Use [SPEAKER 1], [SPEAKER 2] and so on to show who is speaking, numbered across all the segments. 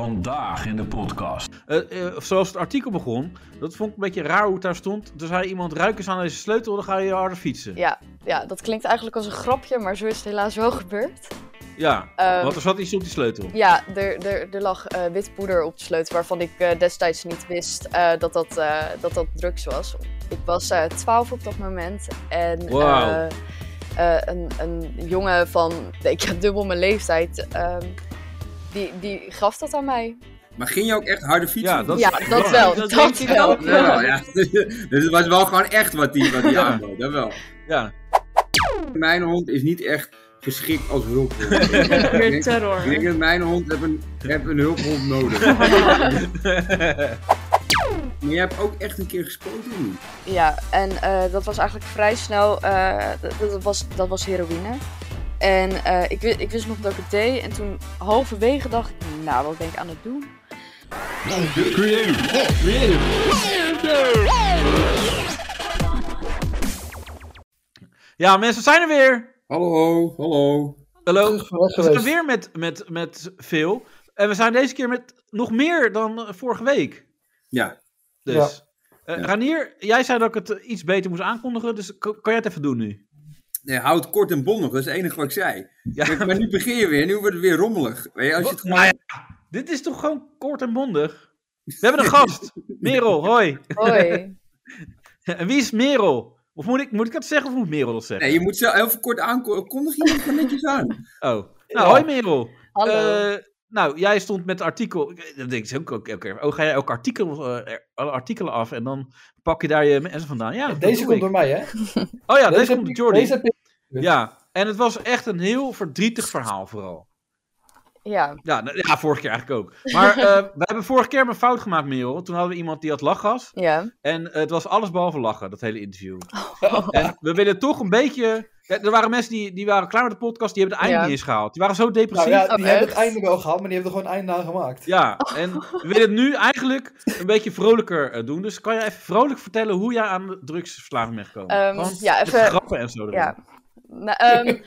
[SPEAKER 1] Vandaag in de podcast.
[SPEAKER 2] Eh, eh, zoals het artikel begon, dat vond ik een beetje raar hoe het daar stond. Er zei iemand, ruik eens aan deze sleutel, dan ga je harder fietsen. Ja,
[SPEAKER 3] Ja, ja, dat klinkt eigenlijk als een grapje, maar zo is het helaas wel gebeurd. Ehm,
[SPEAKER 2] want er zat iets op die sleutel.
[SPEAKER 3] Ja, er, er, er lag eh, wit poeder op de sleutel waarvan ik eh, destijds niet wist eh, dat, dat, eh, dat dat drugs was. Ik was eh 12 op dat moment en
[SPEAKER 2] Wauw.
[SPEAKER 3] eh, eh, een, een jongen van, ik heb dubbel mijn leeftijd, ehm, die, die gaf dat aan mij.
[SPEAKER 4] Maar ging je ook echt harder fietsen?
[SPEAKER 2] Ja, dat,
[SPEAKER 3] ja,
[SPEAKER 2] is
[SPEAKER 3] dat wel,
[SPEAKER 2] belangrijk.
[SPEAKER 3] dat,
[SPEAKER 2] denkt hij
[SPEAKER 3] wel.
[SPEAKER 2] dan ook
[SPEAKER 4] Ja, ja. Dus het was wel gewoon echt wat die, wat die aanbood, dat wel.
[SPEAKER 2] Ja.
[SPEAKER 4] Mijn hond is niet echt geschikt als hulphond. ik,
[SPEAKER 5] Weer
[SPEAKER 4] denk,
[SPEAKER 5] terror.
[SPEAKER 4] ik denk dat mijn hond heb een, heb een hulphond nodig. maar jij hebt ook echt een keer gespoten of niet?
[SPEAKER 3] Ja, en eh, dat was eigenlijk vrij snel. eh, dat, dat was, dat was heroïne. En eh, ik, wi- ik wist nog dat ik het deed. En toen halverwege dacht ik, nou, wat ben ik aan het doen?
[SPEAKER 1] Creative. Creative.
[SPEAKER 2] ja, mensen zijn er weer.
[SPEAKER 4] Hallo, hallo.
[SPEAKER 2] Hallo.
[SPEAKER 6] was
[SPEAKER 2] We zijn
[SPEAKER 6] geweest.
[SPEAKER 2] weer met, met, met veel. En we zijn deze keer met nog meer dan eh, vorige week.
[SPEAKER 4] Ja,
[SPEAKER 2] Dus. Eh,
[SPEAKER 4] Ja.
[SPEAKER 2] Ranier, jij zei dat ik het eh, iets beter moest aankondigen, dus kan, kan jij het even doen nu?
[SPEAKER 4] nee, hou het kort en bondig, dat is het enige wat ik zei.
[SPEAKER 2] Ja,
[SPEAKER 4] Kijk, maar nu begin je weer, nu wordt het weer rommelig. Weet je, als je het gewoon...
[SPEAKER 2] Nou ja, dit is toch gewoon kort en bondig? We hebben een gast. Merel, hoi.
[SPEAKER 3] Hoi.
[SPEAKER 2] En wie is Merel? Of moet ik, moet ik dat zeggen of moet Merel dat zeggen?
[SPEAKER 4] Nee, je moet zelf heel veel kort aankondigen, je moet gewoon netjes aan.
[SPEAKER 2] Oh. Nou, hoi Merel.
[SPEAKER 3] Hallo.
[SPEAKER 2] Eh, nou, jij stond met artikel. ik- Dat denk ik ook ook elke keer. Oh, ga jij ook artikel, eh, er- alle artikelen af en dan pak je daar je mensen vandaan? Ja, dat
[SPEAKER 6] Deze
[SPEAKER 2] doe
[SPEAKER 6] komt
[SPEAKER 2] ik.
[SPEAKER 6] door mij, hè?
[SPEAKER 2] Oh ja, deze,
[SPEAKER 6] heb
[SPEAKER 2] komt door
[SPEAKER 6] ik-
[SPEAKER 2] Jordi.
[SPEAKER 6] Deze heb ik- nou
[SPEAKER 2] Ja, en het was echt een heel verdrietig verhaal vooral.
[SPEAKER 3] Ja,
[SPEAKER 2] Ja, nou, ja vorige keer eigenlijk ook. Maar eh, we hebben vorige keer een fout gemaakt, Merel. Toen hadden we iemand die had lachgas.
[SPEAKER 3] ja.
[SPEAKER 2] En eh, het was alles behalve lachen, dat hele interview.
[SPEAKER 3] Oh.
[SPEAKER 2] En we willen toch een beetje. Kijk, er waren mensen die, die waren klaar met de podcast, die hebben het einde
[SPEAKER 3] Ja.
[SPEAKER 2] niet eens gehaald. Die waren zo depressief.
[SPEAKER 6] Nou ja,
[SPEAKER 2] ja.
[SPEAKER 6] die
[SPEAKER 3] Oh,
[SPEAKER 6] hebben het
[SPEAKER 3] echt?
[SPEAKER 6] einde wel gehaald, maar die hebben er gewoon een einde aan gemaakt.
[SPEAKER 3] Oh.
[SPEAKER 2] en we willen het nu eigenlijk een beetje vrolijker eh, doen. Dus kan jij even vrolijk vertellen hoe jij aan de drugsverslaving bent gekomen?
[SPEAKER 3] Ehm,
[SPEAKER 2] Gewoon
[SPEAKER 3] ja,
[SPEAKER 2] met
[SPEAKER 3] even-
[SPEAKER 2] grappen en zo. erin.
[SPEAKER 3] Ja. Nou, ehm,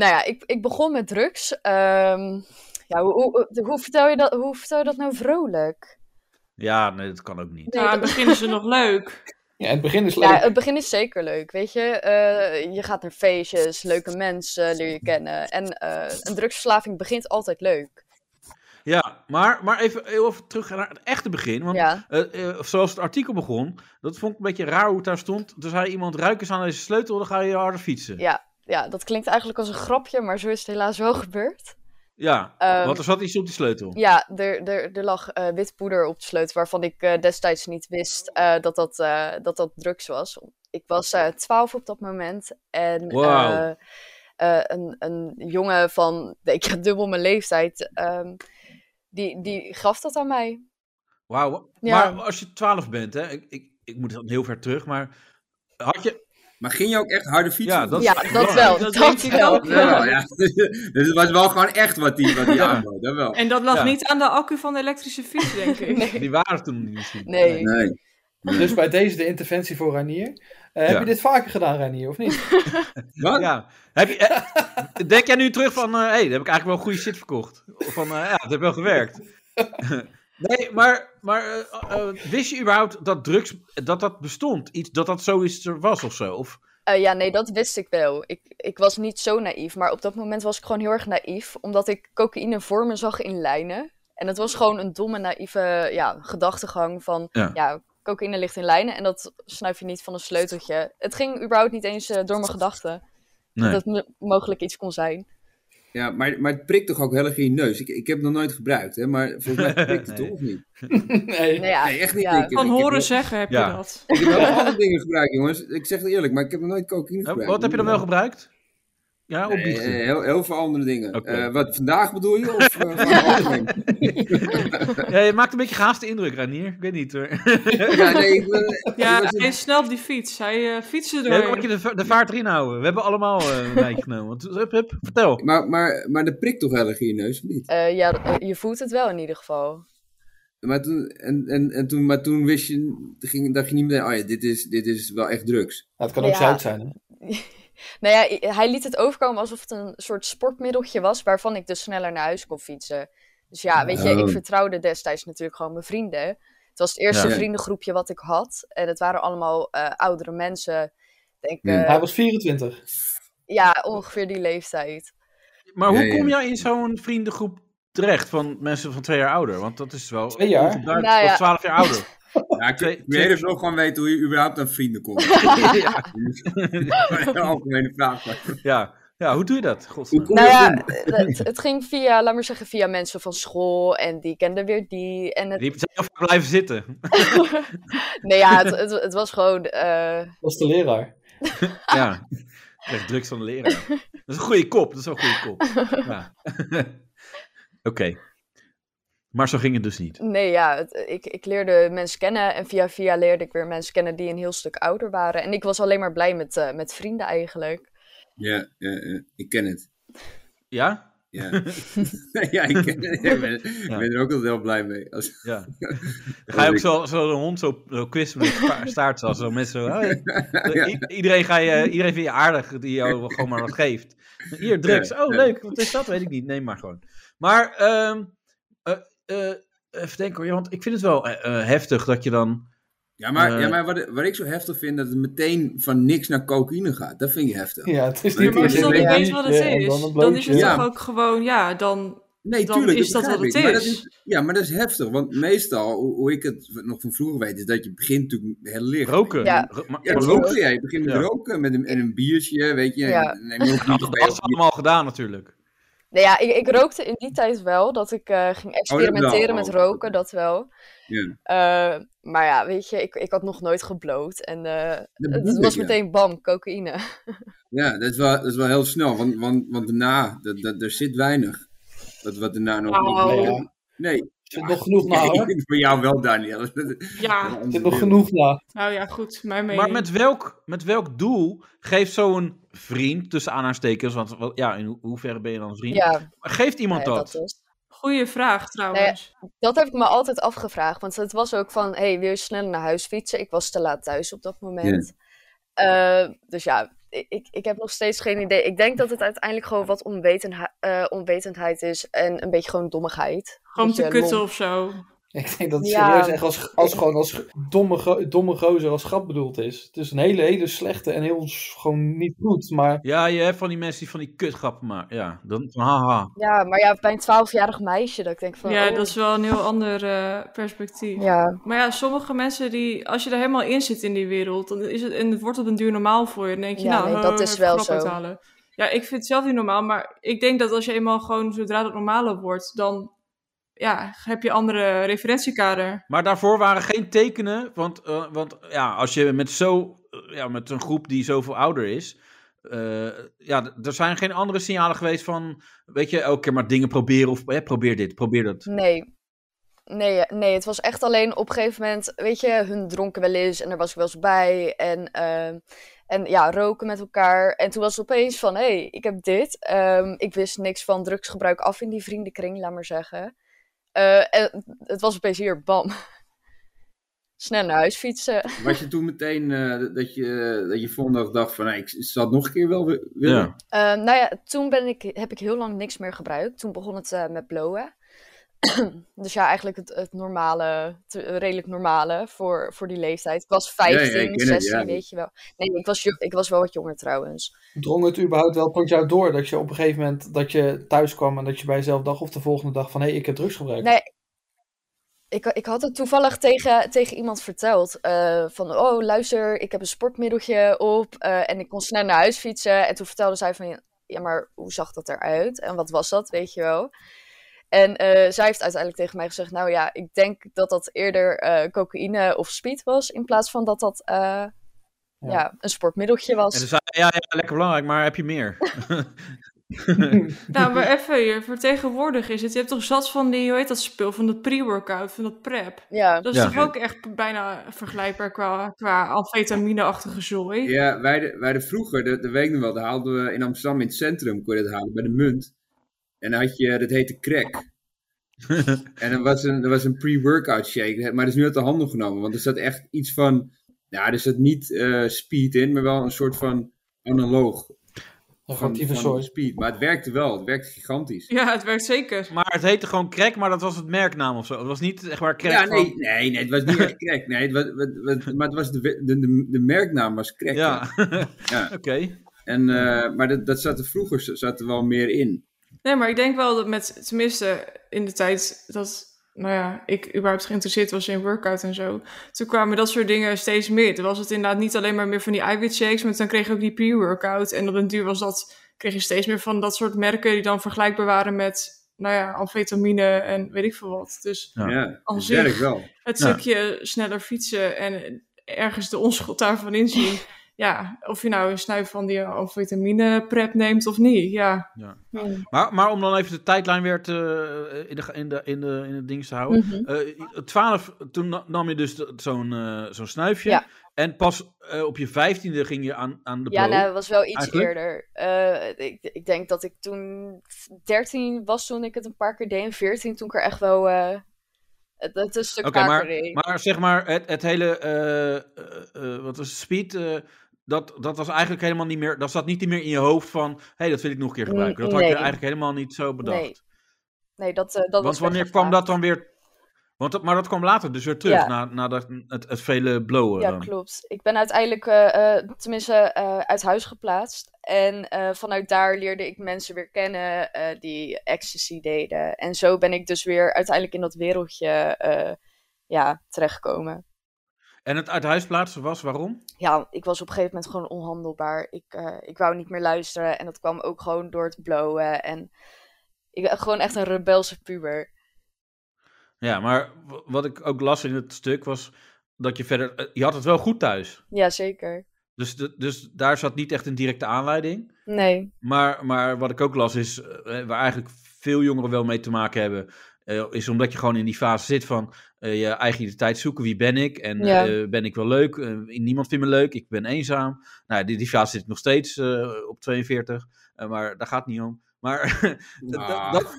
[SPEAKER 3] nou ja, ik, ik begon met drugs. Ehm, ja, hoe, hoe, hoe, vertel je dat, hoe vertel je dat nou vrolijk?
[SPEAKER 2] Ja, nee, dat kan ook niet.
[SPEAKER 3] Nee,
[SPEAKER 5] Nou,
[SPEAKER 3] dat-
[SPEAKER 5] dan beginnen ze nog leuk.
[SPEAKER 6] Ja, in het begin is leuk.
[SPEAKER 3] Ja, het begin is zeker leuk, weet je. Eh, je gaat naar feestjes, leuke mensen leer je kennen. En eh, een drugsverslaving begint altijd leuk.
[SPEAKER 2] Ja, maar, maar even, heel even terug naar het echte begin. Want
[SPEAKER 3] Ja.
[SPEAKER 2] eh, eh, zoals het artikel begon, dat vond ik een beetje raar hoe het daar stond. Er zei iemand, ruik eens aan deze sleutel, dan ga je harder fietsen. Ja,
[SPEAKER 3] Ja, ja, dat klinkt eigenlijk als een grapje, maar zo is het helaas wel gebeurd. Ehm,
[SPEAKER 2] want er zat iets op die sleutel.
[SPEAKER 3] Ja, er, er, er lag eh, wit poeder op de sleutel waarvan ik eh, destijds niet wist eh, dat, dat, eh, dat dat drugs was. Ik was eh 12 op dat moment en
[SPEAKER 2] Wauw.
[SPEAKER 3] eh, eh, een, een jongen van, ik heb dubbel mijn leeftijd, ehm, die, die gaf dat aan mij.
[SPEAKER 2] Wauw.
[SPEAKER 3] Ja.
[SPEAKER 2] Maar als je 12 bent, hè, ik, ik, ik moet dan heel ver terug, maar had je.
[SPEAKER 4] Maar ging je ook echt harder fietsen?
[SPEAKER 2] Ja,
[SPEAKER 4] of
[SPEAKER 2] dat
[SPEAKER 4] niet?
[SPEAKER 3] ja,
[SPEAKER 2] is
[SPEAKER 3] dat
[SPEAKER 2] belangrijk.
[SPEAKER 3] wel.
[SPEAKER 5] Dat
[SPEAKER 3] Dat,
[SPEAKER 5] denk ik
[SPEAKER 3] wel.
[SPEAKER 5] ook.
[SPEAKER 4] Ja, wel, ja. Dus het was wel gewoon echt wat die, wat die
[SPEAKER 2] Ja.
[SPEAKER 4] aanbood, dat wel.
[SPEAKER 5] En dat lag
[SPEAKER 2] Ja.
[SPEAKER 5] niet aan de accu van de elektrische fiets, denk ik.
[SPEAKER 3] Nee.
[SPEAKER 2] Die waren toen niet misschien.
[SPEAKER 3] Nee.
[SPEAKER 4] Nee.
[SPEAKER 6] Dus bij deze de interventie voor Ranier. Eh,
[SPEAKER 2] Ja.
[SPEAKER 6] Heb je dit vaker gedaan, Ranier, of niet?
[SPEAKER 4] Wat?
[SPEAKER 2] Ja. Heb je, eh, denk jij nu terug van, hé, hey, daar heb ik eigenlijk wel goede shit verkocht? Of van, eh, ja, het heeft wel gewerkt. Nee, maar, maar eh, eh, wist je überhaupt dat drugs, dat dat bestond? Iets, dat dat zoiets er was of zo? Of,
[SPEAKER 3] Eh, ja, nee, dat wist ik wel. Ik, ik was niet zo naïef, maar op dat moment was ik gewoon heel erg naïef, omdat ik cocaïne voor me zag in lijnen. En het was gewoon een domme, naïeve ja, gedachtegang van,
[SPEAKER 2] Ja.
[SPEAKER 3] ja. cocaïne ligt in lijnen en dat snuif je niet van een sleuteltje. Het ging überhaupt niet eens eh, door mijn gedachten,
[SPEAKER 2] nee.
[SPEAKER 3] dat het mo- mogelijk iets kon zijn.
[SPEAKER 4] Ja, maar, maar het prikt toch ook heel erg in je neus? Ik, ik heb het nog nooit gebruikt, hè? maar volgens mij prikt het
[SPEAKER 2] Nee.
[SPEAKER 4] toch of niet?
[SPEAKER 6] Nee.
[SPEAKER 3] Nou ja,
[SPEAKER 4] nee, echt niet.
[SPEAKER 3] ja.
[SPEAKER 4] Ik, ik,
[SPEAKER 5] Van
[SPEAKER 4] ik heb
[SPEAKER 5] horen
[SPEAKER 4] nog-
[SPEAKER 5] zeggen heb
[SPEAKER 2] Ja.
[SPEAKER 5] je dat.
[SPEAKER 4] Ik heb wel andere dingen gebruikt, jongens. Ik zeg het eerlijk, maar ik heb nog nooit cocaïne gebruikt.
[SPEAKER 2] Eh, Wat heb je dan wel gebruikt? Ja, op
[SPEAKER 4] Nee,
[SPEAKER 2] biechten.
[SPEAKER 4] eh, heel, heel veel andere dingen.
[SPEAKER 2] Oké.
[SPEAKER 4] Eh, wat vandaag bedoel je? Of, eh, van het algemeen?
[SPEAKER 2] Ja, je maakt een beetje gehaaste indruk, Ranier. Ik weet niet hoor.
[SPEAKER 4] ja, nee, ik, eh,
[SPEAKER 5] Ja,
[SPEAKER 4] ik was
[SPEAKER 5] hij is snel op die fiets. Hij eh, fietste
[SPEAKER 2] Ja, dan
[SPEAKER 5] door.
[SPEAKER 2] moet je de, va- de vaart erin houden. We hebben allemaal eh, een wijntje genomen. Want, hup, hup, vertel.
[SPEAKER 4] maar, maar, maar dat prikt toch heel erg in je neus, of niet?
[SPEAKER 3] eh, ja eh, je voelt het wel in ieder geval.
[SPEAKER 4] Maar toen, en, en, en toen, maar toen wist je, toen ging, dacht je niet meteen, oh ja, dit is, dit is wel echt drugs.
[SPEAKER 6] Nou, het kan ook
[SPEAKER 3] Ja.
[SPEAKER 6] zout zijn, hè?
[SPEAKER 3] Nou ja, i- hij liet het overkomen alsof het een soort sportmiddeltje was, waarvan ik dus sneller naar huis kon fietsen. Dus ja, weet je,
[SPEAKER 4] Oh.
[SPEAKER 3] ik vertrouwde destijds natuurlijk gewoon mijn vrienden. Het was het eerste
[SPEAKER 4] Ja.
[SPEAKER 3] vriendengroepje wat ik had. En het waren allemaal eh, oudere mensen. Ik Denk,
[SPEAKER 4] Ja.
[SPEAKER 3] eh,
[SPEAKER 6] Hij was 24.
[SPEAKER 3] ja, ongeveer die leeftijd.
[SPEAKER 2] Maar hoe
[SPEAKER 4] Ja, ja.
[SPEAKER 2] kom jij in zo'n vriendengroep terecht van mensen van twee jaar ouder? Want dat is wel...
[SPEAKER 6] Twee jaar?
[SPEAKER 2] ongebruikelijk.
[SPEAKER 3] Nou ja.
[SPEAKER 2] Of twaalf jaar ouder.
[SPEAKER 4] Ja, ik
[SPEAKER 2] Twee-
[SPEAKER 4] ik wil
[SPEAKER 2] twee-
[SPEAKER 4] dus ook gewoon weten hoe je überhaupt aan vrienden komt.
[SPEAKER 2] ja.
[SPEAKER 4] Een algemene vraag. maar-
[SPEAKER 2] Ja. ja, hoe doe je dat? God.
[SPEAKER 4] Hoe kom
[SPEAKER 3] Nou
[SPEAKER 4] je
[SPEAKER 3] ja,
[SPEAKER 4] binnen?
[SPEAKER 3] het, het ging via, laat maar zeggen, via mensen van school. En die kenden weer die. En het,
[SPEAKER 2] Die zijn heel vaak blijven zitten.
[SPEAKER 3] nee, ja, het, het, het was gewoon... eh,
[SPEAKER 6] was de leraar.
[SPEAKER 2] Ja. Echt drugs van de leraar. Dat is een goede kop. Dat is wel een goede kop. Ja. Oké. Maar zo ging het dus niet.
[SPEAKER 3] Nee, ja, het- ik, ik leerde mensen kennen en via via leerde ik weer mensen kennen die een heel stuk ouder waren. En ik was alleen maar blij met, eh, met vrienden eigenlijk.
[SPEAKER 4] Ja, ja, ja, ik ken het.
[SPEAKER 2] Ja?
[SPEAKER 4] Ja, ja ik, ken het. Ik ben, ik
[SPEAKER 2] Ja.
[SPEAKER 4] ben er ook altijd heel blij mee. Als,
[SPEAKER 2] Ja. Dan ga je ook zo, zo een hond zo, zo kwisten met een pa- staart. Zo, zo mensen zo, "Hoi." I- iedereen, ga je, iedereen vind je aardig die jou gewoon maar wat geeft. Hier, drugs.
[SPEAKER 4] Ja,
[SPEAKER 2] Oh,
[SPEAKER 4] ja.
[SPEAKER 2] leuk. Wat is dat? Weet ik niet. Neem maar gewoon. Maar, ehm, eh, eh, even denken hoor. ja, Want ik vind het wel eh, eh, heftig dat je dan...
[SPEAKER 4] Ja, maar,
[SPEAKER 2] Eh.
[SPEAKER 4] ja, maar wat, wat ik zo heftig vind, dat het meteen van niks naar cocaïne gaat. Dat vind ik heftig.
[SPEAKER 6] Ja, het is
[SPEAKER 4] Ja,
[SPEAKER 6] niet
[SPEAKER 5] Maar als je
[SPEAKER 6] eerst
[SPEAKER 5] dan
[SPEAKER 6] een
[SPEAKER 5] niet
[SPEAKER 3] Ja.
[SPEAKER 5] weet wat het
[SPEAKER 6] biertje en
[SPEAKER 5] is,
[SPEAKER 6] dan een
[SPEAKER 5] dan, is het
[SPEAKER 6] blootje.
[SPEAKER 4] Ja.
[SPEAKER 5] toch ook gewoon, ja, dan...
[SPEAKER 4] Nee,
[SPEAKER 5] Dan
[SPEAKER 4] tuurlijk,
[SPEAKER 5] is
[SPEAKER 4] dat
[SPEAKER 5] dat wat
[SPEAKER 4] begrijp
[SPEAKER 5] het
[SPEAKER 4] ik. Maar dat
[SPEAKER 5] is.
[SPEAKER 4] Ja, maar dat is heftig. Want meestal, hoe, hoe ik het nog van vroeger weet, is dat je begint natuurlijk heel licht.
[SPEAKER 2] Roken.
[SPEAKER 3] Ja.
[SPEAKER 2] Ro- maar-
[SPEAKER 4] Ja,
[SPEAKER 2] maar
[SPEAKER 4] dat
[SPEAKER 2] roken-
[SPEAKER 4] roken. Ja, je begint met
[SPEAKER 2] Ja.
[SPEAKER 4] roken met een, en een biertje, weet je.
[SPEAKER 3] Ja.
[SPEAKER 4] En, neem je ook niet
[SPEAKER 2] Dat
[SPEAKER 4] bij
[SPEAKER 2] was allemaal gedaan natuurlijk.
[SPEAKER 3] Nee, Nou ja, ik, ik rookte in die tijd wel, dat ik eh, ging experimenteren
[SPEAKER 4] Oh, wel.
[SPEAKER 3] met roken, dat wel.
[SPEAKER 4] Ja.
[SPEAKER 3] Eh, maar ja, weet je, ik, ik had nog nooit gebloot en eh,
[SPEAKER 4] Dat
[SPEAKER 3] het
[SPEAKER 4] bedoel
[SPEAKER 3] was
[SPEAKER 4] ik, ja.
[SPEAKER 3] meteen bam, cocaïne.
[SPEAKER 4] Ja, dat is wel, dat is wel heel snel, want, want, want daarna, dat, dat, er zit weinig. Dat wat daarna nog
[SPEAKER 5] Nou,
[SPEAKER 4] niet-
[SPEAKER 6] Nee, ja.
[SPEAKER 4] Nee,
[SPEAKER 6] Er zit nog genoeg na,
[SPEAKER 3] Nou.
[SPEAKER 6] hoor. Er
[SPEAKER 4] voor jou wel, Daniel.
[SPEAKER 5] Ja,
[SPEAKER 6] zit nog genoeg na.
[SPEAKER 5] nou ja, goed, mijn mening.
[SPEAKER 2] Maar met welk, met welk doel geeft zo'n vriend, tussen aanhaarstekens, want wel- ja, in ho- hoeverre ben je dan een vriend?
[SPEAKER 3] Ja,
[SPEAKER 2] Maar Geeft iemand
[SPEAKER 3] nou ja,
[SPEAKER 2] dat?
[SPEAKER 3] dat is.
[SPEAKER 5] Goeie vraag trouwens.
[SPEAKER 3] Dat heb ik me altijd afgevraagd. Want het was ook van, hey, wil je sneller naar huis fietsen? Ik was te laat thuis op dat moment. Eh, dus ja, ik- ik, ik heb nog steeds geen idee. Ik denk dat het uiteindelijk gewoon wat onwetenha- eh, onwetendheid is. En een beetje gewoon dommigheid.
[SPEAKER 5] Gewoon te
[SPEAKER 3] Beetje lomp.
[SPEAKER 5] kutten of zo.
[SPEAKER 6] Ik denk dat het
[SPEAKER 3] Ja.
[SPEAKER 6] serieus echt als, als gewoon als ge- domme, go- domme gozer als grap bedoeld is. Het is een hele, hele slechte en heel s- gewoon niet goed. Maar
[SPEAKER 2] Ja, je hebt van die mensen die van die kutgrappen maken. Ja, dan van haha.
[SPEAKER 3] Ja, maar ja, bij een twaalfjarig meisje. Dat ik denk van,
[SPEAKER 5] Ja,
[SPEAKER 3] oh,
[SPEAKER 5] dat is wel een heel ander eh, perspectief.
[SPEAKER 3] Ja,
[SPEAKER 5] Maar ja, sommige mensen die, als je er helemaal in zit in die wereld, dan is het, en het wordt op een duur normaal voor je. Dan denk je,
[SPEAKER 3] Ja,
[SPEAKER 5] nou,
[SPEAKER 3] nee,
[SPEAKER 5] ho,
[SPEAKER 3] dat is
[SPEAKER 5] even
[SPEAKER 3] wel
[SPEAKER 5] knop
[SPEAKER 3] zo.
[SPEAKER 5] uithalen. Ja, ik vind het zelf niet normaal, maar ik denk dat als je eenmaal gewoon, zodra dat normaler wordt, dan ja, heb je andere referentiekader.
[SPEAKER 2] Maar daarvoor waren geen tekenen, want, eh, want ja, als je met, zo, eh, ja, met een groep die zoveel ouder is, eh, ja, d- er zijn geen andere signalen geweest van, weet je, elke keer maar dingen proberen of hè, probeer dit, probeer dat.
[SPEAKER 3] nee. Nee, eh, nee, het was echt alleen op een gegeven moment, weet je, hun dronken wel eens en daar was ik wel eens bij. En, ehm, en ja, roken met elkaar. En toen was het opeens van, hé, hey, ik heb dit. Ehm, ik wist niks van drugsgebruik af in die vriendenkring, laat maar zeggen. Eh, en het was opeens hier, bam. Snel naar huis fietsen.
[SPEAKER 4] Was je toen meteen eh, dat- dat, je, dat je volgende dag dacht van, nou, ik zal het nog een keer wel wi- willen?
[SPEAKER 2] Ja.
[SPEAKER 3] Eh, nou ja, toen ben ik, heb ik heel lang niks meer gebruikt. Toen begon het eh, met blowen. dus ja, eigenlijk het, het normale, te- redelijk normale voor, voor die leeftijd. Ik was
[SPEAKER 4] ja, ik
[SPEAKER 3] 15,
[SPEAKER 4] ken het,
[SPEAKER 3] 16,
[SPEAKER 4] ja.
[SPEAKER 3] weet je wel. Nee, ik was, jo- ik was wel wat jonger trouwens.
[SPEAKER 6] drong het überhaupt wel tot jou door dat je op een gegeven moment dat je thuis kwam en dat je bij jezelf dacht of de volgende dag van hé, ik heb drugs gebruikt.
[SPEAKER 3] Nee, Ik, ik had het toevallig tegen, tegen iemand verteld. eh, van, oh luister, ik heb een sportmiddeltje op eh, en ik kon snel naar huis fietsen. En toen vertelde zij van, ja maar hoe zag dat eruit? En wat was dat, weet je wel? En eh, zij heeft uiteindelijk tegen mij gezegd, nou ja, ik denk dat dat eerder eh, cocaïne of speed was. In plaats van dat dat eh, ja. een sportmiddeltje was.
[SPEAKER 2] En dus ze zeiden, ja, ja, lekker belangrijk, maar heb je meer?
[SPEAKER 5] nou, maar even hier, vertegenwoordig is het. Je hebt toch zat van die, hoe heet dat spul, van dat pre-workout, van dat prep.
[SPEAKER 3] Ja.
[SPEAKER 5] Dat is
[SPEAKER 2] Ja.
[SPEAKER 5] toch ook echt bijna vergelijkbaar qua, qua amfetamine-achtige zooi.
[SPEAKER 4] Ja, wij, de- wij de vroeger, dat, dat weet ik nog wel, dat haalden we in Amsterdam in het centrum, kon je dat halen, bij de munt. En dan had je, dat heette crack. en dat was een, dat was een pre-workout shake, maar dat is nu uit de handel genomen, want er zat echt iets van, nou, er zat niet eh, speed in, maar wel een soort van analoog.
[SPEAKER 6] Een
[SPEAKER 4] van,
[SPEAKER 6] van,
[SPEAKER 4] van
[SPEAKER 6] soort.
[SPEAKER 4] speed. Maar het werkte wel, het werkte gigantisch.
[SPEAKER 5] Ja, het werkt zeker.
[SPEAKER 2] Maar het heette gewoon crack, maar dat was het merknaam of zo. Het was niet echt waar crack
[SPEAKER 4] ja,
[SPEAKER 2] van-
[SPEAKER 4] nee, nee, nee, het was niet echt crack. Nee, het was, het- het- maar het was de, we- de, de, de merknaam was crack.
[SPEAKER 2] Ja,
[SPEAKER 4] Ja.
[SPEAKER 2] oké.
[SPEAKER 4] En, eh, maar dat, dat zat er vroeger zat er wel meer in.
[SPEAKER 5] Nee, maar ik denk wel dat met, tenminste in de tijd dat, nou ja, ik überhaupt geïnteresseerd was in workout en zo. Toen kwamen dat soort dingen steeds meer. Toen was het inderdaad niet alleen maar meer van die eiwit shakes, maar dan kreeg je ook die pre-workout. En op een duur was dat, kreeg je steeds meer van dat soort merken die dan vergelijkbaar waren met, nou ja, amfetamine en weet ik veel wat. Dus
[SPEAKER 2] Ja.
[SPEAKER 4] Ja,
[SPEAKER 5] Als
[SPEAKER 4] het
[SPEAKER 5] zich.
[SPEAKER 4] werkt wel.
[SPEAKER 5] het
[SPEAKER 2] Ja.
[SPEAKER 5] stukje sneller fietsen en ergens de onschuld daarvan inzien. Ja, of je nou een snuif van die amfetamine prep neemt of niet, ja.
[SPEAKER 2] Ja.
[SPEAKER 5] Hmm.
[SPEAKER 2] Maar, maar om dan even de tijdlijn weer te, eh, in, de, in, de, in, de, in het ding te houden.
[SPEAKER 3] Mhm.
[SPEAKER 2] Eh, 12, toen na- nam je dus de- zo'n eh, zo'n snuifje.
[SPEAKER 3] Ja.
[SPEAKER 2] En pas eh, op je vijftiende ging je aan, aan de
[SPEAKER 3] Ja,
[SPEAKER 2] blow.
[SPEAKER 3] nou, dat was wel iets
[SPEAKER 2] eigenlijk?
[SPEAKER 3] eerder. Eh, ik, ik denk dat ik toen 13 was toen ik het een paar keer deed. En 14 toen ik er echt wel... eh het, het een stuk
[SPEAKER 2] Oké,
[SPEAKER 3] vaker
[SPEAKER 2] maar-
[SPEAKER 3] deed.
[SPEAKER 2] Maar zeg maar, het, het hele, eh, eh, eh, wat was het, speed, eh, dat, dat was eigenlijk helemaal niet meer, dat zat niet meer in je hoofd van, hé, hey, dat wil ik nog een keer gebruiken. Dat had je
[SPEAKER 3] Nee.
[SPEAKER 2] eigenlijk helemaal niet zo bedacht.
[SPEAKER 3] Nee, nee, dat, eh, dat was
[SPEAKER 2] Want
[SPEAKER 3] wel
[SPEAKER 2] wanneer
[SPEAKER 3] geen
[SPEAKER 2] kwam
[SPEAKER 3] vraag.
[SPEAKER 2] dat dan weer, want dat, maar dat kwam later dus weer terug,
[SPEAKER 3] Ja.
[SPEAKER 2] na, na dat, het, het vele blowen
[SPEAKER 3] Ja,
[SPEAKER 2] dan.
[SPEAKER 3] klopt. Ik ben uiteindelijk, eh, eh, tenminste, eh, uit huis geplaatst. En eh, vanuit daar leerde ik mensen weer kennen eh, die ecstasy deden. En zo ben ik dus weer uiteindelijk in dat wereldje eh, ja, terechtgekomen.
[SPEAKER 2] En het uit huis plaatsen was waarom?
[SPEAKER 3] Ja, ik was op een gegeven moment gewoon onhandelbaar. Ik, eh, ik wou niet meer luisteren. En dat kwam ook gewoon door het blowen. En ik ben gewoon echt een rebelse puber.
[SPEAKER 2] Ja, maar w- wat ik ook las in het stuk was dat je verder, eh, je had het wel goed thuis.
[SPEAKER 3] Ja, zeker.
[SPEAKER 2] Dus, de- dus daar zat niet echt een directe aanleiding.
[SPEAKER 3] Nee.
[SPEAKER 2] Maar, maar wat ik ook las is, eh, waar eigenlijk veel jongeren wel mee te maken hebben, eh, is omdat je gewoon in die fase zit van eh, je eigen identiteit zoeken. Wie ben ik? En
[SPEAKER 3] Ja.
[SPEAKER 2] eh, ben ik wel leuk? Eh, niemand vindt me leuk. Ik ben eenzaam. Nou, die, die fase zit nog steeds eh, op 42, eh, maar daar gaat het niet om. Maar, dat-
[SPEAKER 4] Ah.
[SPEAKER 2] dat,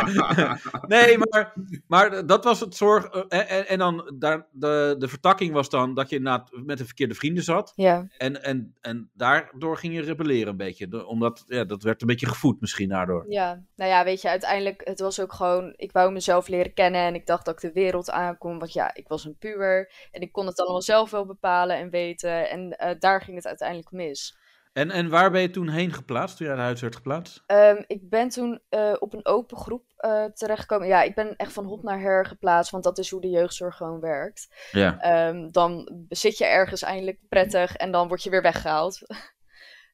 [SPEAKER 2] nee, maar, maar dat was het zorg. eh, En, en dan daar, de, de vertakking was dan dat je inderdaad met de verkeerde vrienden zat.
[SPEAKER 3] Ja,
[SPEAKER 2] En, en, en daardoor ging je rebelleren een beetje. De- Omdat, ja, dat werd een beetje gevoed misschien daardoor.
[SPEAKER 3] ja. Nou ja, weet je, uiteindelijk, het was ook gewoon, ik wou mezelf leren kennen en ik dacht dat ik de wereld aankom. Want ja, ik was een puber en ik kon het allemaal zelf wel bepalen en weten. En eh, daar ging het uiteindelijk mis.
[SPEAKER 2] En, en waar ben je toen heen geplaatst, toen je uit huis werd geplaatst?
[SPEAKER 3] Ehm, ik ben toen eh, op een open groep eh, terechtgekomen. Ja, ik ben echt van hop naar her geplaatst, want dat is hoe de jeugdzorg gewoon werkt.
[SPEAKER 2] Ja.
[SPEAKER 3] Ehm, dan zit je ergens eindelijk prettig en dan word je weer weggehaald.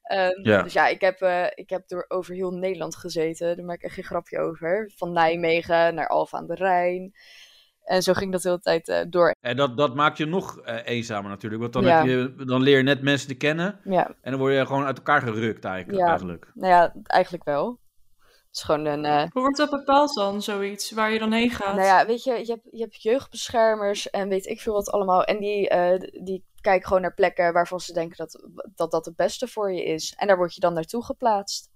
[SPEAKER 3] Ehm,
[SPEAKER 2] Ja.
[SPEAKER 3] Dus ja, ik heb, eh, ik heb door over heel Nederland gezeten. Daar maak ik echt geen grapje over. Van Nijmegen naar Alphen aan de Rijn. En zo ging dat de hele tijd eh, door.
[SPEAKER 2] En dat, dat maakt je nog eh, eenzamer natuurlijk. Want dan,
[SPEAKER 3] Ja.
[SPEAKER 2] heb je, dan leer je net mensen te kennen.
[SPEAKER 3] Ja,
[SPEAKER 2] En dan word je gewoon uit elkaar gerukt eigenlijk.
[SPEAKER 3] Ja.
[SPEAKER 2] eigenlijk.
[SPEAKER 3] nou ja, eigenlijk wel. Het is gewoon een... eh,
[SPEAKER 5] Hoe wordt dat bepaald dan, zoiets, waar je dan heen gaat?
[SPEAKER 3] Nou ja, weet je, je hebt, je hebt jeugdbeschermers en weet ik veel wat allemaal. En die, eh, die kijken gewoon naar plekken waarvan ze denken dat, dat dat het beste voor je is. En daar word je dan naartoe geplaatst.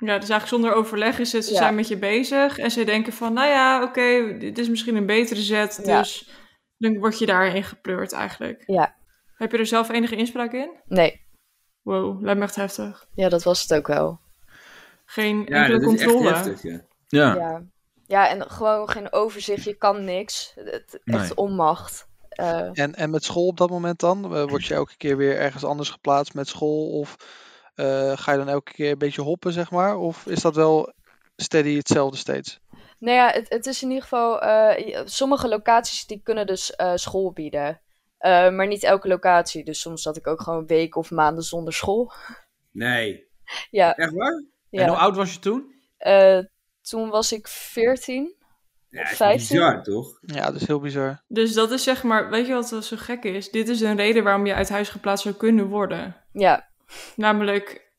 [SPEAKER 5] Ja, dus eigenlijk zonder overleg is het, ze
[SPEAKER 3] Ja.
[SPEAKER 5] zijn met je bezig en ze denken van, nou ja, oké, dit is misschien een betere zet,
[SPEAKER 3] Ja.
[SPEAKER 5] dus dan word je daarin gepleurd eigenlijk.
[SPEAKER 3] Ja.
[SPEAKER 5] Heb je er zelf enige inspraak in?
[SPEAKER 3] Nee,
[SPEAKER 5] Wow, lijkt me echt heftig.
[SPEAKER 3] ja, dat was het ook wel.
[SPEAKER 5] Geen
[SPEAKER 4] ja,
[SPEAKER 5] enkele
[SPEAKER 4] dat is echt
[SPEAKER 5] controle.
[SPEAKER 4] heftig. Ja.
[SPEAKER 2] Ja.
[SPEAKER 3] Ja. ja, en gewoon geen overzicht, je kan niks. Het,
[SPEAKER 2] Nee.
[SPEAKER 3] Echt onmacht. Eh,
[SPEAKER 7] En, en met school op dat moment dan? Eh, Word je elke keer weer ergens anders geplaatst met school? Of eh, ga je dan elke keer een beetje hoppen, zeg maar? Of is dat wel steady hetzelfde steeds?
[SPEAKER 3] nou ja, het, het is in ieder geval... eh, je- sommige locaties die kunnen dus eh, school bieden. Eh, maar niet elke locatie. Dus soms zat ik ook gewoon weken of maanden zonder school.
[SPEAKER 4] Nee.
[SPEAKER 3] Ja.
[SPEAKER 4] Echt waar?
[SPEAKER 3] Ja.
[SPEAKER 2] En hoe oud was je toen?
[SPEAKER 3] Eh, toen was ik 14.
[SPEAKER 4] Ja, het is
[SPEAKER 3] 15?
[SPEAKER 4] bizar, toch?
[SPEAKER 7] Ja, dat is heel bizar.
[SPEAKER 5] Dus dat is zeg maar, weet je wat wel zo gek is? Dit is een reden waarom je uit huis geplaatst zou kunnen worden.
[SPEAKER 3] Ja,
[SPEAKER 5] Namelijk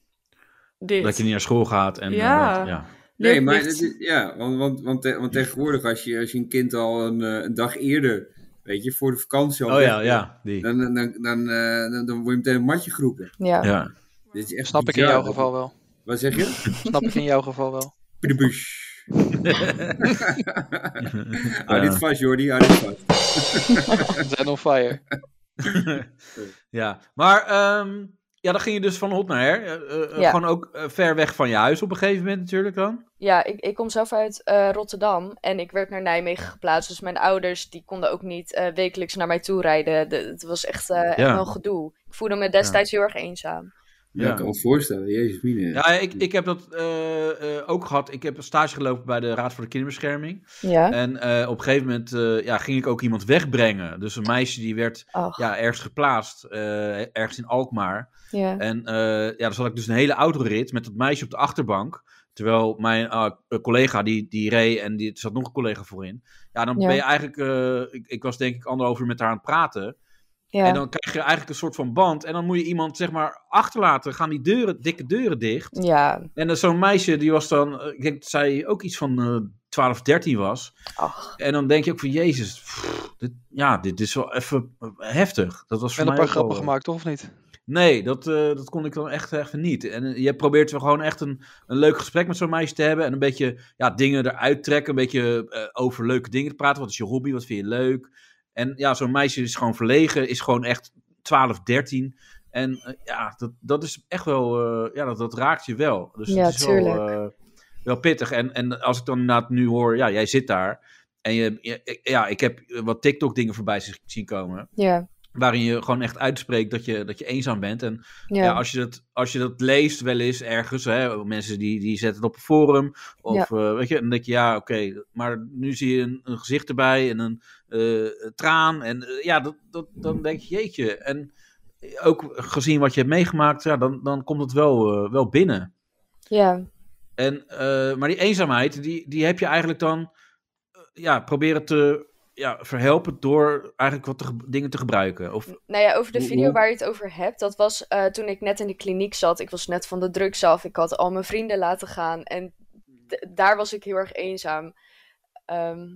[SPEAKER 5] dit.
[SPEAKER 2] Dat je niet naar school gaat. En, eh,
[SPEAKER 5] Ja.
[SPEAKER 2] dat- ja.
[SPEAKER 5] Dit
[SPEAKER 4] Nee, maar
[SPEAKER 5] ligt-
[SPEAKER 4] dat is, ja, want, want, want, te- want tegenwoordig als je, als je een kind al een, eh, een dag eerder, weet je, voor de vakantie al
[SPEAKER 2] Oh ja,
[SPEAKER 4] weg-
[SPEAKER 2] ja. Die.
[SPEAKER 4] Dan, dan, dan, dan, eh, dan, dan word je meteen een matje geroepen.
[SPEAKER 3] ja.
[SPEAKER 2] Ja.
[SPEAKER 4] Dit is echt
[SPEAKER 7] Snap ik in
[SPEAKER 4] bizar,
[SPEAKER 7] jouw
[SPEAKER 4] dat-
[SPEAKER 7] geval wel.
[SPEAKER 4] Wat zeg je?
[SPEAKER 7] Snap ik in jouw geval wel.
[SPEAKER 4] Piedebush. Hou dit vast, Jordi, hou dit vast.
[SPEAKER 7] We zijn on fire.
[SPEAKER 2] ja. Maar ehm, Ja, dan ging je dus van hot naar her. Eh, eh, eh,
[SPEAKER 3] Ja.
[SPEAKER 2] Gewoon ook eh, ver weg van je huis op een gegeven moment natuurlijk dan.
[SPEAKER 3] Ja, ik, ik kom zelf uit eh, Rotterdam en ik werd naar Nijmegen geplaatst. Dus mijn ouders die konden ook niet eh, wekelijks naar mij toe rijden. De- het was echt, eh echt
[SPEAKER 2] Ja.
[SPEAKER 3] wel een gedoe. Ik voelde me destijds heel erg eenzaam.
[SPEAKER 4] Ja,
[SPEAKER 2] Ja.
[SPEAKER 4] ik kan me voorstellen. Jezus, mine.
[SPEAKER 2] Ja, ik, ik heb dat eh, eh, ook gehad. Ik heb een stage gelopen bij de Raad voor de Kinderbescherming.
[SPEAKER 3] Ja.
[SPEAKER 2] En eh, op een gegeven moment eh, ja, ging ik ook iemand wegbrengen. Dus een meisje die werd
[SPEAKER 3] Ach, ja.
[SPEAKER 2] ja, ergens geplaatst, eh, ergens in Alkmaar. En eh, ja, dan zat ik dus een hele autorit met dat meisje op de achterbank. Terwijl mijn ah, eh, collega die, die reed en die, er zat nog een collega voorin. Ja, dan
[SPEAKER 3] Ja.
[SPEAKER 2] ben je eigenlijk... eh, ik, ik was denk ik anderhalf uur met haar aan het praten.
[SPEAKER 3] ja.
[SPEAKER 2] En dan krijg je eigenlijk een soort van band. En dan moet je iemand zeg maar achterlaten. Gaan die deuren, dikke deuren dicht.
[SPEAKER 3] Ja,
[SPEAKER 2] En eh, zo'n meisje die was dan... eh, ik denk dat zij ook iets van eh 12, 13 was.
[SPEAKER 3] ach.
[SPEAKER 2] En dan denk je ook van... Jezus, pff, dit, ja, dit is wel even eh, heftig. Dat was voor
[SPEAKER 7] En een
[SPEAKER 2] mij ook
[SPEAKER 7] paar
[SPEAKER 2] wel,
[SPEAKER 7] grappen
[SPEAKER 2] eh,
[SPEAKER 7] gemaakt, toch of niet?
[SPEAKER 2] Nee, dat, eh, dat kon ik dan echt, echt niet. En eh, je probeert wel gewoon echt een, een leuk gesprek met zo'n meisje te hebben. En een beetje ja, dingen eruit trekken. Een beetje eh, over leuke dingen te praten. Wat is je hobby? Wat vind je leuk? En ja, zo'n meisje is gewoon verlegen. Is gewoon echt 12, 13. En eh, ja, dat, dat is echt wel... eh, ja, dat, dat raakt je wel. Dus
[SPEAKER 3] Ja,
[SPEAKER 2] het is wel,
[SPEAKER 3] tuurlijk.
[SPEAKER 2] eh, wel pittig. En, en als ik dan inderdaad nu hoor... Ja, jij zit daar. En je, je- ik- ja, ik heb eh, wat TikTok dingen voorbij zien komen.
[SPEAKER 3] Ja,
[SPEAKER 2] Waarin je gewoon echt uitspreekt dat je, dat je eenzaam bent. En
[SPEAKER 3] ja.
[SPEAKER 2] ja. als, je dat, als je dat leest wel eens ergens, hè, mensen die, die zetten het op een forum, of eh, weet je, dan denk je, ja, oké, maar nu zie je een, een gezicht erbij en een eh, een traan, en eh, ja, dat, dat, dan denk je, jeetje, en ook gezien wat je hebt meegemaakt, ja, dan, dan komt het wel, eh, wel binnen.
[SPEAKER 3] ja.
[SPEAKER 2] En, eh, maar die eenzaamheid, die, die heb je eigenlijk dan, eh, ja, proberen te ja, verhelpen door eigenlijk wat te ge- dingen te gebruiken. Of,
[SPEAKER 3] Nou ja, over de
[SPEAKER 4] Hoe-
[SPEAKER 3] video
[SPEAKER 4] hoe-
[SPEAKER 3] waar je het over hebt, dat was eh, toen ik net in de kliniek zat. Ik was net van de drugs af. Ik had al mijn vrienden laten gaan. En d- daar was ik heel erg eenzaam. Ehm,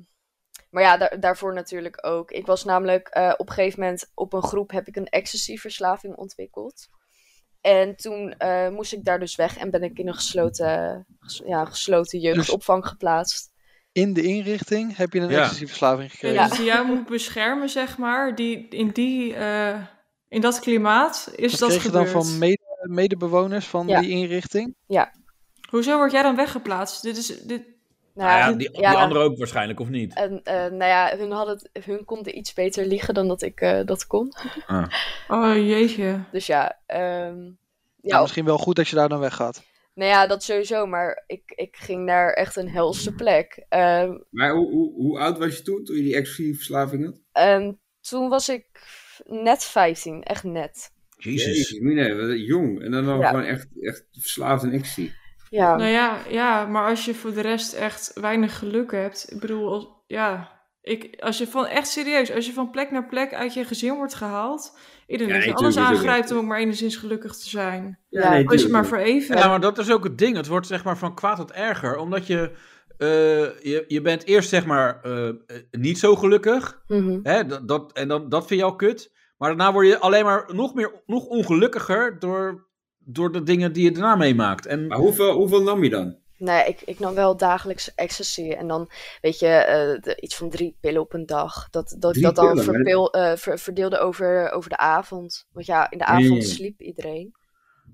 [SPEAKER 3] maar ja, daar- daarvoor natuurlijk ook. Ik was namelijk eh, op een gegeven moment op een groep heb ik een ecstasy-verslaving ontwikkeld. En toen eh, moest ik daar dus weg en ben ik in een gesloten, ges- ja, gesloten jeugdopvang geplaatst.
[SPEAKER 7] In de inrichting heb je een
[SPEAKER 2] Ja.
[SPEAKER 7] ecstasy-verslaving gekregen.
[SPEAKER 5] Dus die jou moet beschermen, zeg maar. Die, in, die, eh, in dat klimaat is
[SPEAKER 7] Dat
[SPEAKER 5] dat
[SPEAKER 7] kreeg je dan
[SPEAKER 5] gebeurd.
[SPEAKER 7] van mede- medebewoners van
[SPEAKER 3] dus Ja.
[SPEAKER 7] die inrichting.
[SPEAKER 5] Hoezo word jij dan weggeplaatst? Dit is, dit...
[SPEAKER 3] Nou,
[SPEAKER 2] Nou ja, die, die andere ook waarschijnlijk, of niet?
[SPEAKER 3] En eh, nou ja, hun, hadden het, hun konden iets beter liegen dan dat ik eh, dat kon.
[SPEAKER 5] Oh jeetje.
[SPEAKER 3] Dus ja, ehm, ja
[SPEAKER 7] Ja,
[SPEAKER 4] Nou,
[SPEAKER 3] op-
[SPEAKER 7] misschien wel goed dat je daar dan weggaat.
[SPEAKER 3] nou ja, dat sowieso. Maar ik, ik ging naar echt een helse plek. Ehm,
[SPEAKER 4] Maar hoe, hoe, hoe oud was je toen, toen je die ecstasy-verslaving had?
[SPEAKER 3] en toen was ik net 15, echt net.
[SPEAKER 2] Jezus.
[SPEAKER 4] mine, wat jong. En dan, dan
[SPEAKER 3] Ja.
[SPEAKER 4] gewoon echt, echt verslaafd aan ecstasy.
[SPEAKER 3] Ja,
[SPEAKER 5] Nou ja, ja, maar als je voor de rest echt weinig geluk hebt. Ik bedoel, als- ja. Ik, als je van, echt serieus, als je van plek naar plek uit je gezin wordt gehaald. Iedereen
[SPEAKER 4] Ja,
[SPEAKER 5] heeft
[SPEAKER 4] nee,
[SPEAKER 5] alles
[SPEAKER 4] tuurlijk, tuurlijk.
[SPEAKER 5] aangrijpt om ook maar enigszins gelukkig te zijn.
[SPEAKER 3] Ja, nee,
[SPEAKER 5] Als je maar voor even.
[SPEAKER 2] Ja, maar dat is ook het ding. Het wordt zeg maar van kwaad tot erger. Omdat je, eh, je, je bent eerst zeg maar eh, eh, niet zo gelukkig.
[SPEAKER 3] mhm.
[SPEAKER 2] Hè? Dat, dat, en dan, dat vind je al kut. Maar daarna word je alleen maar nog, meer, nog ongelukkiger door, door de dingen die je daarna meemaakt. En
[SPEAKER 4] Maar hoeveel, hoeveel nam je dan?
[SPEAKER 3] Nou ja, ik, ik nam wel dagelijks ecstasy. En dan, weet je, eh, de- iets van drie pillen op een dag. Dat, dat ik
[SPEAKER 4] Drie
[SPEAKER 3] dat dan
[SPEAKER 4] pillen, maar-
[SPEAKER 3] verpil, eh, ver- verdeelde over, over de avond. Want ja, in de
[SPEAKER 4] Ja, ja,
[SPEAKER 3] avond
[SPEAKER 4] ja.
[SPEAKER 3] sliep iedereen.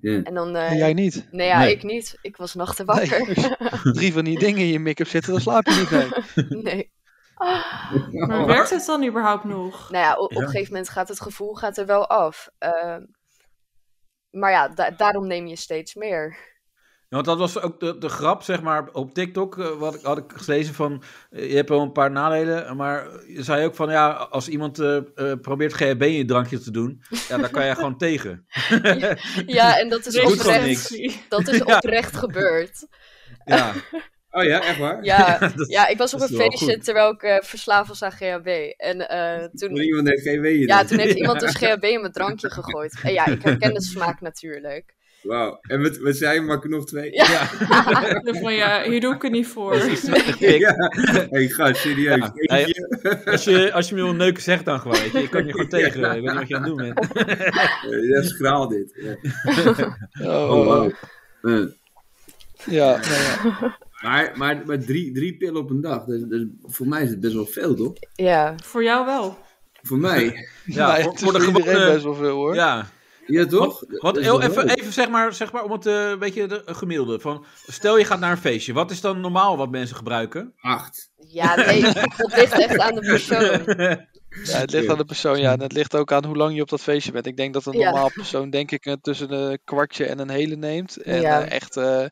[SPEAKER 4] Ja.
[SPEAKER 3] En dan, eh,
[SPEAKER 7] En jij niet.
[SPEAKER 3] nou ja,
[SPEAKER 2] Nee.
[SPEAKER 3] ik niet. Ik was nachten
[SPEAKER 7] Nee,
[SPEAKER 3] wakker.
[SPEAKER 7] als je drie van die dingen in je make-up zitten, dan slaap je niet mee.
[SPEAKER 3] nee.
[SPEAKER 5] Maar werkt het dan überhaupt nog?
[SPEAKER 3] Nou ja, o- op,
[SPEAKER 2] Ja.
[SPEAKER 3] een gegeven moment gaat het gevoel gaat er wel af. Ehm, maar ja, da- daarom neem je steeds meer.
[SPEAKER 2] want dat was ook de, de grap, zeg maar, op TikTok eh, wat ik, had ik gelezen van, eh, je hebt wel een paar nadelen, maar je zei ook van, ja, als iemand eh, eh, probeert GHB in je drankje te doen, ja, daar kan jij gewoon tegen.
[SPEAKER 3] Ja, en dat is
[SPEAKER 2] Doet gewoon
[SPEAKER 3] oprecht,
[SPEAKER 2] niks.
[SPEAKER 3] dat is
[SPEAKER 2] Ja.
[SPEAKER 3] oprecht gebeurd.
[SPEAKER 2] Ja,
[SPEAKER 4] Oh ja, echt waar?
[SPEAKER 3] Ja,
[SPEAKER 2] dat-
[SPEAKER 3] ja, ik was op
[SPEAKER 2] dat
[SPEAKER 3] een
[SPEAKER 2] is wel
[SPEAKER 3] feestje
[SPEAKER 2] goed.
[SPEAKER 3] terwijl ik eh, verslaafd was aan GHB. En eh,
[SPEAKER 4] Toen
[SPEAKER 3] toen,
[SPEAKER 4] iemand heeft geen weeën.
[SPEAKER 3] ja, toen heeft iemand dus GHB in mijn drankje gegooid. En ja, ik herken de smaak natuurlijk.
[SPEAKER 4] Wauw. En wat, wat zei je, maak er nog twee?
[SPEAKER 3] Ja.
[SPEAKER 5] Zo Van ja, hier doe ik het niet voor.
[SPEAKER 2] Dus
[SPEAKER 4] Ja. Hey, gast, serieus.
[SPEAKER 2] Ja.
[SPEAKER 4] Eentje.
[SPEAKER 2] Hey, Als je, als je me wil neuken, zeg dan gewoon. Weet je. je kan je gewoon tegen. Ik weet niet wat je aan het doen bent.
[SPEAKER 4] Eh, dat is graal dit. Ja.
[SPEAKER 7] Oh,
[SPEAKER 4] Oh, wauw. Eh,
[SPEAKER 7] Ja, nou ja.
[SPEAKER 4] Maar, maar, maar drie, drie pillen op een dag, dat is- dat is- voor mij is het best wel veel, toch?
[SPEAKER 3] Ja,
[SPEAKER 5] Voor jou wel.
[SPEAKER 4] Voor mij.
[SPEAKER 2] Ja,
[SPEAKER 7] Nou ja,
[SPEAKER 2] voor,
[SPEAKER 7] Nou, het is
[SPEAKER 2] voor de
[SPEAKER 7] voor iedereen
[SPEAKER 2] gewone...
[SPEAKER 7] best wel veel hoor.
[SPEAKER 2] Ja,
[SPEAKER 4] Ja, toch?
[SPEAKER 2] Want
[SPEAKER 4] Dat is
[SPEAKER 2] heel
[SPEAKER 4] wel
[SPEAKER 2] even,
[SPEAKER 4] leuk.
[SPEAKER 2] even zeg, maar, zeg maar om het eh, een beetje de, een gemiddelde. Van, stel je gaat naar een feestje. Wat is dan normaal wat mensen gebruiken?
[SPEAKER 4] Acht.
[SPEAKER 3] Ja, nee, dat ligt echt aan de persoon.
[SPEAKER 7] Ja, het ligt aan de persoon, ja. En het ligt ook aan hoe lang je op dat feestje bent. Ik denk dat een
[SPEAKER 3] Ja.
[SPEAKER 7] normaal persoon, denk ik, eh, tussen een kwartje en een hele neemt. En
[SPEAKER 3] Ja.
[SPEAKER 7] eh, echt eh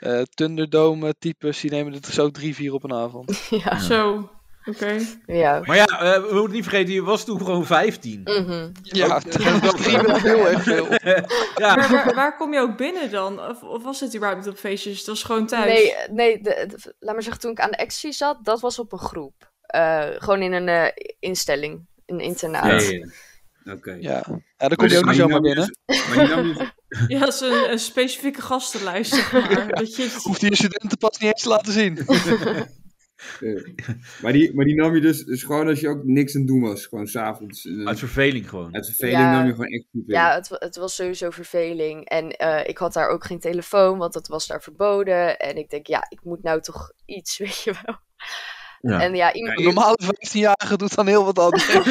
[SPEAKER 7] eh, Thunderdome-types, die nemen er zo drie, vier op een avond.
[SPEAKER 3] Ja.
[SPEAKER 5] Zo, oké.
[SPEAKER 3] Ah. ja.
[SPEAKER 2] Maar ja, eh, we moeten niet vergeten, je was toen gewoon 15.
[SPEAKER 3] Mhm.
[SPEAKER 7] Ja, dat drie wel heel erg veel.
[SPEAKER 2] Ja,
[SPEAKER 5] Maar waar, waar kom je ook binnen dan? Of, of was het überhaupt op feestjes? Dat was gewoon thuis.
[SPEAKER 3] Nee, eh, nee de- de- laat maar zeggen, toen ik aan de XC zat, dat was op een groep. Eh, gewoon in een eh, instelling, een internaat.
[SPEAKER 2] Ja,
[SPEAKER 4] Oké.
[SPEAKER 7] Ja, ja dan kom je ook
[SPEAKER 4] Maar die
[SPEAKER 7] niet zomaar
[SPEAKER 4] nam je
[SPEAKER 7] binnen.
[SPEAKER 4] dus- Maar die nam je dus-
[SPEAKER 5] Ja, dat is een, een specifieke gastenlijst, zeg maar. Dat je het-
[SPEAKER 7] Hoeft die studenten pas niet eens te laten zien.
[SPEAKER 4] eh, maar die- maar die nam je dus, dus gewoon als je ook niks aan het doen was. Gewoon s'avonds. eh,
[SPEAKER 2] uit verveling gewoon.
[SPEAKER 4] Uit verveling
[SPEAKER 3] Ja.
[SPEAKER 4] nam je gewoon echt goed
[SPEAKER 3] Ja, het, wa- het was sowieso verveling. En eh, ik had daar ook geen telefoon, want dat was daar verboden. En ik denk, ja, ik moet nou toch iets, weet je wel.
[SPEAKER 2] Ja.
[SPEAKER 3] En ja, iemand...
[SPEAKER 7] Een normale 15-jarige doet dan heel wat anders.
[SPEAKER 2] Weet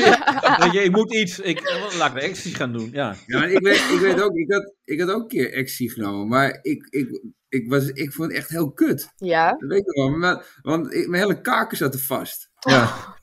[SPEAKER 2] je, ik moet iets, ik, laat ik acties gaan doen. Ja.
[SPEAKER 4] Ja, maar ik weet, ik weet ook, ik had, ik had ook een keer actie genomen, maar ik, ik, ik, was, ik vond het echt heel kut.
[SPEAKER 3] Ja,
[SPEAKER 4] Dat weet ik wel, maar, want ik- mijn hele kaken zaten vast.
[SPEAKER 2] Ja.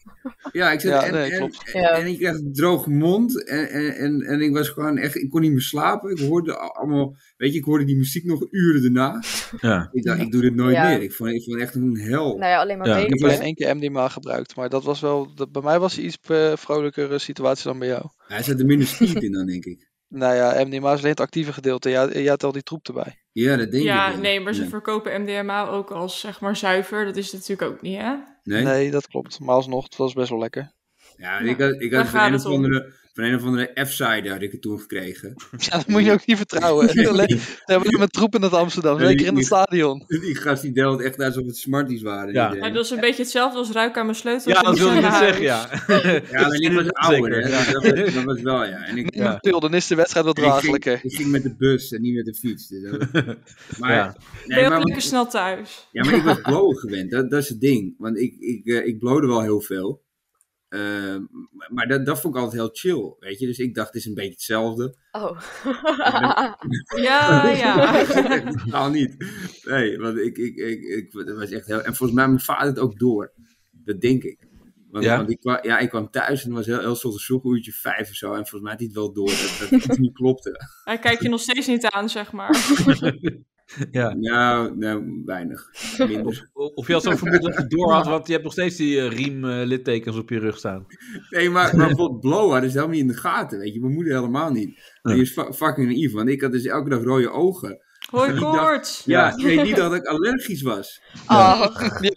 [SPEAKER 4] Ja, ik zat,
[SPEAKER 7] Ja,
[SPEAKER 4] en,
[SPEAKER 7] nee,
[SPEAKER 4] en,
[SPEAKER 7] klopt.
[SPEAKER 4] en,
[SPEAKER 3] Ja.
[SPEAKER 4] en ik kreeg een droge mond en, en, en, en ik was gewoon echt, ik kon niet meer slapen. Ik hoorde al- allemaal, weet je, ik hoorde die muziek nog uren daarna.
[SPEAKER 2] Ja.
[SPEAKER 4] Ik dacht, ik doe dit nooit
[SPEAKER 3] Ja.
[SPEAKER 4] meer. Ik vond, ik vond het echt een hel.
[SPEAKER 3] nou ja, alleen maar
[SPEAKER 2] Ja.
[SPEAKER 3] ja.
[SPEAKER 7] Ik heb alleen één keer MDMA gebruikt, maar dat was wel, dat, bij mij was die iets eh, vrolijkere situatie dan bij jou.
[SPEAKER 4] Hij zat er minder speed in dan, denk ik.
[SPEAKER 7] Nou ja, MDMA is alleen het actieve gedeelte. Ja, jij had al die troep erbij.
[SPEAKER 4] Ja, dat denk ik.
[SPEAKER 5] Ja,
[SPEAKER 4] wel.
[SPEAKER 5] nee, maar ze
[SPEAKER 4] Ja. natuurlijk
[SPEAKER 5] verkopen MDMA ook als, zeg maar, zuiver. Dat is het natuurlijk ook niet, hè?
[SPEAKER 4] Nee?
[SPEAKER 7] Nee? dat klopt. Maar alsnog, het was best wel lekker.
[SPEAKER 4] Ja,
[SPEAKER 5] Nou,
[SPEAKER 4] ik had, ik
[SPEAKER 5] daar
[SPEAKER 4] had van,
[SPEAKER 5] gaat
[SPEAKER 4] een
[SPEAKER 5] het
[SPEAKER 4] of
[SPEAKER 5] om.
[SPEAKER 4] andere, van een of andere F-side had ik het toen gekregen.
[SPEAKER 7] Ja, dat moet je ook niet vertrouwen.
[SPEAKER 4] Nee.
[SPEAKER 7] Alleen- Ze hebben het met troep in het Amsterdam,
[SPEAKER 4] Nee,
[SPEAKER 7] zeker in het
[SPEAKER 4] niet.
[SPEAKER 7] stadion.
[SPEAKER 4] Die gast die deelde echt alsof het Smarties waren.
[SPEAKER 2] Ja.
[SPEAKER 5] Ja,
[SPEAKER 4] iedereen.
[SPEAKER 5] dat is een beetje hetzelfde als ruik aan mijn sleutel.
[SPEAKER 2] ja,
[SPEAKER 5] als in
[SPEAKER 2] dat
[SPEAKER 5] mijn
[SPEAKER 2] wilde ik net zeggen,
[SPEAKER 5] huis.
[SPEAKER 2] ja.
[SPEAKER 4] Ja, maar ik was ouder.
[SPEAKER 2] Zeker,
[SPEAKER 4] hè.
[SPEAKER 2] ja.
[SPEAKER 4] Dat, was, dat was wel, ja. En ik,
[SPEAKER 7] Nee,
[SPEAKER 2] Ja.
[SPEAKER 7] maar Til, dan is de wedstrijd wat
[SPEAKER 4] en ik, ging,
[SPEAKER 7] draaglijker.
[SPEAKER 4] ik ging met de bus en niet met de fiets. Dus dat was- maar,
[SPEAKER 2] Ja.
[SPEAKER 5] Ben je
[SPEAKER 4] nee,
[SPEAKER 5] ook
[SPEAKER 4] maar,
[SPEAKER 5] lekker snel thuis?
[SPEAKER 4] ja, maar ik was blowen gewend. Dat, dat is het ding. Want ik, ik, eh, ik blode wel heel veel. Ehm, maar dat, dat vond ik altijd heel chill, weet je. Dus ik dacht, het is een beetje hetzelfde.
[SPEAKER 3] Oh.
[SPEAKER 5] Ja, ja.
[SPEAKER 4] Totaal niet. Nee, want ik, ik, ik, ik, dat was echt heel... En volgens mij had mijn vader het ook door. Dat denk ik. Want,
[SPEAKER 2] Ja?
[SPEAKER 4] ja? want ik, kwam, ja, ik kwam thuis en het was heel, heel soms een vroeg uurtje vijf of zo. En volgens mij had hij het wel door dat, dat het niet klopte.
[SPEAKER 5] Hij kijkt je nog steeds niet aan, zeg maar.
[SPEAKER 4] Nou, nou weinig. Minder.
[SPEAKER 2] Of of je had zo'n vermoeden dat je door had, want je hebt nog steeds die eh riem eh, littekens op je rug staan.
[SPEAKER 4] Nee, maar, maar bijvoorbeeld blow hadden ze helemaal niet in de gaten, weet je. Mijn moeder helemaal niet. Die is fu- fucking naïef, want ik had dus elke dag rode ogen.
[SPEAKER 5] Hoi, koorts.
[SPEAKER 4] Ja, nee, niet dat ik allergisch was.
[SPEAKER 3] Oh.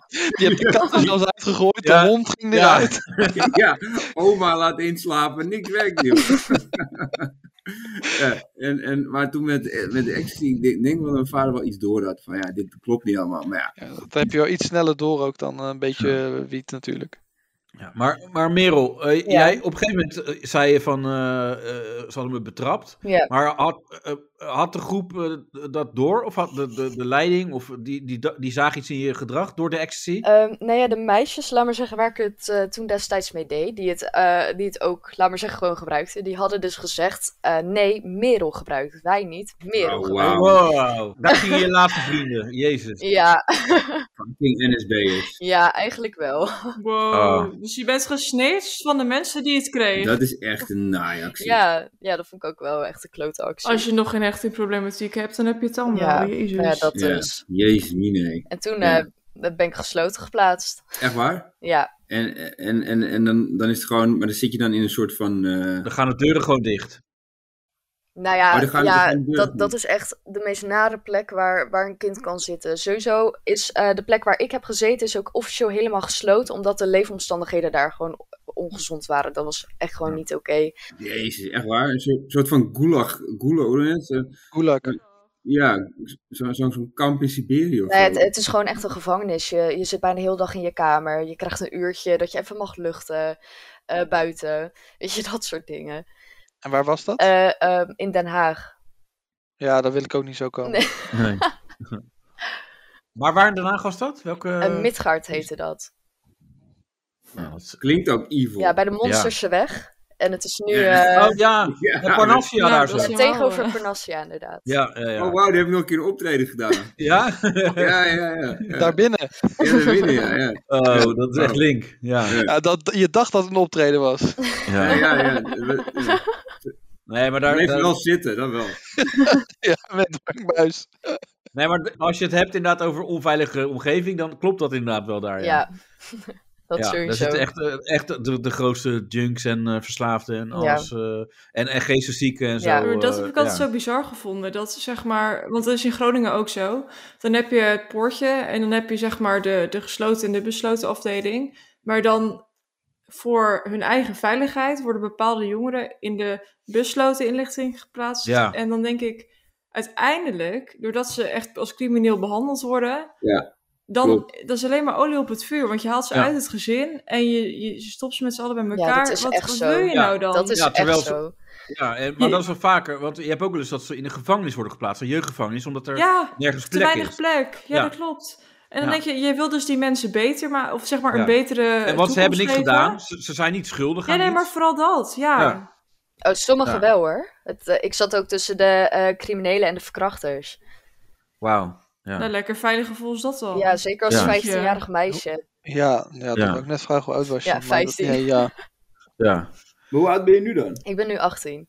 [SPEAKER 7] Je hebt de kat er zelfs uitgegooid,
[SPEAKER 2] Ja.
[SPEAKER 7] de hond ging
[SPEAKER 2] Ja.
[SPEAKER 7] eruit.
[SPEAKER 4] Ja, oma laat inslapen, niks werkt niet. Ja, en, en, maar toen met, met de ecstasy, ik denk, denk wel dat mijn vader wel iets door had. Van ja, dit klopt niet allemaal. Maar ja,
[SPEAKER 7] Ja, dat heb je wel iets sneller door ook dan een beetje eh, wiet natuurlijk.
[SPEAKER 2] Ja, maar, maar Merel, eh,
[SPEAKER 3] Ja.
[SPEAKER 2] jij op een gegeven moment eh, zei je van, eh, eh, ze hadden me betrapt.
[SPEAKER 3] Ja.
[SPEAKER 2] Maar had, eh, had de groep eh, dat door? Of had de, de, de leiding, of die, die, da- die zag iets in je gedrag door de ecstasy?
[SPEAKER 3] Ehm, nou ja, de meisjes, laat maar zeggen, waar ik het eh, toen destijds mee deed, die het, eh, die het ook, laat maar zeggen, gewoon gebruikten, die hadden dus gezegd, eh, nee, Merel gebruikt, wij niet, Merel
[SPEAKER 4] Oh,
[SPEAKER 3] gebruikt.
[SPEAKER 4] wauw.
[SPEAKER 2] Wow, daar gingen je laatste vrienden, jezus.
[SPEAKER 3] Ja,
[SPEAKER 4] fucking NSB'ers.
[SPEAKER 3] ja, eigenlijk wel.
[SPEAKER 5] Wow.
[SPEAKER 2] Ah.
[SPEAKER 5] Dus je bent gesnitcht van de mensen die het kregen.
[SPEAKER 4] Dat is echt een naaiactie.
[SPEAKER 3] Ja, ja, dat vond ik ook wel echt een klote actie.
[SPEAKER 5] Als je nog geen echte problematiek hebt, dan heb je het dan wel.
[SPEAKER 3] Ja,
[SPEAKER 5] Jezus.
[SPEAKER 3] Nou ja, dat
[SPEAKER 4] Ja.
[SPEAKER 3] dus.
[SPEAKER 4] Jezus, nee.
[SPEAKER 3] En toen
[SPEAKER 4] Ja.
[SPEAKER 3] eh, ben ik gesloten geplaatst.
[SPEAKER 4] Echt waar?
[SPEAKER 3] Ja,
[SPEAKER 4] En, en, en, en dan, dan is het gewoon, maar dan zit je dan in een soort van. eh,
[SPEAKER 2] Dan gaan de deuren gewoon dicht.
[SPEAKER 3] nou
[SPEAKER 4] Oh,
[SPEAKER 3] ja,
[SPEAKER 4] dan gaan we
[SPEAKER 3] ja
[SPEAKER 4] gewoon deur
[SPEAKER 3] dat,
[SPEAKER 4] doen.
[SPEAKER 3] dat is echt de meest nare plek waar, waar een kind kan zitten. Sowieso is eh, de plek waar ik heb gezeten is ook officieel helemaal gesloten, omdat de leefomstandigheden daar gewoon ongezond waren. Dat was echt gewoon niet oké.
[SPEAKER 4] Jezus, echt waar? Een soort, soort van gulag. gulag hoe heet het? Eh,
[SPEAKER 7] Gulag.
[SPEAKER 4] ja, zo- zo'n zo'n kamp in Siberië. Of
[SPEAKER 3] Nee,
[SPEAKER 4] zo.
[SPEAKER 3] het, het is gewoon echt een gevangenis. Je, je zit bijna heel dag in je kamer. Je krijgt een uurtje dat je even mag luchten eh, buiten. Weet je, dat soort dingen.
[SPEAKER 7] En waar was dat?
[SPEAKER 3] Eh, ehm, in Den Haag.
[SPEAKER 7] ja, daar wil ik ook niet zo komen.
[SPEAKER 3] Nee.
[SPEAKER 2] Maar waar in Den Haag was dat? Welke...
[SPEAKER 4] Eh,
[SPEAKER 3] Een
[SPEAKER 4] dus
[SPEAKER 3] Midgard heette dat.
[SPEAKER 2] Nou, dat is-
[SPEAKER 4] Klinkt ook evil.
[SPEAKER 3] Ja, bij de Monsterse Weg. En het is nu
[SPEAKER 4] Ja.
[SPEAKER 3] eh,
[SPEAKER 2] oh ja,
[SPEAKER 4] Ja.
[SPEAKER 2] de Panafia
[SPEAKER 5] Ja,
[SPEAKER 2] daar
[SPEAKER 5] dat
[SPEAKER 2] zo.
[SPEAKER 5] is-
[SPEAKER 3] ja,
[SPEAKER 5] Jawel,
[SPEAKER 3] tegenover
[SPEAKER 5] hoor.
[SPEAKER 3] Panassia inderdaad.
[SPEAKER 2] Ja, ja, ja.
[SPEAKER 4] Oh, wauw, die heb ik nog een keer een optreden gedaan.
[SPEAKER 2] ja?
[SPEAKER 4] ja, ja, ja. Ja,
[SPEAKER 7] Daarbinnen.
[SPEAKER 4] ja daar binnen, ja. Ja,
[SPEAKER 2] Oh, dat is echt link. Ja.
[SPEAKER 7] Ja, dat, je dacht dat het een optreden was.
[SPEAKER 4] ja,
[SPEAKER 2] ja.
[SPEAKER 4] ja. ja. We- we-
[SPEAKER 2] Nee, maar daar,
[SPEAKER 4] Blijf
[SPEAKER 2] daar-
[SPEAKER 4] wel zitten, dat wel.
[SPEAKER 7] Ja, met Frank Buis.
[SPEAKER 2] nee, maar als je het hebt inderdaad over onveilige omgeving, dan klopt dat inderdaad wel daar. Ja,
[SPEAKER 3] Ja,
[SPEAKER 2] Ja,
[SPEAKER 3] dat
[SPEAKER 2] daar
[SPEAKER 3] sowieso.
[SPEAKER 2] zitten echt, eh, echt de, de grootste junks en eh, verslaafden en alles. eh, en, en geesteszieken en zo.
[SPEAKER 3] Ja.
[SPEAKER 5] Maar dat heb ik
[SPEAKER 2] eh,
[SPEAKER 5] altijd
[SPEAKER 2] ja.
[SPEAKER 5] zo bizar gevonden. Dat zeg maar, want dat is in Groningen ook zo. Dan heb je het poortje en dan heb je zeg maar de, de gesloten en de besloten afdeling. Maar dan voor hun eigen veiligheid worden bepaalde jongeren in de besloten inlichting geplaatst.
[SPEAKER 2] Ja.
[SPEAKER 5] En dan denk ik, uiteindelijk, doordat ze echt als crimineel behandeld worden.
[SPEAKER 4] Ja,
[SPEAKER 5] Dan,
[SPEAKER 4] klopt.
[SPEAKER 5] dat is alleen maar olie op het vuur, want je haalt ze
[SPEAKER 2] Ja.
[SPEAKER 5] uit het gezin en je, je stopt ze met z'n allen bij
[SPEAKER 3] Ja,
[SPEAKER 5] elkaar.
[SPEAKER 3] dat is
[SPEAKER 5] wat
[SPEAKER 3] echt
[SPEAKER 5] wat
[SPEAKER 3] zo.
[SPEAKER 5] wil je
[SPEAKER 2] Ja,
[SPEAKER 5] nou dan?
[SPEAKER 3] Dat is
[SPEAKER 2] Ja, terwijl
[SPEAKER 3] echt
[SPEAKER 2] ze-
[SPEAKER 3] zo.
[SPEAKER 2] Ja, en, maar dat is wel vaker. Want je hebt ook wel eens dat ze in een gevangenis worden geplaatst, een jeugdgevangenis, omdat er
[SPEAKER 5] ja,
[SPEAKER 2] nergens
[SPEAKER 5] te
[SPEAKER 2] plek
[SPEAKER 5] weinig
[SPEAKER 2] is.
[SPEAKER 5] plek. Ja,
[SPEAKER 2] Ja.
[SPEAKER 5] dat klopt. En dan
[SPEAKER 2] Ja.
[SPEAKER 5] denk je, je wil dus die mensen beter, maar, of zeg maar een
[SPEAKER 2] Ja.
[SPEAKER 5] betere.
[SPEAKER 2] En want ze hebben niks
[SPEAKER 5] toekomst
[SPEAKER 2] gedaan.
[SPEAKER 5] geven.
[SPEAKER 2] Ze, ze zijn niet schuldig
[SPEAKER 5] Ja,
[SPEAKER 2] aan
[SPEAKER 5] nee, maar
[SPEAKER 2] iets.
[SPEAKER 5] vooral dat. Ja.
[SPEAKER 2] Ja.
[SPEAKER 3] Oh, sommigen
[SPEAKER 2] Ja.
[SPEAKER 3] wel hoor. Het, eh, ik zat ook tussen de eh, criminelen en de verkrachters.
[SPEAKER 2] Wauw. Ja.
[SPEAKER 5] Nou, lekker veilig gevoel is dat dan.
[SPEAKER 3] Ja, zeker als
[SPEAKER 2] Ja.
[SPEAKER 3] 15-jarig meisje.
[SPEAKER 7] Ja, ja, dat
[SPEAKER 2] Ja.
[SPEAKER 7] ik net vragen hoe oud was je.
[SPEAKER 3] Ja,
[SPEAKER 7] maar dat-
[SPEAKER 3] 15.
[SPEAKER 7] nee, ja.
[SPEAKER 2] Ja.
[SPEAKER 4] Maar hoe oud ben je nu dan?
[SPEAKER 3] Ik ben nu 18.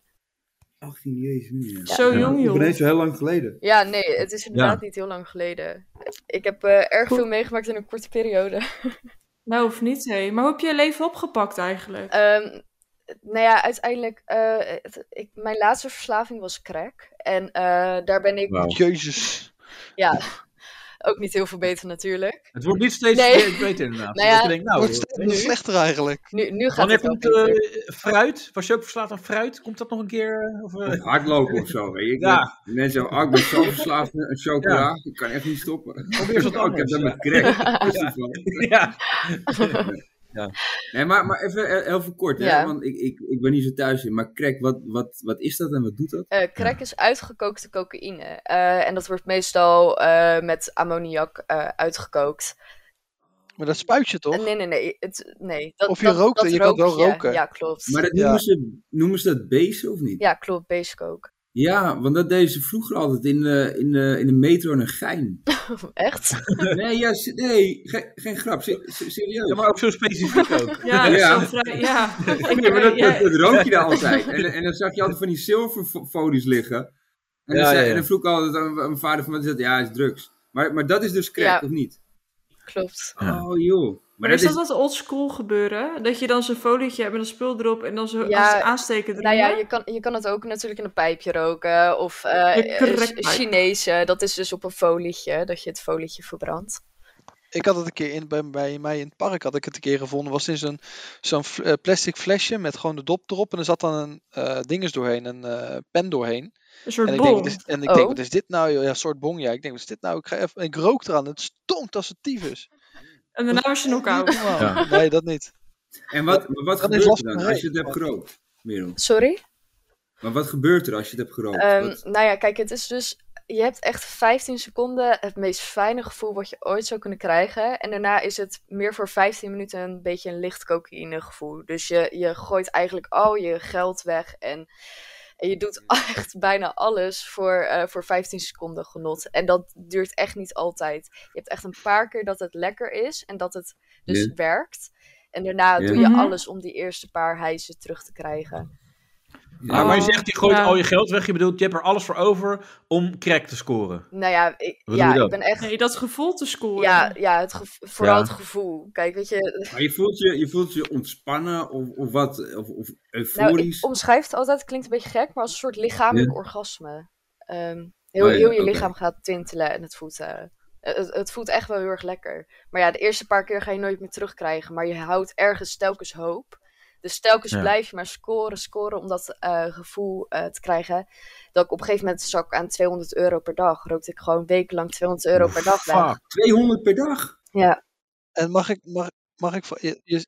[SPEAKER 4] 18, jezus. man.
[SPEAKER 5] Zo
[SPEAKER 2] Ja.
[SPEAKER 5] jong, joh.
[SPEAKER 4] Opeens zo heel lang geleden.
[SPEAKER 3] Ja, nee, het is inderdaad niet heel lang geleden. Ik heb eh, erg veel meegemaakt in een korte periode.
[SPEAKER 5] Nou, of niet, hé. Maar hoe heb je je leven opgepakt eigenlijk?
[SPEAKER 3] Ehm, nou ja, uiteindelijk, eh, het- ik, mijn laatste verslaving was crack. En eh, daar ben ik
[SPEAKER 2] Wauw.
[SPEAKER 7] Jezus.
[SPEAKER 3] ja, ook niet heel veel beter natuurlijk.
[SPEAKER 2] Het wordt niet steeds
[SPEAKER 3] Nee.
[SPEAKER 2] meer beter inderdaad.
[SPEAKER 3] Nou ja.
[SPEAKER 2] Dat je denkt, nou,
[SPEAKER 7] Wordt steeds
[SPEAKER 2] nu-
[SPEAKER 7] slechter eigenlijk.
[SPEAKER 3] Nu, nu gaat
[SPEAKER 2] Wanneer
[SPEAKER 3] het wel
[SPEAKER 2] komt
[SPEAKER 3] beter.
[SPEAKER 2] eh, fruit? Was je ook verslaafd aan fruit? Komt dat nog een keer? eh, Of, eh,
[SPEAKER 4] Of hardlopen of zo, weet je. Ik
[SPEAKER 2] Ja.
[SPEAKER 4] ben- Mensen zeggen, oh, ik ben zo verslaafd aan chocola. Ik kan echt niet stoppen.
[SPEAKER 2] Probeer eens wat
[SPEAKER 4] Oh, ik
[SPEAKER 2] anders,
[SPEAKER 4] heb dat
[SPEAKER 2] ja.
[SPEAKER 4] met crack. Dat is het wel.
[SPEAKER 2] ja.
[SPEAKER 4] Nee, maar, maar even eh, heel veel kort, hè?
[SPEAKER 3] Ja.
[SPEAKER 4] want ik, ik, ik ben niet zo thuis in. Maar crack, wat, wat, wat is dat en wat doet dat?
[SPEAKER 3] Eh, crack is uitgekookte cocaïne. Eh, en dat wordt meestal eh, met ammoniak eh, uitgekookt.
[SPEAKER 7] Maar dat spuit je toch?
[SPEAKER 3] Eh, nee, nee, nee. Het, nee dat,
[SPEAKER 7] Of je
[SPEAKER 3] dat-
[SPEAKER 7] rookt
[SPEAKER 3] dat
[SPEAKER 7] en je kan
[SPEAKER 3] rook
[SPEAKER 7] wel
[SPEAKER 3] je.
[SPEAKER 7] roken.
[SPEAKER 3] Ja, klopt.
[SPEAKER 4] Maar dat
[SPEAKER 7] Ja.
[SPEAKER 4] noemen, ze, noemen ze dat beesten of niet?
[SPEAKER 3] Ja, klopt. Basecoke.
[SPEAKER 4] Ja, want dat deden ze vroeger altijd in de, in de, in de metro naar Gein.
[SPEAKER 3] Echt?
[SPEAKER 4] Nee, ja, se- nee geen, geen grap, se- se- serieus.
[SPEAKER 2] Ja, maar ook zo specifiek ook.
[SPEAKER 3] Eh,
[SPEAKER 5] Ja, dat is
[SPEAKER 4] ja.
[SPEAKER 5] wel vrij. Ja.
[SPEAKER 4] Nee, maar dat, dat,
[SPEAKER 5] Ja,
[SPEAKER 4] dat rook je daar altijd. En, en dan zag je altijd van die zilverfolies liggen. En dan,
[SPEAKER 2] Ja,
[SPEAKER 4] zei-
[SPEAKER 2] ja, ja.
[SPEAKER 4] en dan vroeg ik altijd aan aan mijn vader van, wat is dat? Ja, is drugs. Maar, maar dat is dus crack,
[SPEAKER 3] Ja.
[SPEAKER 4] of niet?
[SPEAKER 3] Klopt.
[SPEAKER 2] Ja.
[SPEAKER 4] Oh joh.
[SPEAKER 5] Maar is dat dat oldschool gebeuren? Dat je dan zo'n folietje hebt met een spul erop en dan zo
[SPEAKER 3] Ja,
[SPEAKER 5] als het aansteken erop?
[SPEAKER 3] Nou ja, je kan, je kan het ook natuurlijk in een pijpje roken. Of eh
[SPEAKER 5] Je crackpijp.
[SPEAKER 3] eh, Chinese. Dat is dus op een folietje. Dat je het folietje verbrandt.
[SPEAKER 7] Ik had het een keer in, bij, bij mij in het park had ik het een keer gevonden. Was in zo'n zo'n fl- eh, plastic flesje met gewoon de dop erop. En er zat dan een eh dinges doorheen, een eh, pen doorheen.
[SPEAKER 5] Een
[SPEAKER 7] en
[SPEAKER 5] soort
[SPEAKER 7] ik, denk, dus-
[SPEAKER 5] bol.
[SPEAKER 7] wat is, en ik denk,
[SPEAKER 3] Oh.
[SPEAKER 7] wat is dit nou? joh? Ja, een soort bong, ja. Ik denk, wat is dit nou? Ik, ga even, en ik rook eraan. Het stonk als een tyfus.
[SPEAKER 5] En daarna was je knock-out.
[SPEAKER 7] Niet normaal. Nee, dat niet.
[SPEAKER 4] En wat, maar wat
[SPEAKER 7] Dat is
[SPEAKER 4] gebeurt er
[SPEAKER 7] lastig
[SPEAKER 4] dan
[SPEAKER 7] te
[SPEAKER 4] als je het
[SPEAKER 7] regelen.
[SPEAKER 4] hebt gerookt, Merel?
[SPEAKER 3] Sorry?
[SPEAKER 4] Maar wat gebeurt er als je het hebt gerookt?
[SPEAKER 3] Ehm,
[SPEAKER 4] Wat-
[SPEAKER 3] nou ja, kijk, het is dus. Je hebt echt 15 seconden het meest fijne gevoel wat je ooit zou kunnen krijgen. En daarna is het meer voor 15 minuten een beetje een licht cocaïne gevoel. Dus je, je gooit eigenlijk al je geld weg. En, en je doet echt bijna alles voor, eh, voor 15 seconden genot. En dat duurt echt niet altijd. Je hebt echt een paar keer dat het lekker is en dat het dus
[SPEAKER 4] Ja.
[SPEAKER 3] werkt. En daarna
[SPEAKER 4] Ja.
[SPEAKER 3] doe je
[SPEAKER 5] Mhm.
[SPEAKER 3] alles om die eerste paar hijzen terug te krijgen.
[SPEAKER 4] Ja,
[SPEAKER 2] Ah, maar je
[SPEAKER 5] Oh,
[SPEAKER 2] zegt, je gooit
[SPEAKER 5] ja.
[SPEAKER 2] al je geld weg. Je bedoelt, je hebt er alles voor over om crack te scoren.
[SPEAKER 3] Nou ja, ik,
[SPEAKER 2] Hoe doe je
[SPEAKER 3] ja, ik
[SPEAKER 2] dat?
[SPEAKER 3] ben echt
[SPEAKER 5] Nee, dat gevoel te scoren.
[SPEAKER 3] Ja, ja, het gev- vooral
[SPEAKER 2] Ja.
[SPEAKER 3] het gevoel. Kijk, weet je,
[SPEAKER 4] maar je, voelt je, je voelt je ontspannen of, of wat, of, of
[SPEAKER 3] nou,
[SPEAKER 4] euforisch.
[SPEAKER 3] ik omschrijf het altijd, het klinkt een beetje gek, maar als een soort lichamelijk orgasme. Ehm, heel,
[SPEAKER 4] Oh ja,
[SPEAKER 3] heel je
[SPEAKER 4] oké.
[SPEAKER 3] lichaam gaat tintelen en het voelt, eh, het, het voelt echt wel heel erg lekker. Maar ja, de eerste paar keer ga je nooit meer terugkrijgen, maar je houdt ergens telkens hoop. Dus telkens
[SPEAKER 2] Ja.
[SPEAKER 3] blijf je maar scoren, scoren om dat eh, gevoel eh, te krijgen. Dat ik op een gegeven moment zak aan 200 euro per dag. Rookte ik gewoon wekenlang 200 euro per dag weg.
[SPEAKER 2] Fuck.
[SPEAKER 4] 200 per dag?
[SPEAKER 3] Ja,
[SPEAKER 7] En mag ik, mag, mag ik, va- je, je,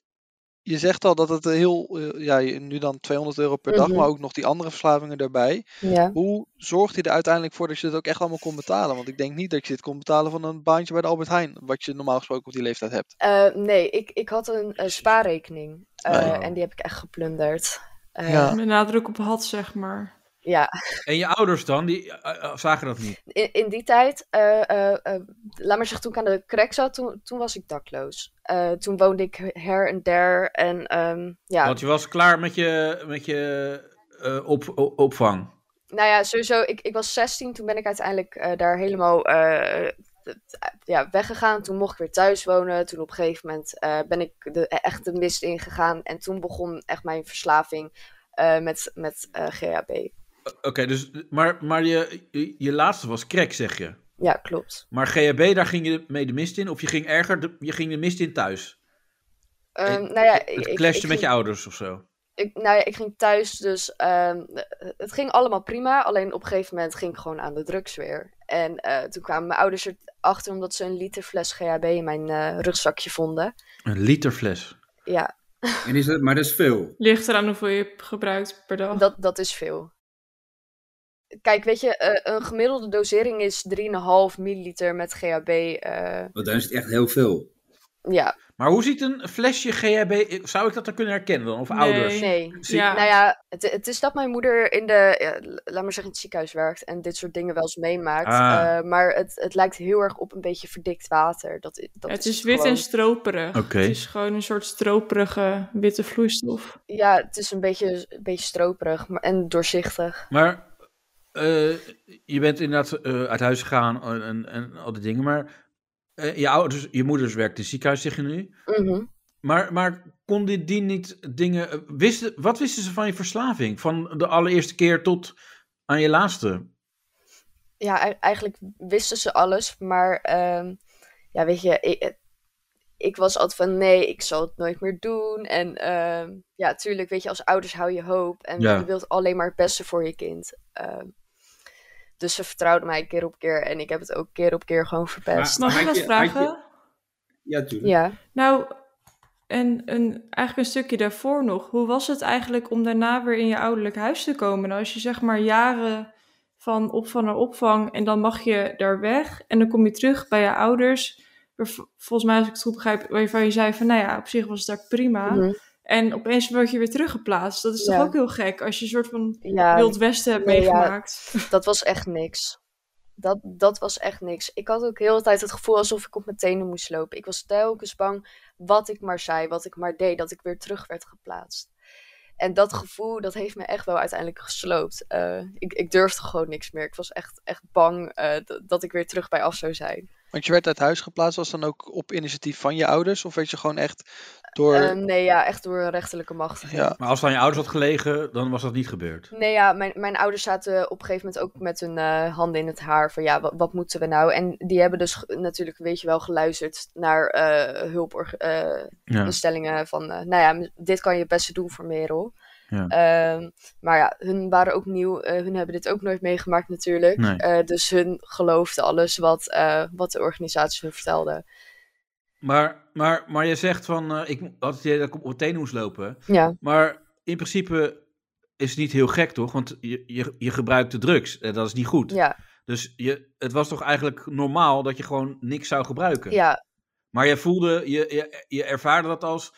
[SPEAKER 7] je zegt al dat het heel, eh, ja, je- nu dan 200 euro per dag,
[SPEAKER 3] Mhm.
[SPEAKER 7] maar ook nog die andere verslavingen daarbij.
[SPEAKER 3] ja.
[SPEAKER 7] Hoe zorgt hij er uiteindelijk voor dat je het ook echt allemaal kon betalen? Want ik denk niet dat je dit kon betalen van een baantje bij de Albert Heijn, wat je normaal gesproken op die leeftijd hebt.
[SPEAKER 3] Eh, nee, ik, ik had een eh, spaarrekening. Eh,
[SPEAKER 7] Ah, ja.
[SPEAKER 3] En die heb ik echt geplunderd. Eh,
[SPEAKER 7] Ja.
[SPEAKER 5] Met nadruk op had, zeg maar.
[SPEAKER 3] ja.
[SPEAKER 2] En je ouders dan, die eh, eh, zagen dat niet.
[SPEAKER 3] in, in die tijd, eh, eh, eh, laat maar zeggen, toen ik aan de crack zat, toen, toen was ik dakloos. Eh, toen woonde ik her en der en ehm, ja,
[SPEAKER 2] Want je was klaar met je, met je eh, op, o- opvang.
[SPEAKER 3] nou ja, sowieso, ik, ik was 16, toen ben ik uiteindelijk eh, daar helemaal eh, t- t- ja, weggegaan. Toen mocht ik weer thuis wonen, toen op een gegeven moment eh, ben ik de, echt de mist ingegaan en toen begon echt mijn verslaving eh, met, met eh, GHB.
[SPEAKER 2] Oké, dus, maar, maar je, je, je laatste was crack, zeg je.
[SPEAKER 3] Ja, klopt.
[SPEAKER 2] Maar GHB, daar ging je mee de mist in? Of je ging erger, de- je ging de mist in thuis?
[SPEAKER 3] Ehm,
[SPEAKER 2] Het-
[SPEAKER 3] nou ja,
[SPEAKER 2] het
[SPEAKER 3] ik-
[SPEAKER 2] clashte
[SPEAKER 3] ik-
[SPEAKER 2] met
[SPEAKER 3] ik ging-
[SPEAKER 2] je ouders of zo?
[SPEAKER 3] ik, nou ja, ik ging thuis, dus ehm, het ging allemaal prima. Alleen op een gegeven moment ging ik gewoon aan de drugs weer. En eh, toen kwamen mijn ouders erachter omdat ze een liter fles GHB in mijn eh, rugzakje vonden.
[SPEAKER 2] Een liter fles.
[SPEAKER 3] Ja,
[SPEAKER 4] En is dat, maar dat is veel.
[SPEAKER 5] Ligt eraan hoeveel je hebt gebruikt per dag.
[SPEAKER 3] dat, dat is veel. Kijk, weet je, eh, een gemiddelde dosering is 3,5 milliliter met GHB. eh,
[SPEAKER 4] Want dan is het echt heel veel.
[SPEAKER 3] ja,
[SPEAKER 2] Maar hoe ziet een flesje GHB... Zou ik dat dan kunnen herkennen dan? Of
[SPEAKER 5] Nee.
[SPEAKER 2] ouders?
[SPEAKER 3] nee.
[SPEAKER 2] Zie-
[SPEAKER 5] Ja.
[SPEAKER 3] Nou ja, het, het is dat mijn moeder in de, ja, l- laat maar zeggen, in het ziekenhuis werkt en dit soort dingen wel eens meemaakt.
[SPEAKER 2] Ah.
[SPEAKER 3] Eh, maar het, het lijkt heel erg op een beetje verdikt water. Dat, i- dat
[SPEAKER 5] het is wit
[SPEAKER 3] gewoon-
[SPEAKER 5] en stroperig.
[SPEAKER 2] Oké.
[SPEAKER 5] Het is gewoon een soort stroperige witte vloeistof.
[SPEAKER 3] Ja, het is een beetje, een beetje stroperig maar, en doorzichtig.
[SPEAKER 2] Maar eh, je bent inderdaad eh, uit huis gegaan en, en, en al die dingen. Maar eh, je ouders, je moeders werkt in het ziekenhuis, zeg je nu.
[SPEAKER 3] Mhm.
[SPEAKER 2] Maar, maar kon dit die niet dingen... eh, Wisten, wat wisten ze van je verslaving? Van de allereerste keer tot aan je laatste?
[SPEAKER 3] Ja, e- eigenlijk wisten ze alles, maar ehm, ja, weet je, ik, eh, ik was altijd van nee, ik zal het nooit meer doen. En ehm, ja, tuurlijk, weet je, als ouders hou je hoop en
[SPEAKER 2] Ja.
[SPEAKER 3] je wilt alleen maar het beste voor je kind. Ehm, dus ze vertrouwden mij keer op keer en ik heb het ook keer op keer gewoon verpest.
[SPEAKER 5] Mag ik
[SPEAKER 4] had
[SPEAKER 5] dat
[SPEAKER 4] je- had je-
[SPEAKER 5] vragen?
[SPEAKER 4] Ja, natuurlijk.
[SPEAKER 3] Ja.
[SPEAKER 5] Nou, en een, eigenlijk een stukje daarvoor nog. Hoe was het eigenlijk om daarna weer in je ouderlijk huis te komen? Nou, als je zeg maar jaren van opvang naar opvang en dan mag je daar weg en dan kom je terug bij je ouders. Waar v- Volgens mij, als ik het goed begrijp, waarvan je zei van, nou ja, op zich was het daar prima.
[SPEAKER 3] Mhm.
[SPEAKER 5] En opeens word je weer teruggeplaatst. Dat is
[SPEAKER 3] Ja.
[SPEAKER 5] toch ook heel gek als je een soort van
[SPEAKER 3] ja.
[SPEAKER 5] Wild Westen hebt
[SPEAKER 3] Nee, ja.
[SPEAKER 5] meegemaakt.
[SPEAKER 3] Dat was echt niks. Dat, dat was echt niks. Ik had ook heel de tijd het gevoel alsof ik op mijn tenen moest lopen. Ik was telkens bang wat ik maar zei, wat ik maar deed, dat ik weer terug werd geplaatst. En dat gevoel, dat heeft me echt wel uiteindelijk gesloopt. Eh, ik, ik durfde gewoon niks meer. Ik was echt, echt bang eh, d- dat ik weer terug bij af zou zijn.
[SPEAKER 7] Want je werd uit huis geplaatst, was dan ook op initiatief van je ouders? Of werd je gewoon echt door...
[SPEAKER 3] Eh, nee, ja, echt door een rechterlijke macht.
[SPEAKER 7] ja,
[SPEAKER 2] Maar als het aan je ouders had gelegen, dan was dat niet gebeurd.
[SPEAKER 3] Nee, ja, mijn, mijn ouders zaten op een gegeven moment ook met hun eh, handen in het haar van ja, wat, wat moeten we nou? En die hebben dus ge- natuurlijk, weet je wel, geluisterd naar eh hulpinstellingen
[SPEAKER 2] Ja.
[SPEAKER 5] Dus-
[SPEAKER 3] van, eh, nou ja, m- dit kan je het beste doen voor Merel.
[SPEAKER 2] Ja.
[SPEAKER 3] Ehm, maar ja, hun waren ook nieuw, eh, hun hebben dit ook nooit meegemaakt natuurlijk.
[SPEAKER 2] Nee.
[SPEAKER 3] Eh, dus hun geloofden alles wat, eh, wat de organisatie hun vertelde.
[SPEAKER 2] Maar, maar, maar je zegt van, eh, ik had het idee dat ik op mijn tenen moest lopen.
[SPEAKER 3] Ja,
[SPEAKER 2] Maar in principe is het niet heel gek, toch? Want je, je, je gebruikt de drugs. En dat is niet goed.
[SPEAKER 3] ja,
[SPEAKER 2] Dus je, het was toch eigenlijk normaal dat je gewoon niks zou gebruiken.
[SPEAKER 3] ja,
[SPEAKER 2] Maar je voelde, je, je, je ervaarde dat als,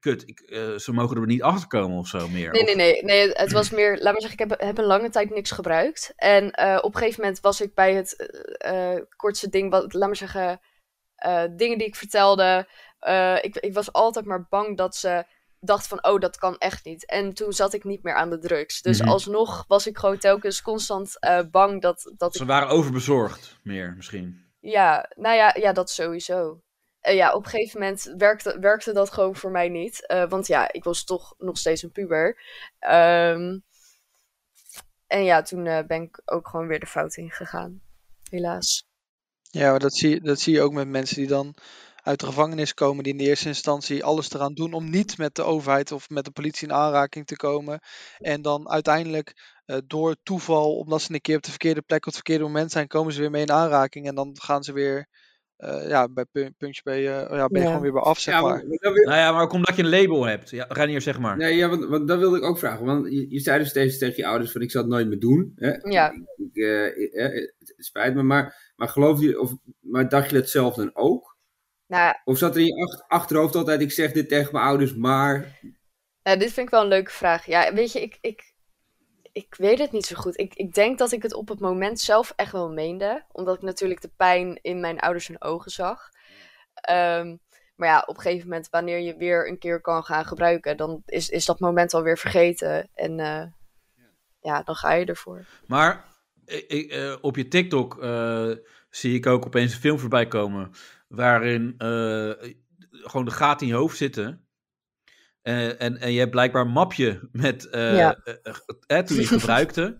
[SPEAKER 2] kut, ik, eh, ze mogen er niet achter komen of zo meer.
[SPEAKER 3] Nee,
[SPEAKER 2] Of-
[SPEAKER 3] nee, nee, nee. Het was meer, laat maar zeggen, ik heb, heb een lange tijd niks gebruikt. En eh, op een gegeven moment was ik bij het eh, eh, kortste ding, wat, laat maar zeggen, eh, dingen die ik vertelde. Eh, ik, ik was altijd maar bang dat ze dacht van, oh, dat kan echt niet. En toen zat ik niet meer aan de drugs. Dus
[SPEAKER 2] Mhm.
[SPEAKER 3] alsnog was ik gewoon telkens constant eh, bang dat, dat ik...
[SPEAKER 2] Ze waren overbezorgd meer misschien.
[SPEAKER 3] Ja, nou ja, ja dat sowieso. Eh, ja, op een gegeven moment werkte, werkte dat gewoon voor mij niet. eh, want ja, ik was toch nog steeds een puber. Ehm, en ja, toen eh, ben ik ook gewoon weer de fout ingegaan. Helaas.
[SPEAKER 7] ja maar dat, zie, je- dat zie je ook met mensen die dan uit de gevangenis komen, die in de eerste instantie alles eraan doen om niet met de overheid of met de politie in aanraking te komen. En dan uiteindelijk eh, door toeval, omdat ze een keer op de verkeerde plek op het verkeerde moment zijn, komen ze weer mee in aanraking. En dan gaan ze weer, eh, ja, bij pun- puntje bij, eh, ja, ben je
[SPEAKER 3] Ja.
[SPEAKER 7] gewoon weer bij af, zeg
[SPEAKER 4] ja,
[SPEAKER 7] maar.
[SPEAKER 4] want- want dat wil-
[SPEAKER 2] Nou ja, maar ook omdat je een label hebt. Ja, Ranier, zeg maar.
[SPEAKER 4] nee, ja, want, want dat wilde ik ook vragen. Want je, je zei dus steeds tegen je ouders van ik zal het nooit meer doen. Hè?
[SPEAKER 3] Ja.
[SPEAKER 4] Ik, ik, eh, ik, eh, het spijt me, maar, maar geloof je, of, maar dacht je dat zelf dan ook?
[SPEAKER 3] Nou,
[SPEAKER 4] Of zat er in je ach- achterhoofd altijd, ik zeg dit tegen mijn ouders, maar...
[SPEAKER 3] Ja, Nou, dit vind ik wel een leuke vraag. Ja, weet je, ik, ik, ik weet het niet zo goed. Ik, ik denk dat ik het op het moment zelf echt wel meende. Omdat ik natuurlijk de pijn in mijn ouders hun ogen zag. Ehm, maar ja, op een gegeven moment, wanneer je weer een keer kan gaan gebruiken, dan is, is dat moment alweer vergeten. En eh, ja, dan ga je ervoor.
[SPEAKER 2] Maar ik, ik, eh, op je TikTok eh, zie ik ook opeens een film voorbij komen. waarin eh, gewoon de gaten in je hoofd zitten. Eh, en, en je hebt blijkbaar een mapje met. eh,
[SPEAKER 3] Ja.
[SPEAKER 2] eh, eh, toen je het gebruikte.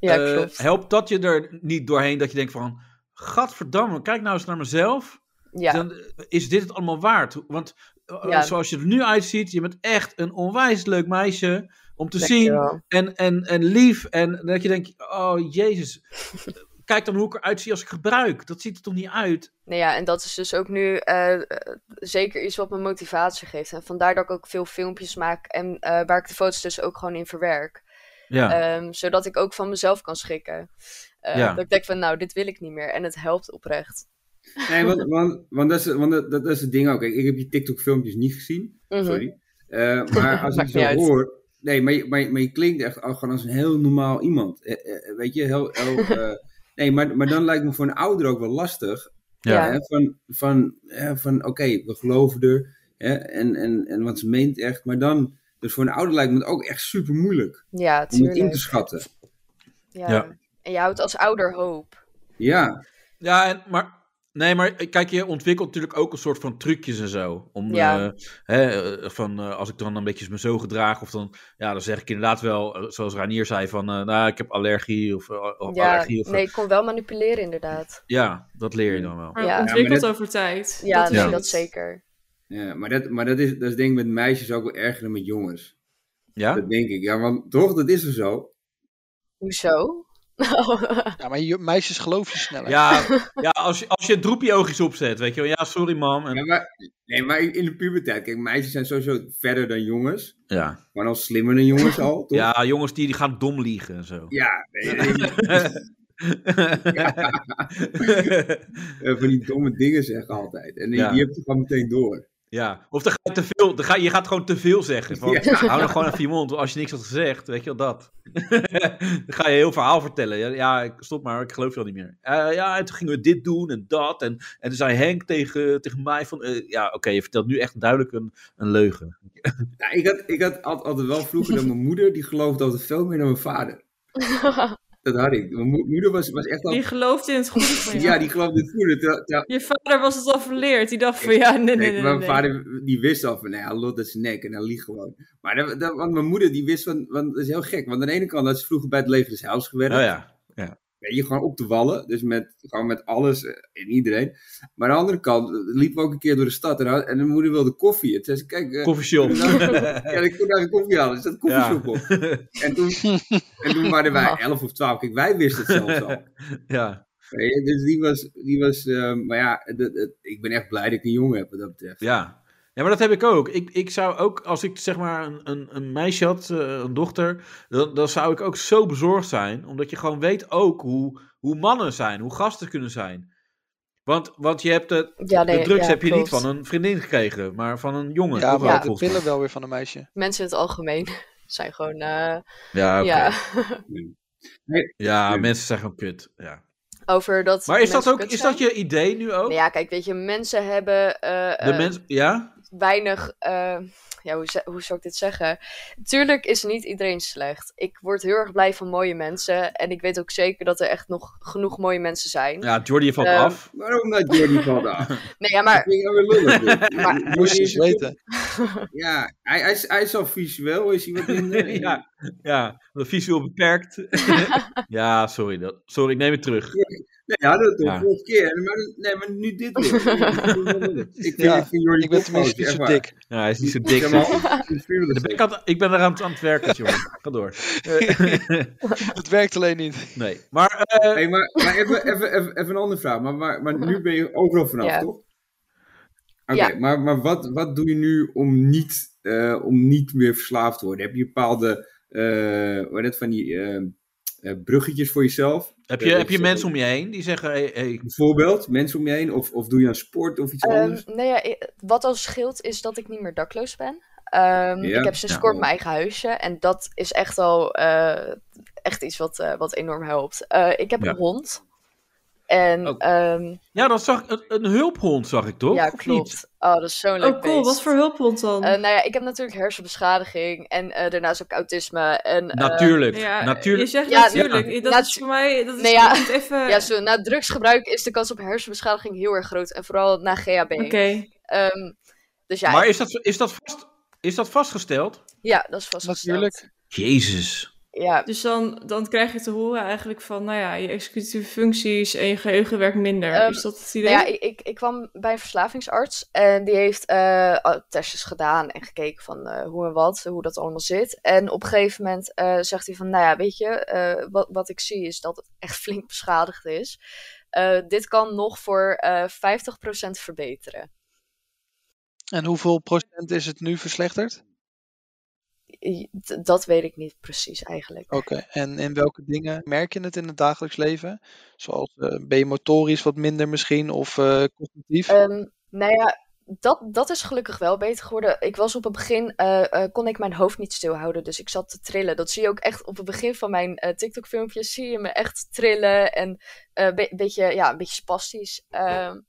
[SPEAKER 3] Ja,
[SPEAKER 2] Eh,
[SPEAKER 3] klopt.
[SPEAKER 2] helpt dat je er niet doorheen dat je denkt van. Gadverdamme, kijk nou eens naar mezelf.
[SPEAKER 3] Ja.
[SPEAKER 2] Dan eh, is dit het allemaal waard. Want eh,
[SPEAKER 3] Ja.
[SPEAKER 2] zoals je er nu uitziet, je bent echt een onwijs leuk meisje om te zien.
[SPEAKER 3] Dankjewel.
[SPEAKER 2] en, en, en lief. En dat je denkt, oh jezus, kijk dan hoe ik eruit zie als ik gebruik. Dat ziet er toch niet uit?
[SPEAKER 3] Nou ja, en dat is dus ook nu eh, eh, zeker iets wat me motivatie geeft. En vandaar dat ik ook veel filmpjes maak en eh, waar ik de foto's dus ook gewoon in verwerk.
[SPEAKER 2] Ja,
[SPEAKER 3] Ehm, zodat ik ook van mezelf kan schikken. Eh,
[SPEAKER 2] Ja.
[SPEAKER 3] Dat ik denk van, nou, dit wil ik niet meer. En het helpt oprecht.
[SPEAKER 4] Nee, want, want, want, dat, is, want dat, dat is het ding ook. Kijk, ik heb je TikTok-filmpjes niet gezien.
[SPEAKER 3] Mhm.
[SPEAKER 4] Sorry. Eh, maar als ik
[SPEAKER 3] Maakt
[SPEAKER 4] zo
[SPEAKER 3] niet uit.
[SPEAKER 4] hoor. Nee, maar je, maar, je- maar je klinkt echt al gewoon als een heel normaal iemand. Eh, eh, weet je, heel. heel eh, nee, maar, maar dan lijkt me voor een ouder ook wel lastig.
[SPEAKER 3] Ja.
[SPEAKER 4] Hè, van, van, hè, van oké, we geloven er. Hè, en, en, en want ze meent echt. Maar dan, dus voor een ouder lijkt me het ook echt super moeilijk
[SPEAKER 3] Ja,
[SPEAKER 4] om het in
[SPEAKER 3] tuurlijk.
[SPEAKER 4] te schatten.
[SPEAKER 3] Ja.
[SPEAKER 2] Ja.
[SPEAKER 3] En je houdt als ouder hoop.
[SPEAKER 4] Ja,
[SPEAKER 2] ja en, maar... Nee, maar kijk, je ontwikkelt natuurlijk ook een soort van trucjes en zo. Om,
[SPEAKER 3] Ja.
[SPEAKER 2] eh, hè, eh, van, eh, als ik dan een beetje me zo gedraag, of dan, ja, dan zeg ik inderdaad wel, eh, zoals Ranier zei, van, eh, nou, ik heb allergie, of, eh, of
[SPEAKER 3] Ja,
[SPEAKER 2] allergie, of,
[SPEAKER 3] nee, ik kon wel manipuleren inderdaad.
[SPEAKER 2] ja, dat leer je dan wel.
[SPEAKER 5] Maar
[SPEAKER 3] Ja.
[SPEAKER 5] het ontwikkelt
[SPEAKER 4] Ja,
[SPEAKER 5] over tijd.
[SPEAKER 3] Ja,
[SPEAKER 5] is
[SPEAKER 3] nee,
[SPEAKER 5] het.
[SPEAKER 3] dat zeker.
[SPEAKER 4] ja maar, dat, maar dat, is, dat is denk ik met meisjes ook wel erger dan met jongens.
[SPEAKER 2] Ja?
[SPEAKER 4] Dat denk ik. Ja, want toch, dat is er zo.
[SPEAKER 3] Hoezo?
[SPEAKER 7] Ja, maar je, meisjes geloof je sneller.
[SPEAKER 2] Ja, ja als, je, als je droepie oogjes opzet, weet je wel, ja, sorry mam.
[SPEAKER 4] Ja,
[SPEAKER 2] En,
[SPEAKER 4] maar, nee, maar in de puberteit. Kijk, meisjes zijn sowieso verder dan jongens.
[SPEAKER 2] ja.
[SPEAKER 4] Maar al slimmer dan jongens al, toch?
[SPEAKER 2] Ja, jongens die, die gaan dom liegen en zo.
[SPEAKER 4] Ja, nee, nee, eh, van die domme dingen zeggen altijd. En die,
[SPEAKER 2] Ja.
[SPEAKER 4] die heb je gewoon meteen door.
[SPEAKER 2] ja, of dan ga je, te veel, dan ga, je gaat gewoon te veel zeggen. Van,
[SPEAKER 4] Ja.
[SPEAKER 2] Hou dan gewoon even je mond, want als je niks had gezegd, weet je wel dat. dan ga je heel verhaal vertellen. Ja, ja, ik- stop maar, ik geloof je al niet meer. Eh, ja, en toen gingen we dit doen en dat. En, en toen zei Henk tegen, tegen mij van, eh, ja oké, je vertelt nu echt duidelijk een, een leugen.
[SPEAKER 4] Ja, ik had, ik had al- altijd wel vroeger dat mijn moeder, die geloofde altijd veel meer dan mijn vader. Dat had ik. Mijn mo- moeder was, was echt
[SPEAKER 5] Die
[SPEAKER 4] al...
[SPEAKER 5] gelooft in het goede van je.
[SPEAKER 4] Ja, die geloofde het goede. Terwijl- terwijl-
[SPEAKER 5] Je vader was het al verleerd. Die dacht van ja, nee, nee,
[SPEAKER 4] Kijk,
[SPEAKER 5] nee.
[SPEAKER 4] mijn
[SPEAKER 5] nee.
[SPEAKER 4] vader die wist al van, nou ja, Lot is nek en hij liegt gewoon. Maar dat, dat- want mijn moeder die wist van, want dat is heel gek. Want aan de ene kant had ze vroeger bij het Leven des Heils
[SPEAKER 5] Oh
[SPEAKER 4] gewerkt.
[SPEAKER 2] Nou ja,
[SPEAKER 4] Weet je, gewoon op de wallen. Dus met, gewoon met alles eh, en iedereen. Maar aan de andere kant eh, liepen we ook een keer door de stad. En, had- en mijn moeder wilde koffie. En toen zei ze, kijk, eh,
[SPEAKER 2] koffieshop.
[SPEAKER 4] kunnen we daar- ja, ik kon daar een koffie halen. Dus dat koffieshop op. En toen, en toen waren wij elf of twaalf. Kijk, wij wisten het zelfs al.
[SPEAKER 2] ja.
[SPEAKER 4] Weet je, Dus die was, die was eh, maar ja, dat- dat- ik ben echt blij dat ik een jongen heb wat dat betreft.
[SPEAKER 2] Ja. ja, maar dat heb ik ook. Ik, ik zou ook, als ik zeg maar een, een, een meisje had, eh, een dochter, dan, dan zou ik ook zo bezorgd zijn. Omdat je gewoon weet ook hoe, hoe mannen zijn, hoe gasten kunnen zijn. Want, want je hebt de,
[SPEAKER 3] ja, nee,
[SPEAKER 2] de drugs
[SPEAKER 3] ja,
[SPEAKER 2] heb je niet
[SPEAKER 3] klopt.
[SPEAKER 2] van een vriendin gekregen, maar van een jongen.
[SPEAKER 7] Ja,
[SPEAKER 2] toch
[SPEAKER 7] maar
[SPEAKER 2] wel,
[SPEAKER 3] Ja.
[SPEAKER 7] de
[SPEAKER 2] volgens mij.
[SPEAKER 7] pillen wel weer van een meisje.
[SPEAKER 3] Mensen in het algemeen zijn gewoon... eh,
[SPEAKER 2] Ja, oké.
[SPEAKER 3] Ja,
[SPEAKER 2] ja,
[SPEAKER 4] Ja.
[SPEAKER 2] mensen zijn gewoon kut. Ja.
[SPEAKER 3] over dat
[SPEAKER 2] Maar is dat
[SPEAKER 3] mensen
[SPEAKER 2] ook,
[SPEAKER 3] kut
[SPEAKER 2] is
[SPEAKER 3] zijn.
[SPEAKER 2] dat je idee nu ook?
[SPEAKER 3] Nou ja, kijk, weet je, mensen hebben eh,
[SPEAKER 2] De
[SPEAKER 3] eh,
[SPEAKER 2] mens, ja?
[SPEAKER 3] weinig... eh, ja, hoe, ze- hoe zou ik dit zeggen? Tuurlijk is niet iedereen slecht. Ik word heel erg blij van mooie mensen. En ik weet ook zeker dat er echt nog genoeg mooie mensen zijn.
[SPEAKER 2] Ja, Jordi je valt
[SPEAKER 3] Ehm,
[SPEAKER 2] af.
[SPEAKER 4] Waarom dat Jordi valt af?
[SPEAKER 3] Nee, ja,
[SPEAKER 4] Dat
[SPEAKER 3] maar...
[SPEAKER 4] vind ik nou weer lullig. dit.
[SPEAKER 3] Maar-
[SPEAKER 4] Jordi
[SPEAKER 7] Moest je
[SPEAKER 4] is
[SPEAKER 7] eens
[SPEAKER 4] een-
[SPEAKER 7] weten.
[SPEAKER 4] Ja, hij, hij, is, hij is al visueel, is hij wat minder.
[SPEAKER 2] ja, ja, visueel beperkt. ja, sorry. Dat, sorry, ik neem het terug.
[SPEAKER 4] Nee, ja, dat de
[SPEAKER 2] Ja.
[SPEAKER 4] vorige keer. Maar, nee, maar nu dit weer. ik, vind,
[SPEAKER 7] Ja,
[SPEAKER 4] ik vind Jordi
[SPEAKER 7] Ik ben
[SPEAKER 4] toch
[SPEAKER 7] tenminste
[SPEAKER 4] fout,
[SPEAKER 7] niet
[SPEAKER 2] Oh,
[SPEAKER 4] echt
[SPEAKER 7] zo
[SPEAKER 4] waar.
[SPEAKER 7] dik.
[SPEAKER 2] Ja, hij is niet zo dik. dus-
[SPEAKER 4] Ja, maar ook een
[SPEAKER 2] De
[SPEAKER 4] vuurlijk dik.
[SPEAKER 2] binnenkant- ik ben eraan aan het werken, jongen. Ga door.
[SPEAKER 7] Het werkt alleen niet.
[SPEAKER 2] Nee. Maar eh,
[SPEAKER 4] Hey, maar maar even, even, even, even een andere vraag. Maar, maar, maar nu ben je overal vanaf,
[SPEAKER 3] Ja.
[SPEAKER 4] toch? Oké,
[SPEAKER 3] Ja.
[SPEAKER 4] maar, maar wat, wat doe je nu om niet, eh, om niet meer verslaafd te worden? Heb je bepaalde eh, hoe heet dat, van die eh, eh, bruggetjes voor jezelf?
[SPEAKER 2] heb,
[SPEAKER 4] Eh,
[SPEAKER 2] je, heb je
[SPEAKER 4] dat-
[SPEAKER 2] mensen om je heen die zeggen: hey, hey,
[SPEAKER 4] Bijvoorbeeld, mensen om je heen? Of, of doe je aan sport of iets
[SPEAKER 3] ehm
[SPEAKER 2] dus-
[SPEAKER 4] anders?
[SPEAKER 3] nou ja, i- wat al scheelt is dat ik niet meer dakloos ben. Ehm, Ehm,
[SPEAKER 4] Ja,
[SPEAKER 3] ik heb sinds
[SPEAKER 2] ja.
[SPEAKER 3] kort mijn eigen huisje. En dat is echt al eh, echt iets wat, eh, wat enorm helpt. Eh, ik heb
[SPEAKER 2] Ja.
[SPEAKER 3] een hond. En
[SPEAKER 2] Oh.
[SPEAKER 3] ehm,
[SPEAKER 2] Ja, dat zag een, een hulphond, zag ik toch?
[SPEAKER 3] ja,
[SPEAKER 2] Of niet?
[SPEAKER 3] klopt. Oh, dat is zo'n leuk
[SPEAKER 5] Oh, cool.
[SPEAKER 3] beest.
[SPEAKER 5] Wat voor hulphond dan?
[SPEAKER 3] Eh, nou ja, ik heb natuurlijk hersenbeschadiging. En eh, daarnaast ook autisme. En, eh,
[SPEAKER 5] Nou,
[SPEAKER 2] Natuurlijk.
[SPEAKER 5] ja,
[SPEAKER 2] natuurlijk.
[SPEAKER 5] Je zegt
[SPEAKER 3] Ja,
[SPEAKER 5] natuurlijk. Dat is
[SPEAKER 3] natu-
[SPEAKER 5] voor mij... Dat is
[SPEAKER 3] Nee, ja.
[SPEAKER 5] ik moet even...
[SPEAKER 3] ja, zo, na drugsgebruik is de kans op hersenbeschadiging heel erg groot. En vooral na GHB.
[SPEAKER 5] Oké.
[SPEAKER 3] Ehm, dus ja,
[SPEAKER 2] Maar is dat, is, dat vast, is dat vastgesteld?
[SPEAKER 3] ja, dat is vastgesteld.
[SPEAKER 7] Natuurlijk.
[SPEAKER 2] Jezus.
[SPEAKER 3] Ja,
[SPEAKER 5] Dus dan, dan krijg je te horen eigenlijk van, nou ja, je executieve functies en je geheugen werkt minder.
[SPEAKER 3] Ehm,
[SPEAKER 5] is dat het idee?
[SPEAKER 3] Nou ja, ik, ik, ik kwam bij een verslavingsarts en die heeft eh, al- testjes gedaan en gekeken van eh, hoe en wat, hoe dat allemaal zit. En op een gegeven moment eh, zegt hij van, nou ja, weet je, eh, wat, wat ik zie is dat het echt flink beschadigd is. Eh, dit kan nog voor eh 50% verbeteren.
[SPEAKER 7] En hoeveel procent is het nu verslechterd?
[SPEAKER 3] I- d- Dat weet ik niet precies eigenlijk.
[SPEAKER 7] Oké. En in welke dingen merk je het in het dagelijks leven? Zoals eh, ben je motorisch wat minder misschien of eh, cognitief?
[SPEAKER 3] Ehm, nou ja, dat, dat is gelukkig wel beter geworden. Ik was op het begin, eh, eh, kon ik mijn hoofd niet stilhouden, dus ik zat te trillen. Dat zie je ook echt op het begin van mijn eh, TikTok-filmpjes, zie je me echt trillen en een beetje, ja, een beetje spastisch. Ehm,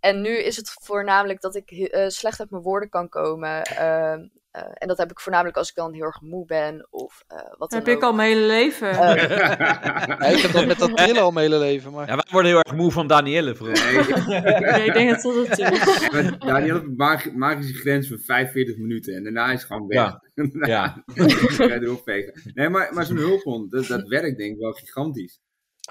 [SPEAKER 3] en nu is het voornamelijk dat ik he- eh, slecht uit mijn woorden kan komen. Ehm, eh, en dat heb ik voornamelijk als ik dan heel erg moe ben of eh, wat dan
[SPEAKER 5] heb ik
[SPEAKER 3] ook.
[SPEAKER 5] al mijn hele leven.
[SPEAKER 3] Eh,
[SPEAKER 7] Ja, ik heb dat met dat trillen al mijn hele leven. Maar
[SPEAKER 2] Ja, wij worden heel erg moe van Danielle vroeger.
[SPEAKER 4] Nee,
[SPEAKER 5] nee, ik denk dat dat het is.
[SPEAKER 4] maar Daniel heeft een mag- magische grens van 45 minuten en daarna is het gewoon weg.
[SPEAKER 2] Ja. Ja.
[SPEAKER 4] Dan kan je erop vegen. Nee, maar, maar zo'n hulphond, dat, dat werkt denk ik wel gigantisch.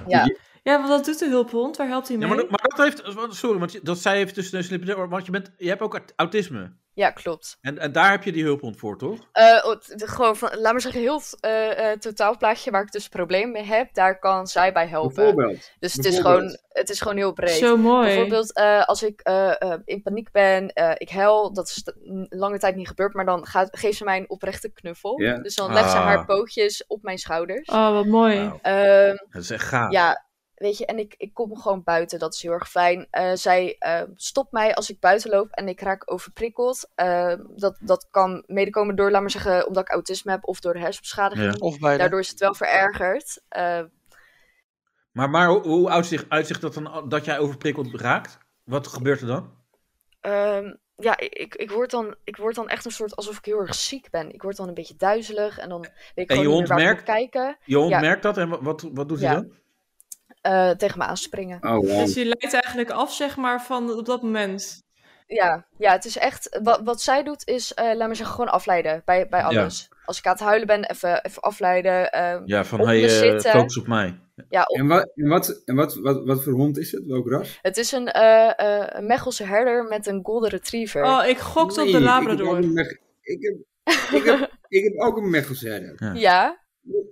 [SPEAKER 3] ja.
[SPEAKER 5] Ja, want dat doet de hulphond. Waar helpt hij
[SPEAKER 2] Ja,
[SPEAKER 5] mee?
[SPEAKER 2] maar, dat- maar dat heeft... want- Sorry, want je- dat dus zei even tussen neus en lippen door, Want je, bent, je hebt ook aut- autisme.
[SPEAKER 3] ja, klopt.
[SPEAKER 2] En, en daar heb je die hulphond voor, toch?
[SPEAKER 3] Eh, oh, t- gewoon, van, laat maar zeggen, heel het eh, eh, totaalplaatje waar ik dus problemen mee heb, daar kan zij bij helpen.
[SPEAKER 4] Bijvoorbeeld.
[SPEAKER 3] Dus het is,
[SPEAKER 4] bijvoorbeeld.
[SPEAKER 3] gewoon, het is gewoon heel breed.
[SPEAKER 5] Zo mooi.
[SPEAKER 3] Bijvoorbeeld eh, als ik eh, eh, in paniek ben, eh, ik huil, dat is t- n- lange tijd niet gebeurd, maar dan gaat, geeft ze mij een oprechte knuffel.
[SPEAKER 4] Ja.
[SPEAKER 3] Dus dan legt ze
[SPEAKER 2] Ah.
[SPEAKER 3] haar pootjes op mijn schouders.
[SPEAKER 5] Oh, wat mooi.
[SPEAKER 2] Wauw.
[SPEAKER 3] Ehm,
[SPEAKER 2] Dat is echt gaaf.
[SPEAKER 3] ja, weet je, en ik, ik kom gewoon buiten, dat is heel erg fijn. Eh, zij eh, stopt mij als ik buiten loop en ik raak overprikkeld. Eh, dat, dat kan medekomen door, laat maar zeggen, omdat ik autisme heb of door de hersenbeschadiging.
[SPEAKER 7] of bij de...
[SPEAKER 3] Daardoor is het wel verergerd. Eh,
[SPEAKER 2] Maar, maar hoe, hoe uitzicht, uitzicht dat dan al- dat jij overprikkeld raakt? Wat gebeurt er dan?
[SPEAKER 3] ehm, ja, ik, ik, word dan, ik word dan echt een soort alsof ik heel erg ziek ben. Ik word dan een beetje duizelig en dan weet ik
[SPEAKER 2] je
[SPEAKER 3] gewoon
[SPEAKER 2] hond
[SPEAKER 3] niet meer waar ik moet
[SPEAKER 2] merkt-
[SPEAKER 3] kijken.
[SPEAKER 2] Je hond
[SPEAKER 3] Ja.
[SPEAKER 2] merkt dat en wa- wat, wat doet hij
[SPEAKER 3] Ja.
[SPEAKER 2] dan?
[SPEAKER 3] eh, tegen me aanspringen.
[SPEAKER 4] Oh, wow.
[SPEAKER 5] Dus je leidt eigenlijk af, zeg maar, van op dat moment.
[SPEAKER 3] Ja, ja, het is echt. Wat, wat zij doet is, eh, laat maar zeggen, gewoon afleiden bij, bij alles. Als ik aan het huilen ben, even, even afleiden. eh,
[SPEAKER 2] Ja, van
[SPEAKER 3] Op
[SPEAKER 2] hey,
[SPEAKER 3] me
[SPEAKER 2] eh,
[SPEAKER 3] zitten.
[SPEAKER 2] focus op mij.
[SPEAKER 3] ja, op-
[SPEAKER 4] En, wat, en, wat, en wat, wat, wat voor hond is het? Welk ras?
[SPEAKER 3] het is een eh, eh, een Mechelse herder met een golden retriever.
[SPEAKER 5] Oh, ik gokte op de
[SPEAKER 4] Nee, Ik heb,
[SPEAKER 5] Labrador.
[SPEAKER 4] ook een Mech- ik, heb, ik, heb, ik heb ook een Mechelse herder.
[SPEAKER 3] ja,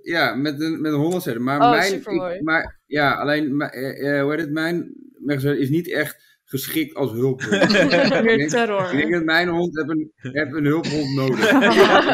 [SPEAKER 4] Ja, met een, met een Hollandse herder. Maar
[SPEAKER 3] Oh,
[SPEAKER 4] mijn,
[SPEAKER 3] supermooi.
[SPEAKER 4] ik- maar ja, alleen, mijn- eh, eh, hoe heet het? Mijn Mechelse herder is niet echt geschikt als hulphond. ik,
[SPEAKER 5] Weer
[SPEAKER 4] denk, ik denk
[SPEAKER 5] terror.
[SPEAKER 4] dat mijn hond heb een, heb een hulphond nodig.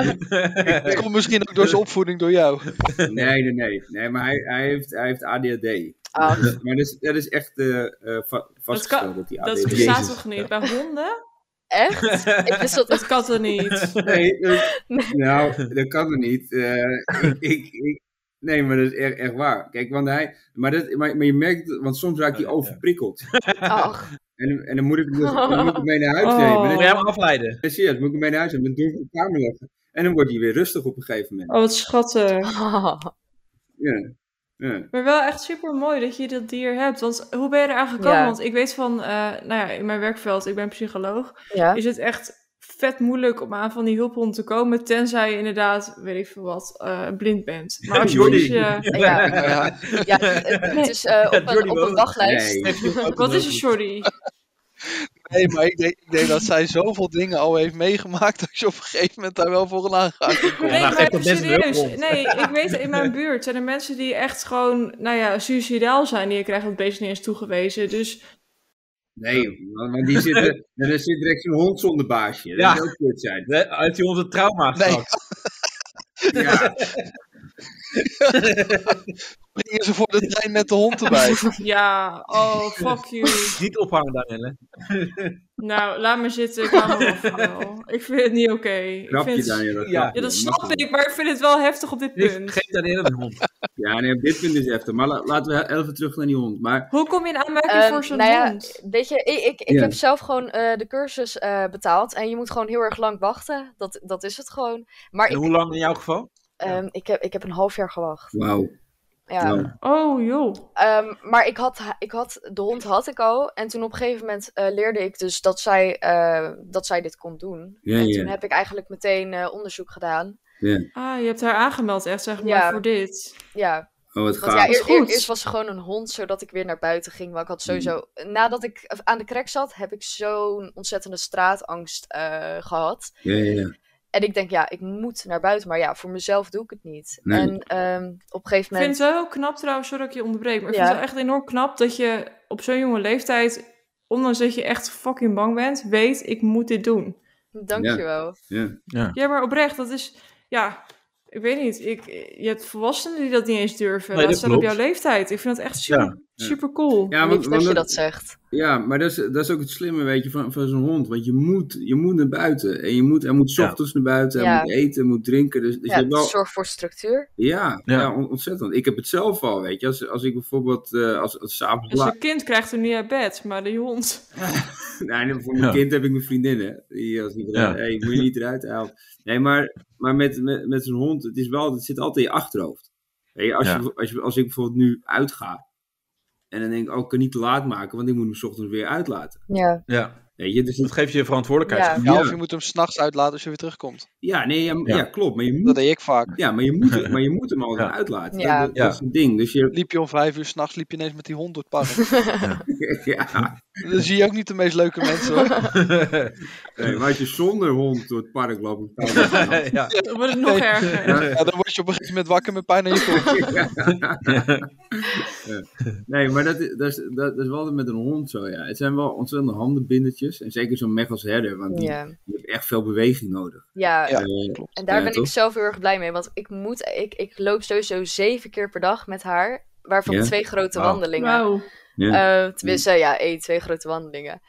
[SPEAKER 7] Het komt misschien ook door zijn opvoeding door jou.
[SPEAKER 4] Nee, nee, nee. nee maar hij, hij, heeft, hij heeft ADHD.
[SPEAKER 3] Ah,
[SPEAKER 4] Maar dat is, dat is echt eh eh, va- vastgesteld dat, hij
[SPEAKER 5] Dat
[SPEAKER 4] ADHD
[SPEAKER 5] bestaat
[SPEAKER 4] is.
[SPEAKER 5] toch niet? Bij honden?
[SPEAKER 3] echt? ik wist dat
[SPEAKER 5] Dat kan toch niet?
[SPEAKER 4] Nee, dat- nou, dat kan er niet. Eh, ik, ik, ik- nee, maar dat is echt, echt waar. Kijk, want hij, maar, dat, maar, maar je merkt, het, want soms raakt hij
[SPEAKER 2] Oh, Ja.
[SPEAKER 4] overprikkeld.
[SPEAKER 3] Ach,
[SPEAKER 4] En, en dan moet ik, dus, dan moet ik hem mee naar huis
[SPEAKER 5] Oh.
[SPEAKER 4] nemen.
[SPEAKER 2] Wil
[SPEAKER 4] Dan
[SPEAKER 2] jij hem afleiden?
[SPEAKER 4] dan zie je, dat, moet ik hem mee naar huis nemen. Dan doe ik hem op de kamer leggen. En dan wordt hij weer rustig op een gegeven moment.
[SPEAKER 5] Oh, wat schattig.
[SPEAKER 4] Ja. Ja.
[SPEAKER 5] Maar wel echt super mooi dat je dat dier hebt. Want hoe ben je eraan gekomen?
[SPEAKER 3] Ja.
[SPEAKER 5] Want ik weet van, eh, nou ja, in mijn werkveld, ik ben psycholoog,
[SPEAKER 3] ja.
[SPEAKER 5] is het echt vet moeilijk om aan van die hulphond te komen. Tenzij je inderdaad, weet ik veel wat, eh, blind bent. Maar als
[SPEAKER 2] Jordi.
[SPEAKER 5] je.
[SPEAKER 3] Ja,
[SPEAKER 7] Ja,
[SPEAKER 3] ja, het, het is eh, op,
[SPEAKER 2] Jordi
[SPEAKER 3] een, op een
[SPEAKER 2] woont-
[SPEAKER 3] wachtlijst.
[SPEAKER 4] Nee.
[SPEAKER 5] Wat is een shorty?
[SPEAKER 7] nee, maar ik denk, ik denk dat zij zoveel dingen al heeft meegemaakt dat je op een gegeven moment daar wel voor een aanraking komt.
[SPEAKER 5] Nee,
[SPEAKER 2] maar Nou, geef
[SPEAKER 5] maar
[SPEAKER 2] dat best een
[SPEAKER 5] serieus.
[SPEAKER 2] hulphond.
[SPEAKER 5] Nee, ik weet in mijn buurt zijn er mensen die echt gewoon, nou ja, suicidaal zijn. Die krijgen het beest niet eens toegewezen. Dus
[SPEAKER 4] Nee, want want die zitten, er zit direct zo'n hond zonder baasje. Dat
[SPEAKER 2] Ja.
[SPEAKER 4] zou ook kut zijn.
[SPEAKER 2] Uit die onze trauma
[SPEAKER 7] Nee.
[SPEAKER 2] straks.
[SPEAKER 4] Ja.
[SPEAKER 7] Springen ze voor de trein met de hond erbij.
[SPEAKER 5] Ja, oh, fuck you.
[SPEAKER 2] Niet ophangen daarin, hè?
[SPEAKER 5] Nou, laat me zitten. Ik hou me afhaal. Ik vind het niet oké. Ik
[SPEAKER 4] Grapje,
[SPEAKER 5] vind-
[SPEAKER 4] Daniel. dat
[SPEAKER 2] Ja.
[SPEAKER 4] grapje.
[SPEAKER 5] Ja,
[SPEAKER 4] Mag
[SPEAKER 5] dat snap
[SPEAKER 4] wel.
[SPEAKER 5] ik, maar ik vind het wel heftig op dit
[SPEAKER 2] Geef-
[SPEAKER 5] punt.
[SPEAKER 2] Geef daarin een hond.
[SPEAKER 4] Ja, nee, op dit punt is het heftig. Maar la- laten we heel even terug naar die hond. Maar
[SPEAKER 5] Hoe kom je in aanmerking
[SPEAKER 3] Ehm,
[SPEAKER 5] voor zo'n
[SPEAKER 3] nou ja,
[SPEAKER 5] hond?
[SPEAKER 3] Weet je, ik, ik, ik
[SPEAKER 4] Ja.
[SPEAKER 3] heb zelf gewoon eh, de cursus eh, betaald. En je moet gewoon heel erg lang wachten. Dat, dat is het gewoon. Maar
[SPEAKER 2] En
[SPEAKER 3] ik,
[SPEAKER 2] hoe lang in jouw geval?
[SPEAKER 3] ehm, ik, heb, ik heb een half jaar gewacht.
[SPEAKER 4] wauw.
[SPEAKER 3] Ja.
[SPEAKER 4] wauw.
[SPEAKER 5] Oh, joh.
[SPEAKER 3] Ehm, maar ik had, ha- ik had, de hond had ik al. En toen op een gegeven moment eh, leerde ik dus dat zij, eh, dat zij dit kon doen.
[SPEAKER 4] Ja,
[SPEAKER 3] en
[SPEAKER 4] ja.
[SPEAKER 3] toen heb ik eigenlijk meteen eh, onderzoek gedaan.
[SPEAKER 5] Ah, je hebt haar aangemeld, echt, zeg maar,
[SPEAKER 3] Ja.
[SPEAKER 5] voor dit.
[SPEAKER 3] Ja,
[SPEAKER 4] Oh, wat
[SPEAKER 3] want
[SPEAKER 4] gaaf.
[SPEAKER 3] ja,
[SPEAKER 5] is
[SPEAKER 3] eer- eer-
[SPEAKER 5] goed.
[SPEAKER 3] eerst was ze gewoon een hond, zodat ik weer naar buiten ging. Maar ik had sowieso...
[SPEAKER 4] Mm.
[SPEAKER 3] Nadat ik aan de krek zat, heb ik zo'n ontzettende straatangst eh, gehad.
[SPEAKER 4] Ja, ja, ja.
[SPEAKER 3] En ik denk, ja, ik moet naar buiten. Maar ja, voor mezelf doe ik het niet.
[SPEAKER 4] Nee.
[SPEAKER 3] En ehm, op een gegeven
[SPEAKER 5] Ik vind
[SPEAKER 3] moment...
[SPEAKER 5] het wel heel knap trouwens, sorry dat ik je onderbreek, maar ik vind
[SPEAKER 3] Ja.
[SPEAKER 5] het wel echt enorm knap dat je op zo'n jonge leeftijd, ondanks dat je echt fucking bang bent, weet ik moet dit doen.
[SPEAKER 3] Dankjewel.
[SPEAKER 4] ja.
[SPEAKER 5] Ja, maar oprecht, dat is, ja, ik weet niet. Ik, je hebt volwassenen die dat niet eens durven,
[SPEAKER 2] Nee,
[SPEAKER 5] laat
[SPEAKER 2] dat
[SPEAKER 5] staan op
[SPEAKER 2] klopt.
[SPEAKER 5] jouw leeftijd. Ik vind dat echt super,
[SPEAKER 4] Ja.
[SPEAKER 5] super cool.
[SPEAKER 4] Ja,
[SPEAKER 3] Lief dat je dat zegt.
[SPEAKER 4] ja, maar dat is, dat is ook het slimme, weet je, van, van zo'n hond. Want je moet, je moet naar buiten. En je moet, hij moet 's
[SPEAKER 2] Ja.
[SPEAKER 4] ochtends naar buiten, hij
[SPEAKER 3] Ja.
[SPEAKER 4] moet eten, hij moet drinken. Dus, dus je
[SPEAKER 3] Ja,
[SPEAKER 4] hebt wel
[SPEAKER 3] zorg voor structuur.
[SPEAKER 4] Ja, ja.
[SPEAKER 2] Ja.
[SPEAKER 4] on- ontzettend. Ik heb het zelf al, weet je. Als, als ik bijvoorbeeld, eh, als, als s'avonds
[SPEAKER 5] Dus
[SPEAKER 4] laat...
[SPEAKER 5] een kind krijgt er niet uit bed, maar die hond.
[SPEAKER 4] Nee, nee, voor mijn
[SPEAKER 2] Ja.
[SPEAKER 4] kind heb ik mijn vriendin, hè. Die eh, als niet eruit...
[SPEAKER 2] Ja.
[SPEAKER 4] hey, moet je niet eruit halen. Nee, maar, maar met, met, met zo'n hond, het, is wel, het zit altijd in je achterhoofd. Weet je, als,
[SPEAKER 2] Ja.
[SPEAKER 4] je, als, je, als ik bijvoorbeeld nu uitga... En dan denk ik, oh, ik kan niet te laat maken, want ik moet hem 's ochtends weer uitlaten.
[SPEAKER 3] Ja.
[SPEAKER 2] Ja,
[SPEAKER 4] Weet je, dus
[SPEAKER 2] dat
[SPEAKER 4] het-
[SPEAKER 2] geeft je verantwoordelijkheid.
[SPEAKER 3] Ja.
[SPEAKER 7] Ja,
[SPEAKER 4] Ja.
[SPEAKER 7] of je moet hem s'nachts uitlaten als je weer terugkomt.
[SPEAKER 4] ja, nee, ja,
[SPEAKER 2] Ja.
[SPEAKER 4] ja, klopt. Maar je
[SPEAKER 7] Dat
[SPEAKER 4] moet,
[SPEAKER 7] deed ik vaak.
[SPEAKER 4] ja, maar je moet, het- maar je moet hem altijd
[SPEAKER 2] Ja.
[SPEAKER 4] uitlaten.
[SPEAKER 3] Ja.
[SPEAKER 4] Dat, dat,
[SPEAKER 2] Ja.
[SPEAKER 4] is een ding. Dus je...
[SPEAKER 7] Liep je om vijf uur s'nachts, liep je ineens met die hond door het park.
[SPEAKER 4] ja.
[SPEAKER 7] Dan zie je ook niet de meest leuke mensen hoor.
[SPEAKER 4] Nee, maar als je zonder hond door het park loopt... dan kan dat niet.
[SPEAKER 2] ja.
[SPEAKER 5] Dan wordt het nog
[SPEAKER 7] Nee.
[SPEAKER 5] erger.
[SPEAKER 7] Ja, dan word je op een gegeven moment wakker met pijn aan je kop.
[SPEAKER 4] Nee, maar dat, is- dat, is, dat, dat is wel altijd met een hond zo, ja. Het zijn wel ontzettende handenbindertjes. En zeker zo'n meg als herder, want die,
[SPEAKER 3] Ja.
[SPEAKER 4] die heeft echt veel beweging nodig.
[SPEAKER 3] ja.
[SPEAKER 7] Ja,
[SPEAKER 4] Eh,
[SPEAKER 7] klopt.
[SPEAKER 3] En daar
[SPEAKER 4] Ja,
[SPEAKER 3] ben
[SPEAKER 4] toch?
[SPEAKER 3] ik zelf heel erg blij mee. Want ik, moet, ik, ik loop sowieso zeven keer per dag met haar. Waarvan
[SPEAKER 4] Ja?
[SPEAKER 3] twee grote
[SPEAKER 2] Wauw.
[SPEAKER 3] wandelingen.
[SPEAKER 5] Wauw.
[SPEAKER 4] ja.
[SPEAKER 3] Eh, tenminste, ja, één, twee grote wandelingen.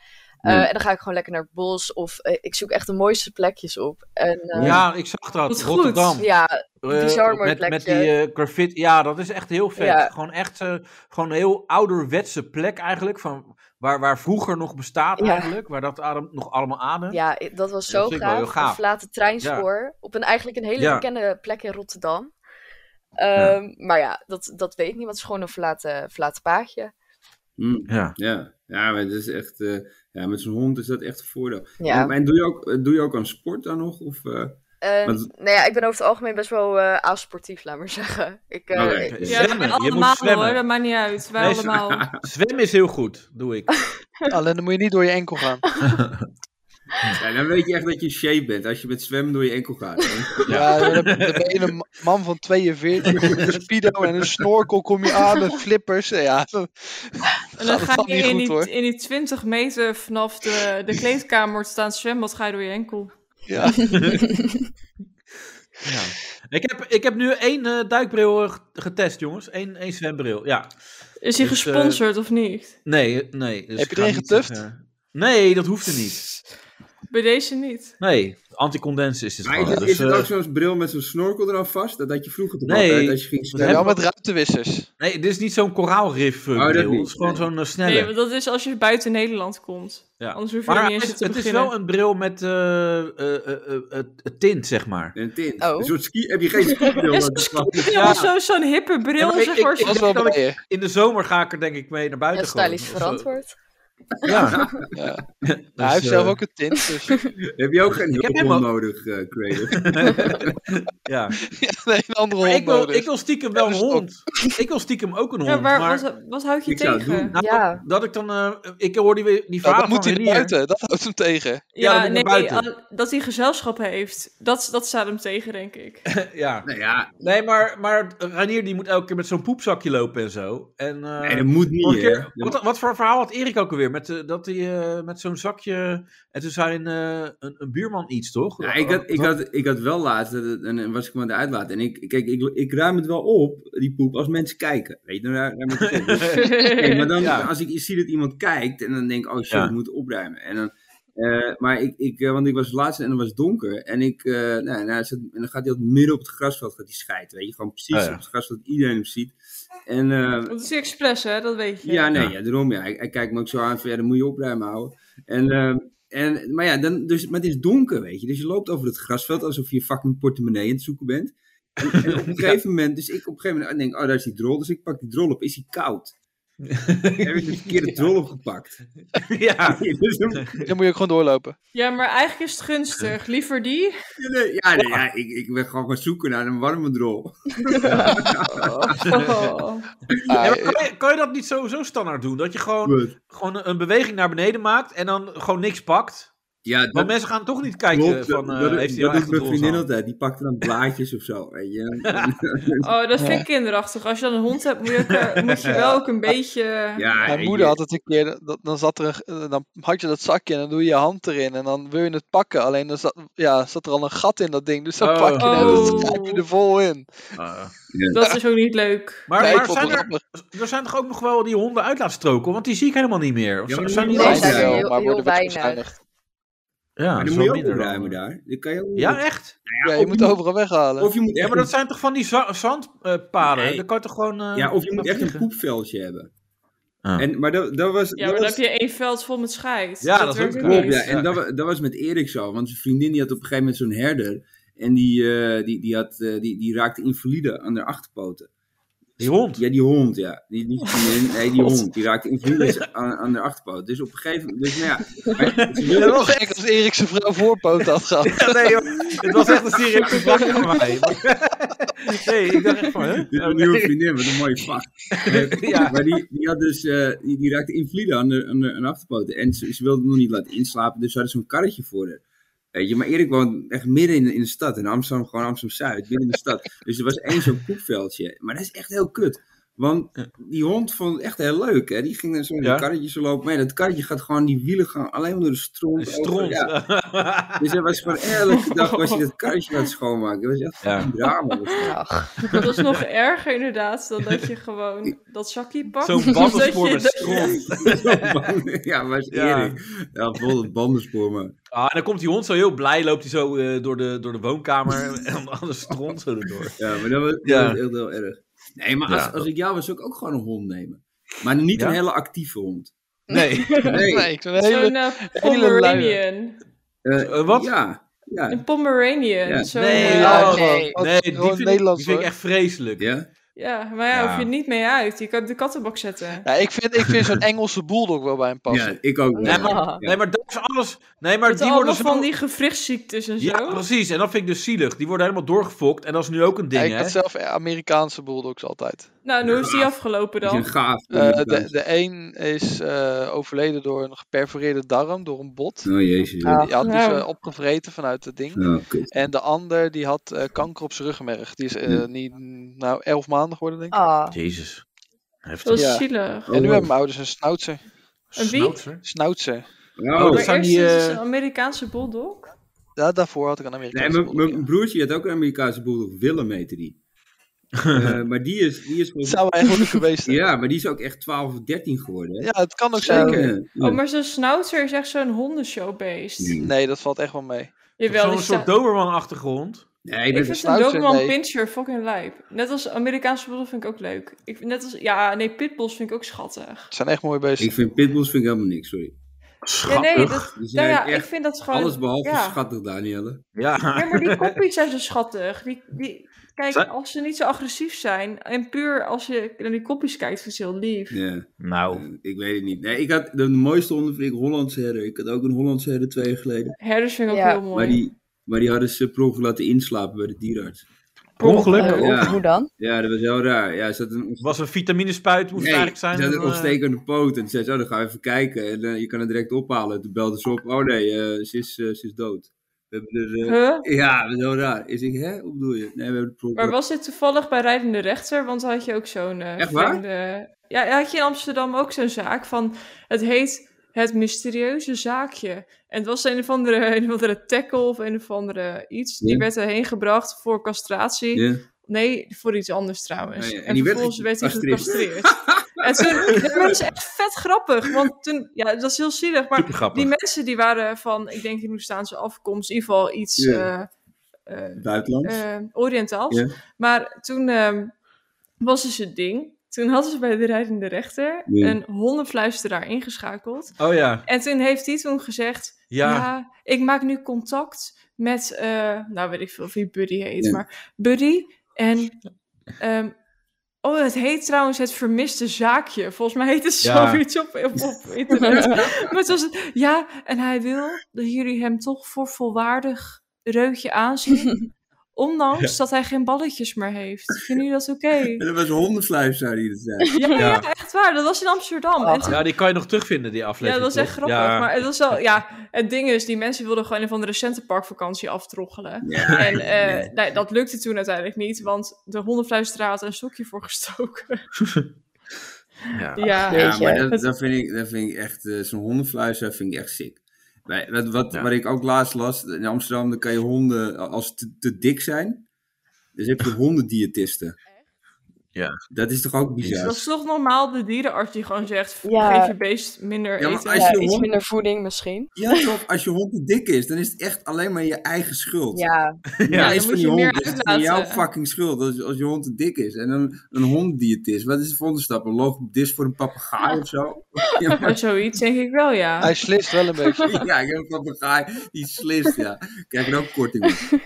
[SPEAKER 3] Eh,
[SPEAKER 4] Ja.
[SPEAKER 3] En dan ga ik gewoon lekker naar het bos. Of eh, ik zoek echt de mooiste plekjes op. En, eh,
[SPEAKER 2] ja, ik zag dat.
[SPEAKER 5] Wat goed.
[SPEAKER 2] Rotterdam.
[SPEAKER 3] ja,
[SPEAKER 2] Eh,
[SPEAKER 3] bizar mooi
[SPEAKER 2] met, met die
[SPEAKER 3] plekje.
[SPEAKER 2] eh, graffiti. Ja, dat is echt heel vet.
[SPEAKER 3] Ja.
[SPEAKER 2] Gewoon echt eh, gewoon een heel ouderwetse plek eigenlijk. Van, waar, waar vroeger nog bestaat
[SPEAKER 3] Ja.
[SPEAKER 2] eigenlijk. Waar dat adem, nog allemaal ademt.
[SPEAKER 3] ja, i- dat was
[SPEAKER 2] Ja,
[SPEAKER 3] zo
[SPEAKER 2] dat vind ik wel
[SPEAKER 3] gaaf.
[SPEAKER 2] heel gaaf.
[SPEAKER 3] Een verlaten treinspoor. Op een, eigenlijk een hele
[SPEAKER 2] Ja.
[SPEAKER 3] bekende plek in Rotterdam.
[SPEAKER 2] Ja.
[SPEAKER 3] Ehm, Maar ja, dat, dat weet niemand. Het is gewoon een verlaten, verlaten paadje.
[SPEAKER 4] Hm,
[SPEAKER 2] Ja.
[SPEAKER 4] ja. ja, maar het is echt... eh, ja, met zo'n hond is dat echt een voordeel.
[SPEAKER 3] Ja.
[SPEAKER 4] En, en doe, je ook, eh, doe je ook aan sport dan nog? Of, eh,
[SPEAKER 3] Ehm,
[SPEAKER 4] Want-
[SPEAKER 3] Nou ja, ik ben over het algemeen best wel eh asportief, laat maar zeggen. Ik, eh,
[SPEAKER 4] Oké.
[SPEAKER 3] ik-
[SPEAKER 5] Ja,
[SPEAKER 2] Zwemmen. Je
[SPEAKER 5] allemaal
[SPEAKER 2] moet zwemmen.
[SPEAKER 5] hoor, dat maakt niet uit. Wij
[SPEAKER 2] Nee, ze-
[SPEAKER 5] allemaal.
[SPEAKER 2] Zwemmen is heel goed, doe ik.
[SPEAKER 7] Alleen dan moet je niet door je enkel gaan.
[SPEAKER 4] ja, dan weet je echt dat je in shape bent. Als je met zwemmen door je enkel gaat. hè.
[SPEAKER 7] Ja, dan, dan ben je een man van 42 met een speedo en een snorkel kom je aan met flippers. Ja, dan
[SPEAKER 5] En dan
[SPEAKER 7] gaat
[SPEAKER 5] ga
[SPEAKER 7] het
[SPEAKER 5] je
[SPEAKER 7] niet
[SPEAKER 5] in,
[SPEAKER 7] goed
[SPEAKER 5] die,
[SPEAKER 7] hoor.
[SPEAKER 5] in die 20 meter vanaf de, de kleedkamer te staan zwemmen, wat ga je door je enkel?
[SPEAKER 7] Ja.
[SPEAKER 2] Ja. Ik, heb, ik heb nu één eh, duikbril eh, getest, jongens. Eén één zwembril, ja.
[SPEAKER 5] Is die
[SPEAKER 2] Dus, eh,
[SPEAKER 5] gesponsord of niet?
[SPEAKER 2] Nee, nee. dus
[SPEAKER 7] Heb je
[SPEAKER 2] ik ga
[SPEAKER 7] erin
[SPEAKER 2] niet
[SPEAKER 7] getuft?
[SPEAKER 2] zeggen- Nee, dat hoeft er niet.
[SPEAKER 5] Bij deze niet.
[SPEAKER 2] Nee, anticondens is het
[SPEAKER 4] Maar is
[SPEAKER 2] gewoon.
[SPEAKER 4] het,
[SPEAKER 2] Dus,
[SPEAKER 4] is het
[SPEAKER 2] eh,
[SPEAKER 4] ook zo'n bril met zo'n snorkel eraan vast? Dat had je vroeger toch
[SPEAKER 2] Nee.
[SPEAKER 4] altijd als je ging
[SPEAKER 7] Ja, wel
[SPEAKER 4] zwemmen?
[SPEAKER 7] met ruitenwissers.
[SPEAKER 2] nee, dit is niet zo'n koraalrif eh,
[SPEAKER 4] Oh, dat
[SPEAKER 2] bril.
[SPEAKER 4] niet.
[SPEAKER 2] Het is gewoon
[SPEAKER 4] Nee.
[SPEAKER 2] zo'n eh, snelle.
[SPEAKER 5] Nee, want dat is als je buiten Nederland komt.
[SPEAKER 2] Ja.
[SPEAKER 5] Anders hoef je
[SPEAKER 2] maar
[SPEAKER 5] er niet
[SPEAKER 2] het,
[SPEAKER 5] eens
[SPEAKER 2] is,
[SPEAKER 5] te
[SPEAKER 2] het is
[SPEAKER 5] beginnen.
[SPEAKER 2] wel een bril met eh, eh, eh, eh, eh, tint, zeg maar.
[SPEAKER 4] Een tint.
[SPEAKER 3] Oh.
[SPEAKER 4] Een soort ski... Heb je geen skibril?
[SPEAKER 5] Is
[SPEAKER 4] Dat is wel-
[SPEAKER 5] Ja, zo- zo'n hippe bril,
[SPEAKER 2] Ja, maar ik-
[SPEAKER 5] zeg maar.
[SPEAKER 2] ik-
[SPEAKER 7] Dat
[SPEAKER 5] zo-
[SPEAKER 7] was wel
[SPEAKER 2] dat ik-
[SPEAKER 7] bij je.
[SPEAKER 2] In de zomer ga ik er denk ik mee naar
[SPEAKER 3] ja,
[SPEAKER 2] buiten. gewoon.
[SPEAKER 3] stylish
[SPEAKER 2] Of, eh,
[SPEAKER 3] verantwoord.
[SPEAKER 2] Ja.
[SPEAKER 7] Ja. Nou,
[SPEAKER 2] Dus,
[SPEAKER 7] hij heeft
[SPEAKER 2] eh,
[SPEAKER 7] zelf ook een tint, dus
[SPEAKER 4] Heb je ook geen
[SPEAKER 2] heb
[SPEAKER 4] hulp
[SPEAKER 2] helemaal-
[SPEAKER 4] nodig, eh Craig?
[SPEAKER 2] ja.
[SPEAKER 7] ja, nee, een andere
[SPEAKER 2] Maar
[SPEAKER 7] hond
[SPEAKER 2] ik wil,
[SPEAKER 7] nodig. Nou,
[SPEAKER 2] ik wil stiekem wel
[SPEAKER 7] En
[SPEAKER 2] een
[SPEAKER 7] een stok.
[SPEAKER 2] hond. Ik wil stiekem ook een hond.
[SPEAKER 5] Ja, waar,
[SPEAKER 2] maar
[SPEAKER 5] wat, wat houd je
[SPEAKER 4] Ik zou het
[SPEAKER 5] tegen?
[SPEAKER 4] doen.
[SPEAKER 2] nou,
[SPEAKER 3] Ja.
[SPEAKER 2] dat ik dan... eh, ik hoor die, die
[SPEAKER 7] Ja,
[SPEAKER 2] verhalen
[SPEAKER 7] dan moet
[SPEAKER 2] van eh?
[SPEAKER 7] hij naar
[SPEAKER 2] Renier.
[SPEAKER 7] buiten, dat houdt hem tegen.
[SPEAKER 2] Ja,
[SPEAKER 5] Ja,
[SPEAKER 2] dan moet
[SPEAKER 5] nee,
[SPEAKER 2] je buiten.
[SPEAKER 5] al- dat hij gezelschap heeft, dat, dat staat hem tegen, denk ik.
[SPEAKER 2] Ja.
[SPEAKER 4] Nou ja,
[SPEAKER 2] Nee, maar, maar Ranier die moet elke keer met zo'n poepzakje lopen en zo. En, eh,
[SPEAKER 4] nee, dat moet niet,
[SPEAKER 2] vorige
[SPEAKER 4] hè.
[SPEAKER 2] keer- wat, wat voor verhaal had Erik ook alweer? weer. Met, eh, dat die, eh, met zo'n zakje. En toen zei een, eh, een, een buurman iets, toch?
[SPEAKER 4] Ja, ik, had, ik, had, ik had wel laatst, dat het- en, en was ik me aan het uitlaten. En ik, kijk, ik, ik ruim het wel op, die poep, als mensen kijken. Weet je, dan ruim ruim ik het op. Dus, kijk, maar dan,
[SPEAKER 2] Ja.
[SPEAKER 4] als ik zie dat iemand kijkt, en dan denk ik, oh shit,
[SPEAKER 2] Ja.
[SPEAKER 4] ik moet opruimen. En dan, eh, maar ik, ik, eh, want ik was laatst en het was donker. En, ik, eh, nou, nou, hij zat- en dan gaat hij ook midden op het grasveld gaat hij schijten. Weet je, gewoon precies
[SPEAKER 2] Oh, ja.
[SPEAKER 4] op het grasveld, iedereen hem ziet. En, eh,
[SPEAKER 5] Dat is expres, hè? Dat weet je.
[SPEAKER 4] ja, nee,
[SPEAKER 2] Ja.
[SPEAKER 4] ja. daarom. Ja. Hij, hij kijkt me ook zo aan van, ja, dan moet je opruimen houden. En, ehm, en, maar ja, dan, dus, maar het is donker, weet je. Dus je loopt over het grasveld alsof je fucking portemonnee aan het zoeken bent. En, en op een gegeven moment, dus ik op een gegeven moment denk, oh, daar is die drol. Dus ik pak die drol op. Is die koud? Heb ik de verkeerde drol opgepakt?
[SPEAKER 2] ja.
[SPEAKER 4] Dus dan-
[SPEAKER 7] Dan moet je ook gewoon doorlopen.
[SPEAKER 5] Ja, maar eigenlijk is het gunstig. Liever die.
[SPEAKER 4] ja, nee, ja ik, ik ben gewoon gaan zoeken naar een warme drol.
[SPEAKER 5] Oh.
[SPEAKER 7] Ah,
[SPEAKER 2] Ja, maar
[SPEAKER 7] eh,
[SPEAKER 2] kan, je, kan je dat niet zo, zo standaard doen? Dat je gewoon,
[SPEAKER 4] Goed.
[SPEAKER 2] gewoon een beweging naar beneden maakt en dan gewoon niks pakt.
[SPEAKER 4] Ja,
[SPEAKER 2] Want
[SPEAKER 4] dat
[SPEAKER 2] mensen gaan toch niet kijken
[SPEAKER 4] klopt.
[SPEAKER 2] van, eh,
[SPEAKER 4] dat dat,
[SPEAKER 2] heeft hij wel
[SPEAKER 4] dat doet
[SPEAKER 2] echt een
[SPEAKER 4] mijn vriendin
[SPEAKER 2] doel
[SPEAKER 4] altijd. Die pakte dan blaadjes of zo, weet je.
[SPEAKER 5] oh, dat vind ik kinderachtig. Als je dan een hond hebt, moet je, ook, eh, moet je wel ook een beetje...
[SPEAKER 4] Ja,
[SPEAKER 7] Mijn
[SPEAKER 4] en
[SPEAKER 7] moeder
[SPEAKER 4] je-
[SPEAKER 7] had het een keer, dat, dan, zat er een, eh, dan had je dat zakje en dan doe je je hand erin en dan wil je het pakken. Alleen dan zat, ja, zat er al een gat in dat ding, dus dan
[SPEAKER 2] Oh.
[SPEAKER 7] pak je het en dan schrijf je
[SPEAKER 5] Oh.
[SPEAKER 7] er vol in.
[SPEAKER 5] Dat is dus ook niet leuk.
[SPEAKER 2] Ah. Maar,
[SPEAKER 7] Nee, ik
[SPEAKER 2] maar
[SPEAKER 7] vond het
[SPEAKER 2] zijn er,
[SPEAKER 7] grappig.
[SPEAKER 2] er zijn toch ook nog wel die honden uitlaatstroken? Want die zie ik helemaal niet meer. Of
[SPEAKER 4] Ja,
[SPEAKER 2] zijn,
[SPEAKER 4] maar
[SPEAKER 2] zijn
[SPEAKER 4] die
[SPEAKER 2] die
[SPEAKER 3] Nee,
[SPEAKER 7] Zijn
[SPEAKER 2] er
[SPEAKER 7] er
[SPEAKER 3] zijn
[SPEAKER 2] wel?
[SPEAKER 3] er heel-
[SPEAKER 7] wel, maar
[SPEAKER 3] heel
[SPEAKER 7] worden we
[SPEAKER 3] weinig.
[SPEAKER 7] beschijnigd.
[SPEAKER 2] Ja, dat
[SPEAKER 4] Maar dan
[SPEAKER 2] is
[SPEAKER 4] moet je
[SPEAKER 2] wel
[SPEAKER 4] ook
[SPEAKER 2] minder dan-
[SPEAKER 7] eh.
[SPEAKER 4] opruimen daar. Dan kan je ook
[SPEAKER 2] Ja, echt?
[SPEAKER 7] Ja,
[SPEAKER 4] of
[SPEAKER 7] je moet
[SPEAKER 4] je-
[SPEAKER 7] overal weghalen.
[SPEAKER 4] Of je moet
[SPEAKER 2] Ja,
[SPEAKER 4] echt
[SPEAKER 2] maar dat zijn toch van die za- zandpaden?
[SPEAKER 4] Nee.
[SPEAKER 2] Dan kan je toch gewoon... eh,
[SPEAKER 4] een, ja, of je moet
[SPEAKER 2] naar
[SPEAKER 4] echt een
[SPEAKER 2] vliegen?
[SPEAKER 4] poepveldje hebben.
[SPEAKER 2] Ah.
[SPEAKER 4] En, maar dat, dat was...
[SPEAKER 5] Ja,
[SPEAKER 4] dat
[SPEAKER 5] maar dan
[SPEAKER 4] was
[SPEAKER 5] heb je één veld vol met scheid.
[SPEAKER 2] Ja, dat is
[SPEAKER 5] werkt
[SPEAKER 2] ook
[SPEAKER 5] niet.
[SPEAKER 2] waar.
[SPEAKER 4] Klopt, ja.
[SPEAKER 2] Ja.
[SPEAKER 4] En dat, wa- dat was met Erik zo. Want zijn vriendin die had op een gegeven moment zo'n herder. En die, eh, die, die, had, eh, die, die raakte invalide aan haar achterpoten.
[SPEAKER 2] Die hond.
[SPEAKER 4] Ja, die hond, ja. Die, die vriendin, nee, die
[SPEAKER 7] God.
[SPEAKER 4] hond. Die raakte invalide aan, aan haar achterpoten. Dus op een gegeven moment... Dus, nou ja, maar ze
[SPEAKER 7] Ja,
[SPEAKER 4] wilde-
[SPEAKER 7] wel gek als Erik zijn vrouw voorpoot had gehad.
[SPEAKER 2] Ja, nee, joh. het was echt een serieuze vraag voor mij. Maar- Nee, ik dacht echt van, hè? Oh,
[SPEAKER 4] Dit is een nieuwe vriendin, wat een mooie vak.
[SPEAKER 2] Ja.
[SPEAKER 4] Maar die, die, had dus, eh, die, die raakte invalide aan de, aan de, aan de achterpoten. En ze, ze wilde hem nog niet laten inslapen, dus ze hadden zo'n karretje voor haar. Weet je, maar Erik woont echt midden in, de- in de stad, in Amsterdam, gewoon Amsterdam-Zuid, midden in de stad. Dus er was één zo'n poepveldje. Maar dat is echt heel kut. Want die hond vond het echt heel leuk, hè. Die ging dan zo in
[SPEAKER 2] Ja.
[SPEAKER 4] dat karretje zo lopen. Maar ja, dat karretje gaat gewoon, die wielen gaan alleen maar door de stront. over.
[SPEAKER 2] Stront.
[SPEAKER 4] Ja. Dus hij was gewoon elke dag was hij dat karretje aan het schoonmaken. Dat was echt
[SPEAKER 2] Ja.
[SPEAKER 4] een drama.
[SPEAKER 3] Ach,
[SPEAKER 5] Dat is nog erger inderdaad, dan dat je gewoon dat zakje pakt.
[SPEAKER 2] Zo'n
[SPEAKER 5] Dat je
[SPEAKER 2] bandenspoor met
[SPEAKER 5] dat-
[SPEAKER 2] stront.
[SPEAKER 4] ja, maar is
[SPEAKER 2] Ja.
[SPEAKER 4] Erik. Ja, vol het bandenspoor, man.
[SPEAKER 2] Ah, en dan komt die hond zo heel blij, loopt hij zo eh, door, de, door de woonkamer en dan alle stront zo erdoor.
[SPEAKER 4] Ja, maar dat was, dat
[SPEAKER 2] Ja.
[SPEAKER 4] was heel, heel erg. Nee, maar als,
[SPEAKER 2] Ja.
[SPEAKER 4] als ik jou was, zou ik ook gewoon een hond nemen. Maar niet
[SPEAKER 2] Ja?
[SPEAKER 4] een hele actieve hond.
[SPEAKER 2] Nee.
[SPEAKER 4] Nee.
[SPEAKER 7] Nee, ik ben een hele...
[SPEAKER 5] Zo'n eh, Pomeranian.
[SPEAKER 4] Eh,
[SPEAKER 2] Eh, wat?
[SPEAKER 4] Ja. Ja.
[SPEAKER 5] Een Pomeranian.
[SPEAKER 4] Ja.
[SPEAKER 5] Zo'n,
[SPEAKER 2] Nee,
[SPEAKER 7] Ja,
[SPEAKER 5] eh,
[SPEAKER 2] ja,
[SPEAKER 7] gewoon-
[SPEAKER 3] nee.
[SPEAKER 7] gewoon
[SPEAKER 2] Nee, die vind, ik-
[SPEAKER 7] Nederlands,
[SPEAKER 2] die vind ik
[SPEAKER 7] hoor.
[SPEAKER 2] echt vreselijk.
[SPEAKER 4] Ja?
[SPEAKER 5] ja, maar ja,
[SPEAKER 2] Ja.
[SPEAKER 5] hoef je niet mee uit. Je kan het de kattenbak zetten.
[SPEAKER 7] Ja, ik vind, ik vind zo'n Engelse bulldog wel bij hem passen.
[SPEAKER 4] ja, ik ook wel.
[SPEAKER 2] Nee, maar,
[SPEAKER 3] Ah.
[SPEAKER 2] nee, maar dat is alles. Nee, maar
[SPEAKER 5] Met
[SPEAKER 2] die
[SPEAKER 5] allemaal
[SPEAKER 2] worden zo...
[SPEAKER 5] van die gewrichtsziektes en zo.
[SPEAKER 2] Ja, precies. En dat vind ik dus zielig. Die worden helemaal doorgefokt. En dat is nu ook een
[SPEAKER 7] Ja,
[SPEAKER 2] ding,
[SPEAKER 7] ik
[SPEAKER 2] hè?
[SPEAKER 7] had zelf eh, Amerikaanse bulldogs altijd.
[SPEAKER 5] Nou, en hoe is die afgelopen
[SPEAKER 4] Die
[SPEAKER 5] dan?
[SPEAKER 4] zijn gaaf.
[SPEAKER 7] Eh, de, de een is eh, overleden door een geperforeerde darm, door een bot.
[SPEAKER 4] Oh, jezus.
[SPEAKER 3] Ah.
[SPEAKER 7] Die had hij
[SPEAKER 5] Nou.
[SPEAKER 7] ze opgevreten vanuit het ding.
[SPEAKER 4] Oh, kut.
[SPEAKER 7] En de ander die had eh, kanker op zijn ruggenmerg. Die is eh,
[SPEAKER 4] Ja.
[SPEAKER 7] niet, nou, elf maanden geworden, denk ik.
[SPEAKER 3] ah.
[SPEAKER 2] Jezus.
[SPEAKER 5] Dat
[SPEAKER 2] Heftig.
[SPEAKER 5] is
[SPEAKER 7] Ja.
[SPEAKER 5] zielig.
[SPEAKER 7] en nu
[SPEAKER 4] wow.
[SPEAKER 7] hebben mijn ouders een snauzer.
[SPEAKER 5] En wie?
[SPEAKER 2] Snauzer.
[SPEAKER 7] Snauzer.
[SPEAKER 4] Oh.
[SPEAKER 2] dat
[SPEAKER 5] maar
[SPEAKER 2] zijn
[SPEAKER 5] eerst
[SPEAKER 2] die,
[SPEAKER 5] is het
[SPEAKER 2] eh,
[SPEAKER 5] een Amerikaanse bulldog.
[SPEAKER 7] Ja, daarvoor had ik een
[SPEAKER 4] Nee,
[SPEAKER 7] Amerikaanse
[SPEAKER 4] mijn-
[SPEAKER 7] bulldog.
[SPEAKER 4] mijn
[SPEAKER 7] ja.
[SPEAKER 4] broertje had ook een Amerikaanse bulldog. Willem heette die. Eh, maar die is... Die is
[SPEAKER 7] Het
[SPEAKER 4] volgens-
[SPEAKER 7] zou wel echt leuk geweest zijn.
[SPEAKER 4] ja, maar die is ook echt 12 of 13 geworden. Hè?
[SPEAKER 7] Ja, het kan ook zeker.
[SPEAKER 4] Ja.
[SPEAKER 5] Oh, maar zo'n schnauzer is echt zo'n hondenshow-beest.
[SPEAKER 4] Ja.
[SPEAKER 7] Nee, dat valt echt wel mee.
[SPEAKER 5] Jawel,
[SPEAKER 2] Zo'n
[SPEAKER 5] die
[SPEAKER 2] soort
[SPEAKER 5] staat...
[SPEAKER 2] Doberman-achtige hond.
[SPEAKER 4] Nee,
[SPEAKER 5] Ik
[SPEAKER 4] dat-
[SPEAKER 5] vind een
[SPEAKER 7] Schnauzer,
[SPEAKER 5] Doberman
[SPEAKER 7] nee.
[SPEAKER 5] Pinscher fucking lijp. Net als Amerikaanse bulldog vind ik ook leuk. Ik, vind- net als, ja, nee, pitbulls vind ik ook schattig.
[SPEAKER 7] Het zijn echt mooie beesten.
[SPEAKER 4] Ik vind pitbulls vind ik helemaal niks, sorry.
[SPEAKER 5] Ja,
[SPEAKER 2] Schattig.
[SPEAKER 5] nee, dat,
[SPEAKER 4] Die zijn
[SPEAKER 5] nou ja, ik
[SPEAKER 4] echt
[SPEAKER 5] vind dat gewoon...
[SPEAKER 4] alles behalve
[SPEAKER 5] ja.
[SPEAKER 4] schattig, Danielle.
[SPEAKER 2] Ja.
[SPEAKER 5] Ja, maar die koppies zijn zo schattig. Die, die, kijk,
[SPEAKER 2] Zijn-
[SPEAKER 5] als ze niet zo agressief zijn... En puur als je naar die koppies kijkt, vind je heel lief.
[SPEAKER 4] Ja,
[SPEAKER 2] Nou.
[SPEAKER 4] Oh. ik weet het niet. Nee, ik had de mooiste honden vind ik Hollandse herder. Ik had ook een Hollandse herder twee jaar geleden.
[SPEAKER 5] Herders vind ik ook
[SPEAKER 3] Ja.
[SPEAKER 5] heel mooi.
[SPEAKER 4] Maar die, maar die hadden ze per ongeluk laten inslapen bij de dierarts.
[SPEAKER 2] Ongelukkig.
[SPEAKER 3] Eh,
[SPEAKER 4] Ja.
[SPEAKER 3] Hoe dan?
[SPEAKER 4] Ja, dat was heel raar. Ja, ze had een ontst-
[SPEAKER 2] Was een vitaminespuit, moest het
[SPEAKER 4] Nee,
[SPEAKER 2] eigenlijk zijn.
[SPEAKER 4] ze had
[SPEAKER 2] en,
[SPEAKER 4] een
[SPEAKER 2] eh,
[SPEAKER 4] ontstekende poot. En ze zei, ze, oh, dan gaan we even kijken. En eh, je kan het direct ophalen. Toen belden ze op. Oh nee, eh, ze, is, eh, ze is dood. We hebben er, eh,
[SPEAKER 5] Huh?
[SPEAKER 4] Ja, dat is heel raar. Is ik, hè? Hoe bedoel je? Nee, we hebben de probleem.
[SPEAKER 5] Maar was dit toevallig bij Rijdende Rechter? Want dan had je ook zo'n eh,
[SPEAKER 4] Echt waar?
[SPEAKER 5] vreemde- Ja, had je in Amsterdam ook zo'n zaak van... Het heet het mysterieuze zaakje. En het was een of andere, een of andere tackle of een of andere iets. Die
[SPEAKER 4] Ja.
[SPEAKER 5] werd erheen gebracht voor castratie.
[SPEAKER 4] Ja.
[SPEAKER 5] Nee, voor iets anders trouwens.
[SPEAKER 4] Oh ja, en
[SPEAKER 5] En,
[SPEAKER 4] die werd
[SPEAKER 5] vervolgens werd hij
[SPEAKER 4] gecastreerd.
[SPEAKER 5] gecastreerd. en toen, dat was echt vet grappig. Want toen, ja, dat is heel zielig. Maar
[SPEAKER 2] Super grappig.
[SPEAKER 5] die mensen die waren van, ik denk Hindoestaanse afkomst, in ieder geval iets
[SPEAKER 4] Ja.
[SPEAKER 5] eh, eh,
[SPEAKER 4] Buitenland.
[SPEAKER 5] eh, Oriëntaals.
[SPEAKER 4] Ja.
[SPEAKER 5] Maar toen ehm, was dus het ding. Toen hadden ze bij de rijdende rechter
[SPEAKER 4] Ja.
[SPEAKER 5] een hondenfluisteraar ingeschakeld.
[SPEAKER 2] Oh ja.
[SPEAKER 5] En toen heeft die toen gezegd, ja,
[SPEAKER 2] Ja.
[SPEAKER 5] ik maak nu contact met, eh, nou weet ik veel wie Buddy heet,
[SPEAKER 4] Ja.
[SPEAKER 5] maar Buddy en... ehm, Oh, het heet trouwens het vermiste zaakje. Volgens mij heet het
[SPEAKER 2] Ja.
[SPEAKER 5] zoiets op, op, op internet. maar het was het, ja, en hij wil dat jullie hem toch voor volwaardig reutje aanzien. Ondanks dat hij geen balletjes meer heeft. Vinden jullie dat oké?
[SPEAKER 4] En dat was een hondensluister die dat zei.
[SPEAKER 5] Ja, ja.
[SPEAKER 2] Ja.
[SPEAKER 5] echt waar. Dat was in Amsterdam. En toen-
[SPEAKER 2] Ja, die kan je nog terugvinden, die
[SPEAKER 5] ja, dat
[SPEAKER 2] aflevering.
[SPEAKER 5] was echt
[SPEAKER 2] toch?
[SPEAKER 5] grappig.
[SPEAKER 2] Ja.
[SPEAKER 5] Maar het was wel, ja, het ding is, die mensen wilden gewoon een van de recente parkvakantie aftroggelen. En eh, nee, dat lukte toen uiteindelijk niet, want de hondenfluisteraar had er een stokje voor gestoken.
[SPEAKER 2] Ja.
[SPEAKER 5] Ja,
[SPEAKER 3] Jeetje.
[SPEAKER 5] ja,
[SPEAKER 4] Ja, maar dat, dat, vind, ik, dat vind ik echt, eh, zo'n hondenfluister vind ik echt sick. Bij- Wat, wat,
[SPEAKER 2] Ja.
[SPEAKER 4] wat ik ook laatst las, in Amsterdam dan kan je honden, als ze te, te dik zijn, dus heb je hondendiëtisten.
[SPEAKER 2] Ja.
[SPEAKER 4] Dat is toch ook bizar?
[SPEAKER 5] dat is toch normaal de dierenarts die gewoon zegt,
[SPEAKER 3] Ja.
[SPEAKER 5] geef je beest minder
[SPEAKER 4] Ja, maar
[SPEAKER 5] eten.
[SPEAKER 4] als
[SPEAKER 3] Ja,
[SPEAKER 4] je
[SPEAKER 3] iets
[SPEAKER 4] hond-
[SPEAKER 3] minder voeding misschien.
[SPEAKER 4] Ja, toch? Als je hond te dik is, dan is het echt alleen maar je eigen schuld.
[SPEAKER 3] Ja,
[SPEAKER 5] Ja, dan
[SPEAKER 4] is
[SPEAKER 5] moet je meer
[SPEAKER 4] hond. is het van jouw
[SPEAKER 5] uitlaten.
[SPEAKER 4] fucking schuld als, als je hond te dik is. En een, een hondendiëtist, wat is de volgende stap? Een logopedist voor een papegaai of zo? Ja, maar-
[SPEAKER 5] Maar zoiets denk ik wel, ja.
[SPEAKER 7] Hij slist wel een beetje.
[SPEAKER 4] ja, ik heb een papegaai die slist, ja. Kijk, er ook korting op.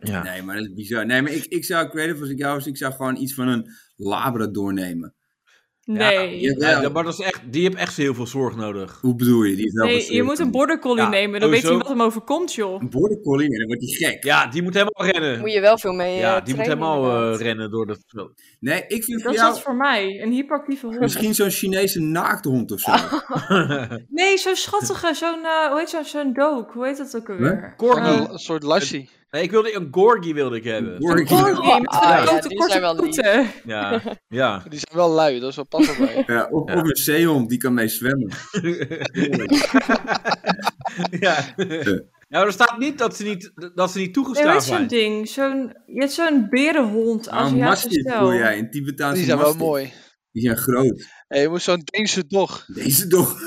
[SPEAKER 2] Ja.
[SPEAKER 4] Nee, maar dat is bizar. Nee, maar ik, ik zou creative als ik jou was, ik zou gewoon iets van een labrador nemen.
[SPEAKER 5] nee.
[SPEAKER 4] Ja.
[SPEAKER 2] Ja, maar dat is echt, die heeft echt heel veel zorg nodig.
[SPEAKER 4] Hoe bedoel je? Die is wel
[SPEAKER 5] Nee, je
[SPEAKER 4] gesloopt.
[SPEAKER 5] moet een border collie
[SPEAKER 2] Ja,
[SPEAKER 5] nemen, dan weet
[SPEAKER 2] sowieso.
[SPEAKER 5] hij wat hem overkomt, joh.
[SPEAKER 4] Een border collie, en dan wordt hij gek.
[SPEAKER 2] Ja, die moet helemaal rennen.
[SPEAKER 3] moet je wel veel mee.
[SPEAKER 2] ja,
[SPEAKER 3] eh,
[SPEAKER 2] die moet
[SPEAKER 3] trainen,
[SPEAKER 2] helemaal eh,
[SPEAKER 3] inderdaad.
[SPEAKER 2] rennen door dat veld.
[SPEAKER 4] Nee, ik vind
[SPEAKER 5] Dat
[SPEAKER 4] voor
[SPEAKER 5] is
[SPEAKER 4] jou
[SPEAKER 5] dat voor mij, een hyperactieve hond.
[SPEAKER 4] misschien zo'n Chinese naakthond of zo.
[SPEAKER 5] Oh. Nee, zo'n schattige, zo'n, eh, hoe heet zo'n, zo'n dook, hoe heet dat ook alweer?
[SPEAKER 7] Gewoon
[SPEAKER 2] Corgi.
[SPEAKER 7] een soort lassie.
[SPEAKER 2] Nee, ik wilde, een Gorgi wilde ik hebben.
[SPEAKER 4] Border collie.
[SPEAKER 5] Corgi, met
[SPEAKER 3] Ah, ja,
[SPEAKER 5] een grote
[SPEAKER 3] die
[SPEAKER 5] korte
[SPEAKER 3] zijn wel lief.
[SPEAKER 5] voeten.
[SPEAKER 2] Ja, ja.
[SPEAKER 7] Die zijn wel lui, dat is wel passend bij.
[SPEAKER 4] Ja, of,
[SPEAKER 2] Ja.
[SPEAKER 4] of een zeehond, die kan mee zwemmen.
[SPEAKER 2] ja. ja, maar er staat niet dat ze niet, dat ze niet
[SPEAKER 5] Nee,
[SPEAKER 2] toegestaan
[SPEAKER 5] weet je zo'n
[SPEAKER 2] zijn.
[SPEAKER 5] ding? Zo'n, je hebt zo'n berenhond,
[SPEAKER 4] Maar een
[SPEAKER 5] Aziatische
[SPEAKER 4] mastiff
[SPEAKER 5] stijl.
[SPEAKER 4] Ah, bedoel jij, een Tibetaanse
[SPEAKER 7] Die zijn wel
[SPEAKER 4] mastiff.
[SPEAKER 7] mooi.
[SPEAKER 4] Die zijn groot.
[SPEAKER 7] Hey, je moet zo'n Deense dog.
[SPEAKER 4] Deze toch.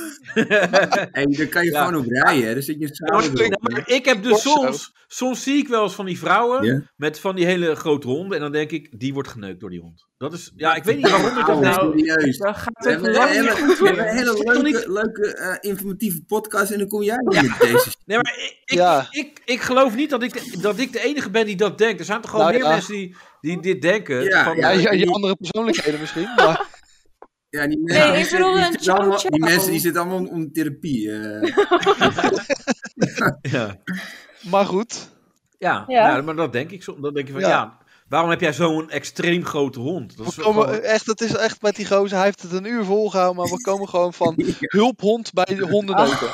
[SPEAKER 4] en daar kan je
[SPEAKER 2] Ja.
[SPEAKER 4] gewoon op rijden, hè. Daar zit je
[SPEAKER 2] Maar-
[SPEAKER 4] samen op.
[SPEAKER 2] maar ik heb dus
[SPEAKER 7] Corso.
[SPEAKER 2] soms, soms zie ik wel eens van die vrouwen
[SPEAKER 4] Ja.
[SPEAKER 2] met van die hele grote honden. En dan denk ik, die wordt geneukt door die hond. Dat is, ja, ik weet niet waarom ik dat
[SPEAKER 5] Nou,
[SPEAKER 2] nou...
[SPEAKER 4] serieus.
[SPEAKER 5] Dan gaat
[SPEAKER 4] We
[SPEAKER 5] het
[SPEAKER 4] hebben,
[SPEAKER 5] lang
[SPEAKER 4] we
[SPEAKER 5] niet
[SPEAKER 4] hebben-
[SPEAKER 5] goed
[SPEAKER 4] we hebben een
[SPEAKER 5] meer.
[SPEAKER 4] hele
[SPEAKER 2] Toch
[SPEAKER 4] leuke,
[SPEAKER 2] niet-
[SPEAKER 4] leuke eh, informatieve podcast en dan kom jij weer met deze shit.
[SPEAKER 2] Nee, maar ik, ik,
[SPEAKER 7] Ja.
[SPEAKER 2] ik, ik geloof niet dat ik, de, dat ik de enige ben die dat denkt. Er zijn toch gewoon
[SPEAKER 7] Nou
[SPEAKER 2] meer
[SPEAKER 7] ja.
[SPEAKER 2] mensen die, die dit denken.
[SPEAKER 4] Ja,
[SPEAKER 2] van,
[SPEAKER 7] Ja,
[SPEAKER 4] maar
[SPEAKER 7] je, je
[SPEAKER 4] die-
[SPEAKER 7] andere persoonlijkheden misschien. Maar
[SPEAKER 4] Ja, die
[SPEAKER 5] Nee,
[SPEAKER 4] mensen,
[SPEAKER 5] ik
[SPEAKER 4] die zitten-
[SPEAKER 5] bedoelde
[SPEAKER 4] die
[SPEAKER 5] een
[SPEAKER 4] zitten allemaal-
[SPEAKER 5] chow-chow.
[SPEAKER 4] Die mensen die zitten allemaal onder therapie. eh.
[SPEAKER 2] ja.
[SPEAKER 7] maar goed,
[SPEAKER 2] Ja,
[SPEAKER 3] Ja.
[SPEAKER 2] ja, maar dat denk ik zo. Dan denk je van,
[SPEAKER 7] Ja.
[SPEAKER 2] ja, waarom heb jij zo'n extreem grote hond? Dat is
[SPEAKER 7] we
[SPEAKER 2] wel
[SPEAKER 7] komen,
[SPEAKER 2] gewoon-
[SPEAKER 7] echt, het is echt met die gozer. Hij heeft het een uur volgehouden, maar we komen gewoon van hulphond bij de
[SPEAKER 4] Ah.
[SPEAKER 7] hondendoken.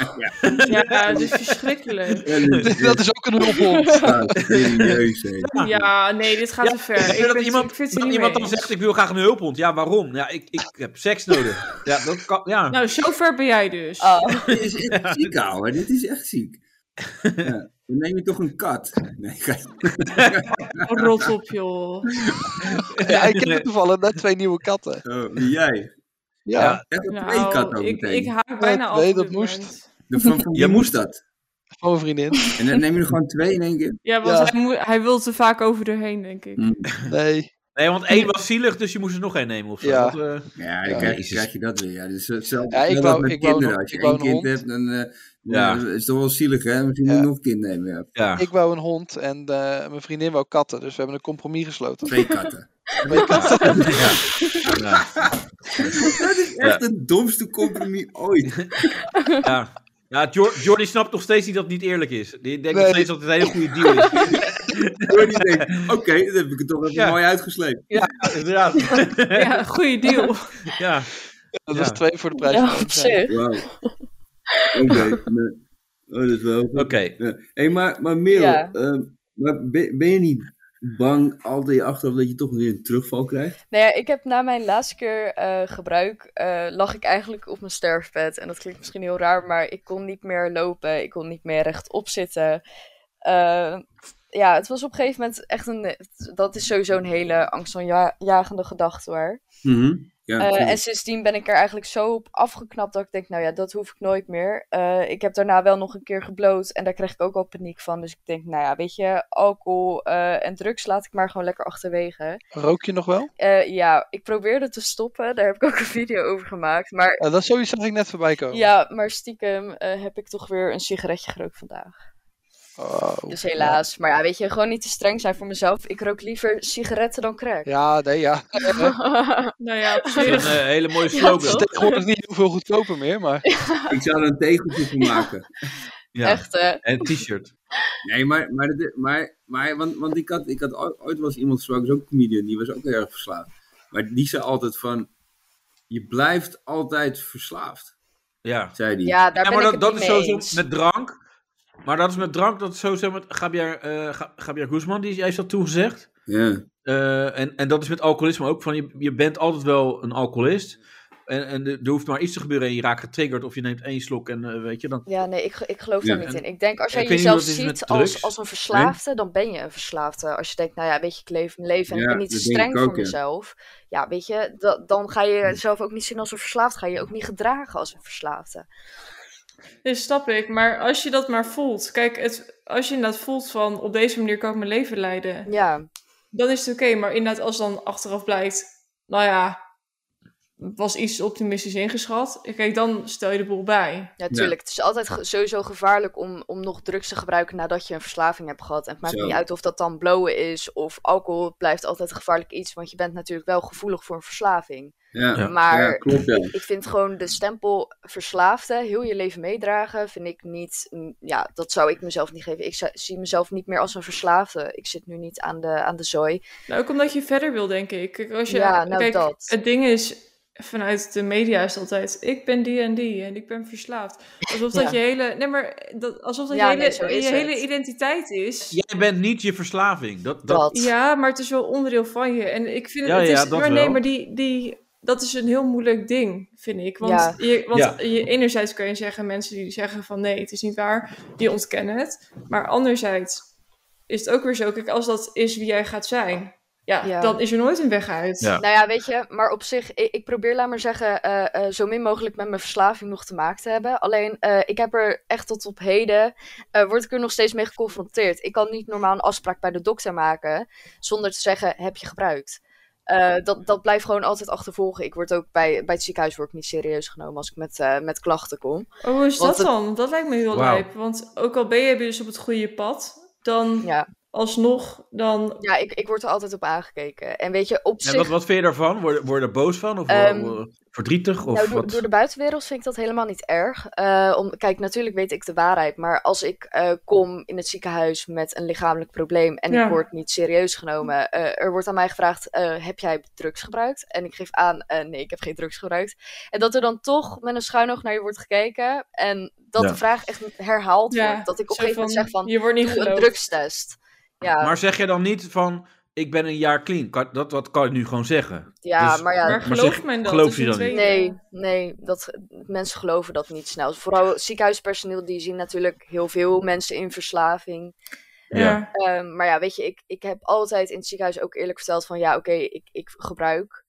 [SPEAKER 5] Ja, het is verschrikkelijk.
[SPEAKER 4] eh,
[SPEAKER 7] Dat is ook een hulphond.
[SPEAKER 4] Ja, serieus, hè.
[SPEAKER 5] Ja, nee, dit gaat
[SPEAKER 2] Ja,
[SPEAKER 5] te ver. Ik
[SPEAKER 2] dat
[SPEAKER 5] vind,
[SPEAKER 2] iemand-
[SPEAKER 5] ik vind
[SPEAKER 2] dat
[SPEAKER 5] het hier niet
[SPEAKER 2] iemand
[SPEAKER 5] mee
[SPEAKER 2] dan
[SPEAKER 5] eens.
[SPEAKER 2] zegt, ik wil graag een hulphond. Ja, waarom? Ja, ik, ik heb seks nodig. Ja, dat kan, ja.
[SPEAKER 5] Nou, zover ben jij dus.
[SPEAKER 3] Oh,
[SPEAKER 4] Dit is echt ziek, ouwe. Dit is echt ziek. Ja. Dan neem je toch een kat. Nee, kijk.
[SPEAKER 5] Oh, Rot op, joh.
[SPEAKER 7] Ja, ik heb toevallig net twee nieuwe katten.
[SPEAKER 4] Oh, wie jij.
[SPEAKER 7] Ja,
[SPEAKER 2] Ja.
[SPEAKER 4] Echt een
[SPEAKER 5] Nou,
[SPEAKER 4] twee kat ook
[SPEAKER 5] ik,
[SPEAKER 4] meteen.
[SPEAKER 5] ik haak bijna
[SPEAKER 7] Ja,
[SPEAKER 5] af.
[SPEAKER 7] nee,
[SPEAKER 5] op
[SPEAKER 7] dat
[SPEAKER 5] dit
[SPEAKER 7] moest.
[SPEAKER 5] moment.
[SPEAKER 4] Dan Van, van wie
[SPEAKER 2] Je
[SPEAKER 4] moest
[SPEAKER 2] moest-
[SPEAKER 4] dat?
[SPEAKER 7] van mijn vriendin.
[SPEAKER 4] En dan neem je er gewoon twee in één keer.
[SPEAKER 5] Ja, want
[SPEAKER 7] Ja.
[SPEAKER 5] Hij, moet, hij wil te vaak over doorheen, denk ik.
[SPEAKER 4] Mm.
[SPEAKER 7] Nee.
[SPEAKER 2] Nee, want één was zielig, dus je moest er nog één nemen of zo.
[SPEAKER 7] Ja.
[SPEAKER 2] Dat, eh,
[SPEAKER 4] Ja, dan
[SPEAKER 7] Ja.
[SPEAKER 4] krijg, je, krijg je dat weer. Ja, dus, eh, zelf,
[SPEAKER 7] Ja, ik
[SPEAKER 4] net
[SPEAKER 7] wou-
[SPEAKER 4] als met
[SPEAKER 7] ik wou
[SPEAKER 4] kinderen.
[SPEAKER 7] nog-
[SPEAKER 4] Als je
[SPEAKER 7] ik wou
[SPEAKER 4] één
[SPEAKER 7] een
[SPEAKER 4] kind
[SPEAKER 7] hond.
[SPEAKER 4] hebt, dan eh,
[SPEAKER 2] Ja.
[SPEAKER 4] dan is het toch wel zielig, hè? Misschien moet
[SPEAKER 7] Ja.
[SPEAKER 4] je nog een kind nemen. Ja.
[SPEAKER 2] ja.
[SPEAKER 7] Ik wou een hond en eh, mijn vriendin wou katten, dus we hebben een compromis gesloten.
[SPEAKER 4] Twee katten.
[SPEAKER 7] Twee katten.
[SPEAKER 2] ja. Ja.
[SPEAKER 4] dat is echt het domste compromis ooit.
[SPEAKER 2] Ja. Ja, Jor- Jordi snapt nog steeds niet dat het niet eerlijk is. Die denkt nog
[SPEAKER 7] Nee.
[SPEAKER 2] steeds dat het een hele goede deal is.
[SPEAKER 4] Door die denkt, oké, dat heb ik het toch even
[SPEAKER 2] Ja.
[SPEAKER 4] mooi uitgesleept.
[SPEAKER 2] Ja, inderdaad.
[SPEAKER 5] Ja, goede deal.
[SPEAKER 2] Ja.
[SPEAKER 7] Dat was
[SPEAKER 2] Ja.
[SPEAKER 7] twee voor de prijs
[SPEAKER 3] ja,
[SPEAKER 7] van
[SPEAKER 3] op
[SPEAKER 7] één.
[SPEAKER 3] zich.
[SPEAKER 4] Wauw. Oké. nee. Oh, dat is wel...
[SPEAKER 2] Oké.
[SPEAKER 4] Ja. Hé, maar, maar Merel,
[SPEAKER 3] Ja.
[SPEAKER 4] ehm, maar ben, ben je niet bang altijd achteraf dat je toch weer een terugval krijgt?
[SPEAKER 3] Nou ja, ik heb na mijn laatste keer eh, gebruik, eh, lag ik eigenlijk op mijn sterfbed. En dat klinkt misschien heel raar, maar ik kon niet meer lopen. Ik kon niet meer rechtop zitten. Eh, ja, het was op een gegeven moment echt een... Dat is sowieso een hele angstaanjagende gedachte, hoor.
[SPEAKER 2] Mhm.
[SPEAKER 4] Ja,
[SPEAKER 3] Eh,
[SPEAKER 4] natuurlijk.
[SPEAKER 3] en sindsdien ben ik er eigenlijk zo op afgeknapt dat ik denk, nou ja, dat hoef ik nooit meer. Eh, ik heb daarna wel nog een keer gebloot en daar kreeg ik ook al paniek van. Dus ik denk, nou ja, weet je, alcohol eh, en drugs laat ik maar gewoon lekker achterwege.
[SPEAKER 7] Rook je nog wel?
[SPEAKER 3] Eh, ja, ik probeerde te stoppen, daar heb ik ook een video over gemaakt. Maar
[SPEAKER 7] Eh, dat is sowieso zag ik net voorbij
[SPEAKER 2] Oh.
[SPEAKER 7] komen.
[SPEAKER 3] ja, maar stiekem eh, heb ik toch weer een sigaretje gerookt vandaag.
[SPEAKER 7] Oh,
[SPEAKER 3] Dus helaas. Maar ja, weet je, gewoon niet te streng zijn voor mezelf. Ik rook liever sigaretten dan crack.
[SPEAKER 7] Ja, nee, ja.
[SPEAKER 5] Nou ja, op
[SPEAKER 2] Dat is
[SPEAKER 5] zich.
[SPEAKER 2] een eh, hele mooie
[SPEAKER 7] Het is
[SPEAKER 2] slogan.
[SPEAKER 7] tegenwoordig niet heel veel goedkoper meer, maar...
[SPEAKER 4] Ik zou er een tegeltje van maken.
[SPEAKER 2] Ja,
[SPEAKER 3] Echt, eh,
[SPEAKER 2] En een t-shirt.
[SPEAKER 4] Nee, maar, maar, dat- maar, maar want, want ik had, ik had ooit ooit wel eens iemand gesproken, is ook een comedian, die was ook heel erg verslaafd. Maar die zei altijd van, je blijft altijd verslaafd,
[SPEAKER 2] Ja.
[SPEAKER 4] zei die.
[SPEAKER 3] ja, daar
[SPEAKER 2] ja, maar
[SPEAKER 3] ben ik
[SPEAKER 2] dat,
[SPEAKER 3] het
[SPEAKER 2] dat
[SPEAKER 3] niet
[SPEAKER 2] is
[SPEAKER 3] mee
[SPEAKER 2] sowieso
[SPEAKER 3] eens.
[SPEAKER 2] met drank. Maar dat is met drank, dat is sowieso met Javier, eh, Ga- Javier Guzman, die heeft dat toegezegd.
[SPEAKER 4] Ja.
[SPEAKER 2] Eh, en, en dat is met alcoholisme ook. Van je, je bent altijd wel een alcoholist. En, en er er hoeft maar iets te gebeuren en je raakt getriggerd. Of je neemt één slok en eh, weet je dan.
[SPEAKER 3] Ja, nee, ik, ge- ik geloof
[SPEAKER 4] Ja,
[SPEAKER 3] daar niet
[SPEAKER 2] en-
[SPEAKER 3] in. Ik denk als jij
[SPEAKER 2] ik weet niet
[SPEAKER 3] jezelf
[SPEAKER 2] hoe dat is met
[SPEAKER 3] ziet als,
[SPEAKER 2] drugs.
[SPEAKER 3] als een verslaafde, dan ben je een verslaafde. Als je denkt, nou ja, weet je, ik leef mijn leven en
[SPEAKER 4] Ja,
[SPEAKER 3] ik ben niet te
[SPEAKER 4] dat denk
[SPEAKER 3] streng
[SPEAKER 4] ik
[SPEAKER 3] voor
[SPEAKER 4] ook, ja.
[SPEAKER 3] mezelf. Ja, weet je, da- dan ga je jezelf ook niet zien als een verslaafde. Ga je je ook niet gedragen als een verslaafde.
[SPEAKER 5] Dus snap ik. Maar als je dat maar voelt. Kijk, het, als je inderdaad voelt van op deze manier kan ik mijn leven leiden.
[SPEAKER 3] Ja,
[SPEAKER 5] Dan is het oké. Maar inderdaad, als dan achteraf blijkt. Nou ja, was iets optimistisch ingeschat. Kijk, dan stel je de boel bij.
[SPEAKER 3] natuurlijk. Het is altijd ge- sowieso gevaarlijk om, om nog drugs te gebruiken nadat je een verslaving hebt gehad. En het maakt
[SPEAKER 4] Zo.
[SPEAKER 3] niet uit of dat dan blowen is of alcohol. Het blijft altijd gevaarlijk iets, want je bent natuurlijk wel gevoelig voor een verslaving.
[SPEAKER 4] Ja.
[SPEAKER 2] Ja.
[SPEAKER 3] Maar
[SPEAKER 4] Ja, klopt ja.
[SPEAKER 3] Ik vind gewoon de stempel verslaafde, heel je leven meedragen, vind ik niet. mm, Ja, dat zou ik mezelf niet geven. Ik zou- zie mezelf niet meer als een verslaafde. Ik zit nu niet aan de, aan de zooi.
[SPEAKER 5] Nou, ook omdat je verder wil, denk ik. Kijk, Als je,
[SPEAKER 3] Ja, nou,
[SPEAKER 5] kijk,
[SPEAKER 3] dat.
[SPEAKER 5] Het ding is, vanuit de media is het altijd... Ik ben die en die en ik ben verslaafd. Alsof dat
[SPEAKER 3] Ja.
[SPEAKER 5] je hele... Nee, maar dat, alsof dat
[SPEAKER 3] Ja,
[SPEAKER 5] je,
[SPEAKER 3] nee,
[SPEAKER 5] hele,
[SPEAKER 3] zo is
[SPEAKER 5] je
[SPEAKER 3] het.
[SPEAKER 5] hele identiteit is. Ja.
[SPEAKER 2] Jij bent niet je verslaving. Dat, dat,
[SPEAKER 3] Dat.
[SPEAKER 5] maar het is wel onderdeel van je. En ik vind
[SPEAKER 2] Ja,
[SPEAKER 5] het...
[SPEAKER 2] ja,
[SPEAKER 5] is,
[SPEAKER 2] dat
[SPEAKER 5] maar nee,
[SPEAKER 2] wel.
[SPEAKER 5] maar die, die, dat is een heel moeilijk ding, vind ik. Want,
[SPEAKER 3] Ja.
[SPEAKER 5] je, want
[SPEAKER 2] Ja.
[SPEAKER 5] je, enerzijds kun je zeggen... Mensen die zeggen van nee, het is niet waar. Die ontkennen het. Maar anderzijds is het ook weer zo... Kijk, als dat is wie jij gaat zijn... Ja,
[SPEAKER 3] Ja.
[SPEAKER 5] dan is er nooit een weg uit.
[SPEAKER 2] Ja.
[SPEAKER 3] Nou ja, weet je, maar op zich, ik, ik probeer, laat maar zeggen, eh, eh, zo min mogelijk met mijn verslaving nog te maken te hebben. Alleen, eh, ik heb er echt tot op heden, eh, word ik er nog steeds mee geconfronteerd. Ik kan niet normaal een afspraak bij de dokter maken zonder te zeggen, heb je gebruikt? Eh, dat, dat blijft gewoon altijd achtervolgen. Ik word ook bij, bij het ziekenhuis word ik niet serieus genomen als ik met, eh, met klachten kom.
[SPEAKER 5] Oh, hoe is
[SPEAKER 3] Want
[SPEAKER 5] dat
[SPEAKER 3] het-
[SPEAKER 5] dan? Dat lijkt me heel
[SPEAKER 2] Wauw.
[SPEAKER 5] lijp. Want ook al ben je dus op het goede pad, dan
[SPEAKER 3] Ja,
[SPEAKER 5] alsnog, dan...
[SPEAKER 3] ja ik, ik word er altijd op aangekeken. En weet je, op
[SPEAKER 2] En
[SPEAKER 3] zich,
[SPEAKER 2] wat, wat vind je daarvan? Word, word je er boos van? Of
[SPEAKER 3] Ehm,
[SPEAKER 2] wo- wo- verdrietig? Of
[SPEAKER 3] nou, door,
[SPEAKER 2] wat?
[SPEAKER 3] door de buitenwereld vind ik dat helemaal niet erg. Eh, om, kijk, natuurlijk weet ik de waarheid, maar als ik eh, kom in het ziekenhuis met een lichamelijk probleem en
[SPEAKER 5] Ja.
[SPEAKER 3] ik word niet serieus genomen, eh, er wordt aan mij gevraagd, eh, heb jij drugs gebruikt? En ik geef aan, eh, nee, ik heb geen drugs gebruikt. En dat er dan toch met een schuin oog naar je wordt gekeken en dat
[SPEAKER 2] Ja.
[SPEAKER 3] de vraag echt herhaald
[SPEAKER 5] Ja,
[SPEAKER 3] wordt. Dat ik op
[SPEAKER 5] zo
[SPEAKER 3] een gegeven moment zeg van,
[SPEAKER 5] je wordt niet
[SPEAKER 3] doe een
[SPEAKER 5] geloofd.
[SPEAKER 3] drugstest. Ja,
[SPEAKER 2] Maar zeg je dan niet van, ik ben een jaar clean. Kan- dat, dat kan je nu gewoon zeggen.
[SPEAKER 3] ja
[SPEAKER 2] dus-
[SPEAKER 3] maar ja,
[SPEAKER 5] Maar
[SPEAKER 2] Maar
[SPEAKER 5] gelooft
[SPEAKER 2] zeg-
[SPEAKER 5] men dat?
[SPEAKER 2] geloof
[SPEAKER 5] Dus
[SPEAKER 2] je
[SPEAKER 5] een
[SPEAKER 2] dan niet?
[SPEAKER 5] tweede.
[SPEAKER 3] Nee, nee dat, mensen geloven dat niet snel. Vooral ziekenhuispersoneel, die zien natuurlijk heel veel mensen in verslaving.
[SPEAKER 5] Ja.
[SPEAKER 2] Ja.
[SPEAKER 3] Ehm, maar ja, weet je, ik, ik heb altijd in het ziekenhuis ook eerlijk verteld van ja, oké, ik, ik gebruik.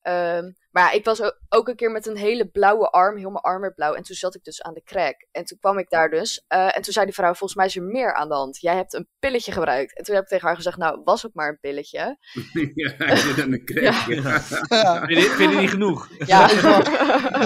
[SPEAKER 3] Ehm, maar ja, ik was o- ook een keer met een hele blauwe arm, heel mijn arm werd blauw. En toen zat ik dus aan de crack. En toen kwam ik daar dus. eh, en toen zei die vrouw, volgens mij is er meer aan de hand. Jij hebt een pilletje gebruikt. En toen heb ik tegen haar gezegd, nou, was het maar een pilletje.
[SPEAKER 4] ja, hij zit aan de crack. Ja.
[SPEAKER 7] Ja.
[SPEAKER 2] Vind, je, vind je niet genoeg?
[SPEAKER 3] Ja.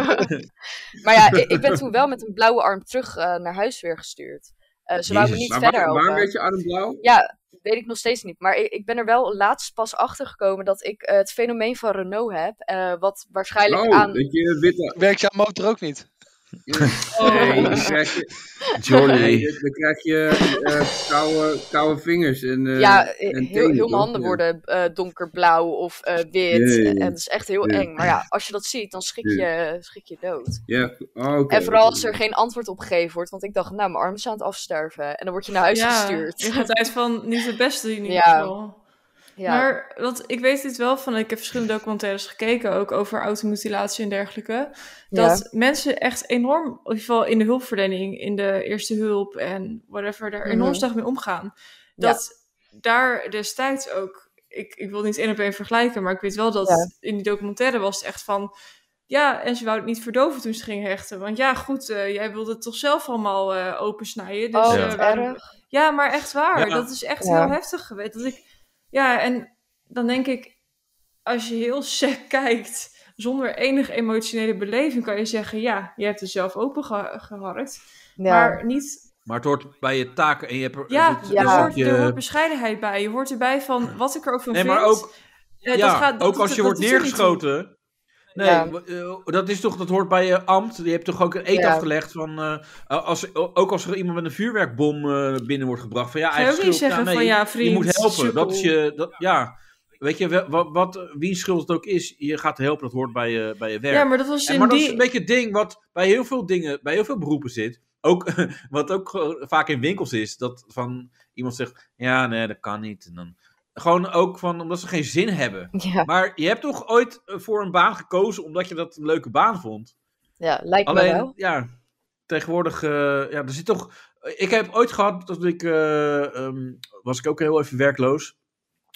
[SPEAKER 3] maar ja, ik, ik ben toen wel met een blauwe arm terug eh, naar huis weer gestuurd. Eh, ze wouden me niet
[SPEAKER 4] Maar
[SPEAKER 3] verder
[SPEAKER 4] waar, waar
[SPEAKER 3] helpen.
[SPEAKER 4] werd je arm blauw?
[SPEAKER 3] Ja, weet ik nog steeds niet. Maar ik, ik ben er wel laatst pas achter gekomen dat ik eh, het fenomeen van Renault heb. eh, wat waarschijnlijk
[SPEAKER 4] Oh,
[SPEAKER 3] aan.
[SPEAKER 4] dat je witte...
[SPEAKER 7] Werkt jouw motor ook niet?
[SPEAKER 4] Nee, dan krijg je, nee,
[SPEAKER 2] Jordi.
[SPEAKER 4] dan krijg je eh, koude, koude vingers en eh,
[SPEAKER 3] ja, eh,
[SPEAKER 4] en
[SPEAKER 3] heel,
[SPEAKER 4] tenen,
[SPEAKER 3] heel
[SPEAKER 4] toch?
[SPEAKER 3] mijn handen
[SPEAKER 4] Ja.
[SPEAKER 3] worden eh, donkerblauw of eh, wit.
[SPEAKER 4] Jee.
[SPEAKER 3] En dat is echt heel
[SPEAKER 4] Ja.
[SPEAKER 3] eng. Maar ja, als je dat ziet, dan schrik je, schrik je dood.
[SPEAKER 4] Ja, oh, oké.
[SPEAKER 3] En vooral als er geen antwoord op gegeven wordt. Want ik dacht, nou, mijn arm is aan het afsterven. En dan word je naar huis
[SPEAKER 5] Ja,
[SPEAKER 3] gestuurd.
[SPEAKER 5] je gaat uit van niet het beste in ieder
[SPEAKER 3] Ja.
[SPEAKER 5] geval.
[SPEAKER 3] Ja.
[SPEAKER 5] Maar wat, ik weet dit wel van, ik heb verschillende documentaires gekeken, ook over automutilatie en dergelijke. Dat mensen echt enorm, in ieder geval in de hulpverlening, in de eerste hulp en whatever, daar enorm
[SPEAKER 3] Mhm.
[SPEAKER 5] sterk mee omgaan. Dat daar destijds ook, ik, ik wil niet één op één vergelijken, maar ik weet wel dat
[SPEAKER 3] Ja.
[SPEAKER 5] in die documentaire was het echt van. Ja, en ze wou het niet verdoven toen ze ging hechten. Want ja, goed, eh, jij wilde het toch zelf allemaal eh, opensnijden. Dus,
[SPEAKER 3] oh,
[SPEAKER 2] Ja.
[SPEAKER 5] eh,
[SPEAKER 3] wat
[SPEAKER 5] waarom-
[SPEAKER 3] erg.
[SPEAKER 5] ja, maar echt waar.
[SPEAKER 2] Ja.
[SPEAKER 5] Dat is echt
[SPEAKER 3] Ja.
[SPEAKER 5] heel heftig geweest. Dat ik, ja, en dan denk ik, als je heel sec kijkt, zonder enig emotionele beleving, kan je zeggen, ja, je hebt er zelf open geha- geharkt.
[SPEAKER 3] Ja.
[SPEAKER 5] Maar niet,
[SPEAKER 2] Maar het hoort bij je taken en je hebt er-
[SPEAKER 5] ja,
[SPEAKER 2] dat-
[SPEAKER 3] ja.
[SPEAKER 5] Er,
[SPEAKER 2] dat
[SPEAKER 5] hoort,
[SPEAKER 2] je-
[SPEAKER 5] er hoort bescheidenheid bij. Je hoort erbij van, wat ik er ook van
[SPEAKER 2] Nee,
[SPEAKER 5] vind.
[SPEAKER 2] maar ook,
[SPEAKER 5] eh,
[SPEAKER 2] ja,
[SPEAKER 5] dat gaat- dat
[SPEAKER 2] ook
[SPEAKER 5] doet-
[SPEAKER 2] als je
[SPEAKER 5] dat
[SPEAKER 2] wordt
[SPEAKER 5] doet er niet toe.
[SPEAKER 2] neergeschoten. Nee,
[SPEAKER 3] Ja.
[SPEAKER 2] w- eh, dat is toch, dat hoort bij je ambt. Je hebt toch ook een eet
[SPEAKER 3] Ja.
[SPEAKER 2] afgelegd van, eh, als, ook als er iemand met een vuurwerkbom eh, binnen wordt gebracht. Van ja,
[SPEAKER 5] Ga je ook
[SPEAKER 2] eigen
[SPEAKER 5] niet
[SPEAKER 2] schuld.
[SPEAKER 5] zeggen
[SPEAKER 2] nee,
[SPEAKER 5] van, ja,
[SPEAKER 2] je
[SPEAKER 5] vriend,
[SPEAKER 2] moet helpen. Dat is
[SPEAKER 5] sukkel.
[SPEAKER 2] je, dat, ja, weet je, wel- wat, wat, wie schuld het ook is, je gaat helpen, dat hoort bij je, bij je werk.
[SPEAKER 5] Ja, maar dat was
[SPEAKER 2] En
[SPEAKER 5] in
[SPEAKER 2] maar dat
[SPEAKER 5] die...
[SPEAKER 2] is een beetje het ding wat bij heel veel dingen, bij heel veel beroepen zit. Ook, wat ook gewoon vaak in winkels is, dat van iemand zegt, ja, nee, dat kan niet. En dan, gewoon ook van, omdat ze geen zin hebben.
[SPEAKER 3] Ja.
[SPEAKER 2] Maar je hebt toch ooit eh, voor een baan gekozen omdat je dat een leuke baan vond?
[SPEAKER 3] ja, lijkt me
[SPEAKER 2] Alleen,
[SPEAKER 3] wel.
[SPEAKER 2] ja, tegenwoordig, eh, ja, er zit toch... Ik heb ooit gehad, dat ik, eh, ehm, was ik ook heel even werkloos.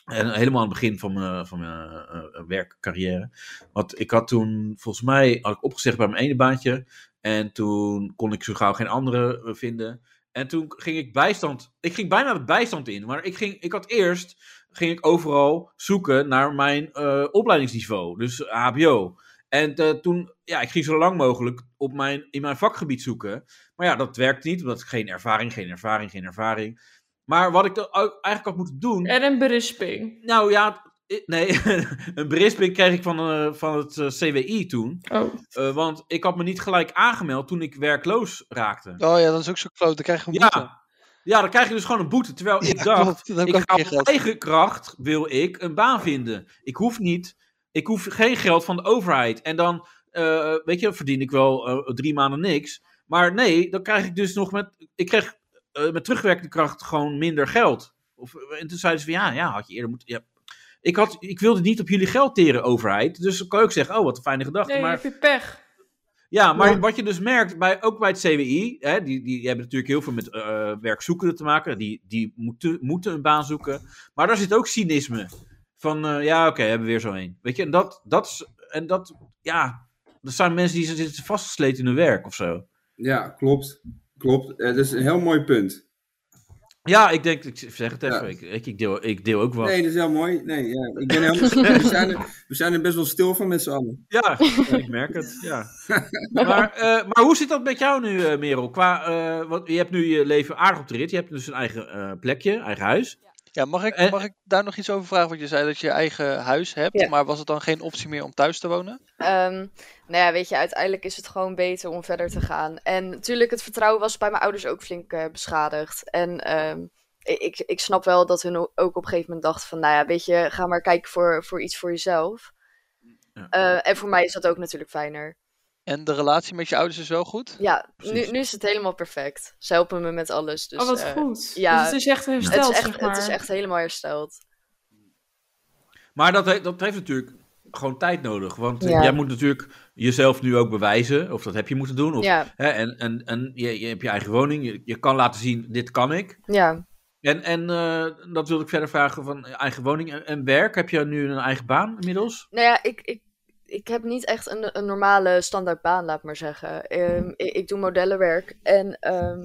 [SPEAKER 2] En helemaal aan het begin van mijn, van mijn eh, eh, werkcarrière. Want ik had toen, volgens mij, had ik opgezegd bij mijn ene baantje. En toen kon ik zo gauw geen andere eh, vinden. En toen ging ik bijstand, ik ging bijna de bijstand in. Maar ik, ging, ik had eerst, ging ik overal zoeken naar mijn eh, opleidingsniveau. Dus HBO. En eh, toen, ja, ik ging zo lang mogelijk op mijn, in mijn vakgebied zoeken. Maar ja, dat werkt niet, omdat ik geen ervaring, geen ervaring, geen ervaring. Maar wat ik dan ook eigenlijk had moeten doen...
[SPEAKER 5] En een berisping.
[SPEAKER 2] Nou ja, i- nee, een berisping kreeg ik van, eh, van het eh, CWI toen.
[SPEAKER 5] Oh,
[SPEAKER 2] Eh, want ik had me niet gelijk aangemeld toen ik werkloos raakte.
[SPEAKER 7] Oh ja, dat is ook zo kloot. Dan krijg je gewoon boete.
[SPEAKER 2] Ja, ja, dan krijg je dus gewoon een boete. Terwijl ik
[SPEAKER 7] Ja,
[SPEAKER 2] dacht,
[SPEAKER 7] klopt. Dan heb
[SPEAKER 2] ik
[SPEAKER 7] ik ook
[SPEAKER 2] ga
[SPEAKER 7] geen
[SPEAKER 2] op
[SPEAKER 7] geld.
[SPEAKER 2] eigen kracht wil ik een baan vinden. Ik hoef niet, ik hoef geen geld van de overheid. En dan, eh, weet je, dan verdien ik wel eh, drie maanden niks. Maar nee, dan krijg ik dus nog met, ik kreeg eh, met terugwerkende kracht gewoon minder geld. Of, eh, en toen zeiden ze van, ja, ja, had je eerder moeten, ja. Ik, had, ik wilde niet op jullie geld teren, overheid. Dus dan kan ik ook zeggen, oh, wat een fijne gedachte.
[SPEAKER 5] nee,
[SPEAKER 2] maar
[SPEAKER 5] heb je pech.
[SPEAKER 2] ja, maar
[SPEAKER 6] Ja.
[SPEAKER 2] wat je dus merkt, bij, ook bij het CWI, hè, die, die hebben natuurlijk heel veel met eh, werkzoekenden te maken. Die, die moeten, moeten een baan zoeken. Maar daar zit ook cynisme. Van eh, ja, oké, hebben we weer zo een. Weet je, en dat, dat is, en dat, ja, dat zijn mensen die zitten vastgesleten in hun werk of zo.
[SPEAKER 4] Ja, klopt. Klopt. Eh, dat is een heel mooi punt.
[SPEAKER 2] Ja, ik denk, ik zeg het even,
[SPEAKER 4] Ja.
[SPEAKER 2] ik, ik, ik deel, ik deel ook wat.
[SPEAKER 4] Nee, dat is heel mooi. Nee, ja, ik ben helemaal... we, zijn er, we zijn er best wel stil van met z'n allen.
[SPEAKER 2] Ja, ik merk het, ja. Maar, eh, maar hoe zit dat met jou nu, eh, Merel? Qua, eh, want je hebt nu je leven aardig op de rit. Je hebt dus een eigen eh, plekje, eigen huis.
[SPEAKER 7] Ja, mag ik,
[SPEAKER 2] En-
[SPEAKER 7] mag ik daar nog iets over vragen? Want je zei dat je je eigen huis hebt,
[SPEAKER 3] Ja.
[SPEAKER 7] maar was het dan geen optie meer om thuis te wonen?
[SPEAKER 3] Ehm, nou ja, weet je, uiteindelijk is het gewoon beter om verder te gaan. En natuurlijk, het vertrouwen was bij mijn ouders ook flink eh, beschadigd. En ehm, ik- ik, ik snap wel dat hun ook op een gegeven moment dachten van... Nou ja, weet je, ga maar kijken voor, voor iets voor jezelf.
[SPEAKER 2] Ja.
[SPEAKER 3] Eh, en voor mij is dat ook natuurlijk fijner.
[SPEAKER 7] En de relatie met je ouders is wel goed?
[SPEAKER 3] Ja, nu,
[SPEAKER 2] Precies.
[SPEAKER 3] nu is het helemaal perfect. Ze helpen me met alles. Dus,
[SPEAKER 5] oh, wat
[SPEAKER 3] eh,
[SPEAKER 5] goed.
[SPEAKER 3] ja.
[SPEAKER 5] Dus het is echt
[SPEAKER 3] Het is,
[SPEAKER 5] hersteld,
[SPEAKER 3] echt,
[SPEAKER 5] zeg maar.
[SPEAKER 3] het is echt helemaal hersteld.
[SPEAKER 2] Maar dat, he- dat heeft natuurlijk gewoon tijd nodig. Want eh,
[SPEAKER 3] Ja.
[SPEAKER 2] jij moet natuurlijk jezelf nu ook bewijzen. Of dat heb je moeten doen. Of,
[SPEAKER 3] Ja,
[SPEAKER 2] hè, en en, en je, je hebt je eigen woning. Je, je kan laten zien, dit kan ik.
[SPEAKER 3] ja.
[SPEAKER 2] En, en eh, dat wilde ik verder vragen van eh, eigen woning en, en werk. Heb je nu een eigen baan inmiddels?
[SPEAKER 3] Nou ja, ik, ik, ik heb niet echt een, een normale standaard baan, laat maar zeggen.
[SPEAKER 2] Hmm.
[SPEAKER 3] Ehm, ik, ik doe modellenwerk en ehm,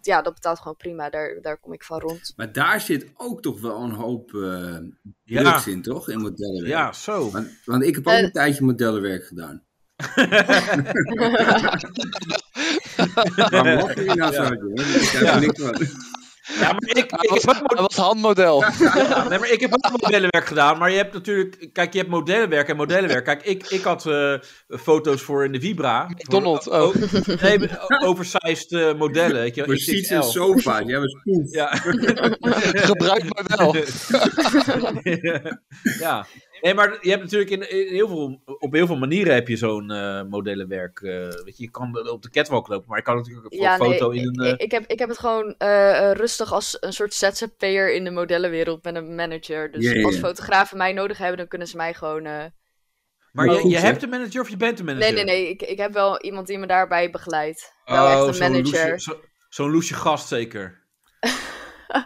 [SPEAKER 3] ja, dat betaalt gewoon prima. Daar, daar kom ik van rond.
[SPEAKER 4] Maar daar zit ook toch wel een hoop eh
[SPEAKER 2] Ja,
[SPEAKER 4] drugs in, toch? In modellenwerk.
[SPEAKER 2] ja zo.
[SPEAKER 4] Want, want ik heb ook
[SPEAKER 3] Eh.
[SPEAKER 4] een tijdje modellenwerk gedaan. Waarom lachen jullie nou zo,
[SPEAKER 2] Ja.
[SPEAKER 4] jongen? Ik heb er niks van.
[SPEAKER 2] Ja, maar ik, ik,
[SPEAKER 7] Hij
[SPEAKER 2] heb
[SPEAKER 7] was,
[SPEAKER 2] ook
[SPEAKER 7] hij was handmodel.
[SPEAKER 2] Ja, nee, maar ik heb ook modellenwerk gedaan, maar je hebt natuurlijk... Kijk, je hebt modellenwerk en modellenwerk. Kijk, ik, ik had eh, foto's voor in de Vibra.
[SPEAKER 7] McDonald's,
[SPEAKER 2] Voor-
[SPEAKER 7] oh.
[SPEAKER 2] nee, maar oversized eh, modellen, weet je wel,
[SPEAKER 4] Precies een
[SPEAKER 2] XXL.
[SPEAKER 4] sofa. Jij was poef.
[SPEAKER 2] Ja.
[SPEAKER 7] Gebruik maar wel.
[SPEAKER 2] ja. Nee, maar je hebt natuurlijk in, in heel veel, op heel veel manieren heb je zo'n eh, modellenwerk. eh, weet je, je kan op de catwalk lopen, maar je kan natuurlijk ook voor
[SPEAKER 3] Ja,
[SPEAKER 2] een
[SPEAKER 3] nee,
[SPEAKER 2] foto in
[SPEAKER 3] ik,
[SPEAKER 2] een... eh,
[SPEAKER 3] ik- ik heb, ik heb het gewoon eh, eh, rustig als een soort ZZP'er in de modellenwereld met een manager. Dus
[SPEAKER 4] Ja, ja,
[SPEAKER 3] als
[SPEAKER 4] ja.
[SPEAKER 3] fotografen mij nodig hebben, dan kunnen ze mij gewoon... eh,
[SPEAKER 2] maar
[SPEAKER 4] Maar
[SPEAKER 2] je,
[SPEAKER 4] goed,
[SPEAKER 2] je
[SPEAKER 4] hè?
[SPEAKER 2] hebt een manager of je bent een manager?
[SPEAKER 3] Nee, nee, nee. Ik, ik heb wel iemand die me daarbij begeleidt. Wel
[SPEAKER 2] Oh,
[SPEAKER 3] echt een
[SPEAKER 2] zo'n
[SPEAKER 3] manager.
[SPEAKER 2] loesje- zo- Zo'n loesje gast zeker. Eh,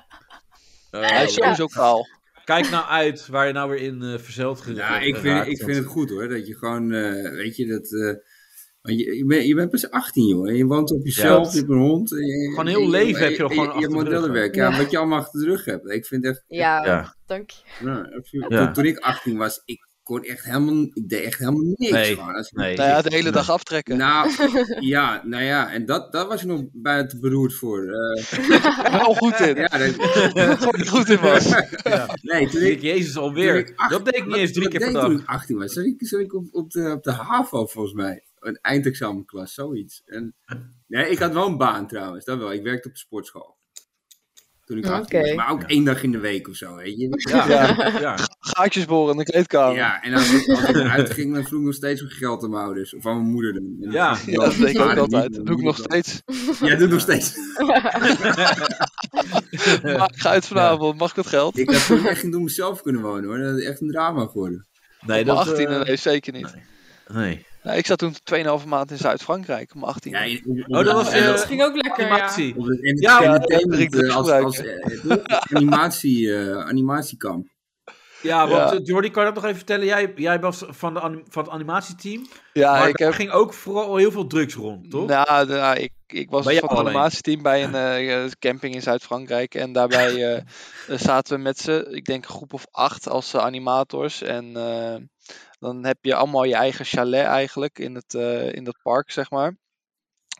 [SPEAKER 7] Hij is sowieso kaal.
[SPEAKER 2] Kijk nou uit waar je nou weer in eh verzeld geraakt
[SPEAKER 4] Ja, ik vind, ik vind het goed hoor. Dat je gewoon, eh, weet je, dat. eh, want je, je, bent, je bent pas 18, joh. En je woont op jezelf, je hebt een hond. en je-
[SPEAKER 2] Gewoon heel
[SPEAKER 4] je-
[SPEAKER 2] leven heb je al gewoon
[SPEAKER 4] Je,
[SPEAKER 2] achter de rug,
[SPEAKER 4] modellenwerk,
[SPEAKER 3] hoor.
[SPEAKER 4] ja, wat je allemaal achter de rug hebt. Ik vind echt,
[SPEAKER 3] Ja,
[SPEAKER 2] Ja.
[SPEAKER 3] dank je.
[SPEAKER 4] ja, absoluut.
[SPEAKER 2] Ja.
[SPEAKER 4] Toen, toen ik 18 was, ik kon echt helemaal, ik deed echt helemaal niks.
[SPEAKER 2] Nee,
[SPEAKER 4] gewoon. Als ik-
[SPEAKER 2] Nee,
[SPEAKER 7] Nou ja, de hele
[SPEAKER 2] nee.
[SPEAKER 7] dag aftrekken.
[SPEAKER 4] Nou, ja, nou ja, en dat, dat was je nog buiten beroerd voor. eh,
[SPEAKER 7] Wel goed in.
[SPEAKER 4] ja, dat,
[SPEAKER 7] Gewoon niet goed in was.
[SPEAKER 4] nee, toen
[SPEAKER 2] Zie ik
[SPEAKER 4] ik,
[SPEAKER 2] Jezus
[SPEAKER 4] Toen
[SPEAKER 2] alweer.
[SPEAKER 4] ik acht-
[SPEAKER 2] Dat deed ik niet
[SPEAKER 4] Wat-
[SPEAKER 2] eens drie
[SPEAKER 4] wat
[SPEAKER 2] keer
[SPEAKER 4] deed
[SPEAKER 2] per dag.
[SPEAKER 4] Toen ik 18 was, zat ik, zat ik op, op, de, op de HAVO volgens mij. Een eindexamenklas, zoiets. En, nee, ik had wel een baan trouwens, dat wel. Ik werkte op de sportschool. Toen ik
[SPEAKER 3] Oké.
[SPEAKER 4] 18 was, maar ook één dag in de week of zo, weet je.
[SPEAKER 2] Ja, ja.
[SPEAKER 7] Gaatjes boren in de kleedkamer. Ja,
[SPEAKER 4] Ja, en als ik, als ik eruit ging, dan vroeg ik nog steeds om geld aan mijn ouders. Of aan mijn moeder dan. En
[SPEAKER 2] Ja,
[SPEAKER 4] dan-
[SPEAKER 7] dat deed ik ook
[SPEAKER 4] maar
[SPEAKER 7] altijd.
[SPEAKER 4] niet,
[SPEAKER 7] Dat doe ik nog steeds.
[SPEAKER 4] Ja, dat doe ik nog steeds.
[SPEAKER 7] Maar ik ga uit vanavond. Mag ik dat geld?
[SPEAKER 4] Ik had toen echt niet door mezelf kunnen wonen hoor. Dat is echt een drama geworden.
[SPEAKER 2] Nee,
[SPEAKER 7] Mijn
[SPEAKER 2] dat...
[SPEAKER 7] 18
[SPEAKER 2] eh,
[SPEAKER 7] nee, zeker niet.
[SPEAKER 2] nee.
[SPEAKER 7] Nou, ik zat toen 2,5 maand in Zuid-Frankrijk. Om 18.
[SPEAKER 4] Ja, in-
[SPEAKER 2] Oh, dat was...
[SPEAKER 5] En
[SPEAKER 2] eh,
[SPEAKER 5] dat ging ook lekker, ja.
[SPEAKER 2] animatie.
[SPEAKER 4] Op het
[SPEAKER 2] Ja, ja,
[SPEAKER 4] entertainment,
[SPEAKER 7] ja,
[SPEAKER 4] eh, als,
[SPEAKER 7] gebruiken.
[SPEAKER 4] als eh, animatie, eh, animatiekamp.
[SPEAKER 2] Ja, want
[SPEAKER 7] Ja.
[SPEAKER 2] eh, Jordi, kan je dat nog even vertellen? Jij, jij was van, de anim- van het animatieteam.
[SPEAKER 7] Ja,
[SPEAKER 2] maar
[SPEAKER 7] ik
[SPEAKER 2] daar
[SPEAKER 7] heb...
[SPEAKER 2] ging ook vooral heel veel drugs rond, toch?
[SPEAKER 7] Nou, de- nou, ik, ik was
[SPEAKER 2] Bij
[SPEAKER 7] van
[SPEAKER 2] jou
[SPEAKER 7] het
[SPEAKER 2] alleen.
[SPEAKER 7] animatieteam bij een eh, eh, camping in Zuid-Frankrijk. En daarbij eh, zaten we met z'n, ik denk een groep of acht als eh, animators. En eh, dan heb je allemaal je eigen chalet eigenlijk in, het, eh, in dat park, zeg maar.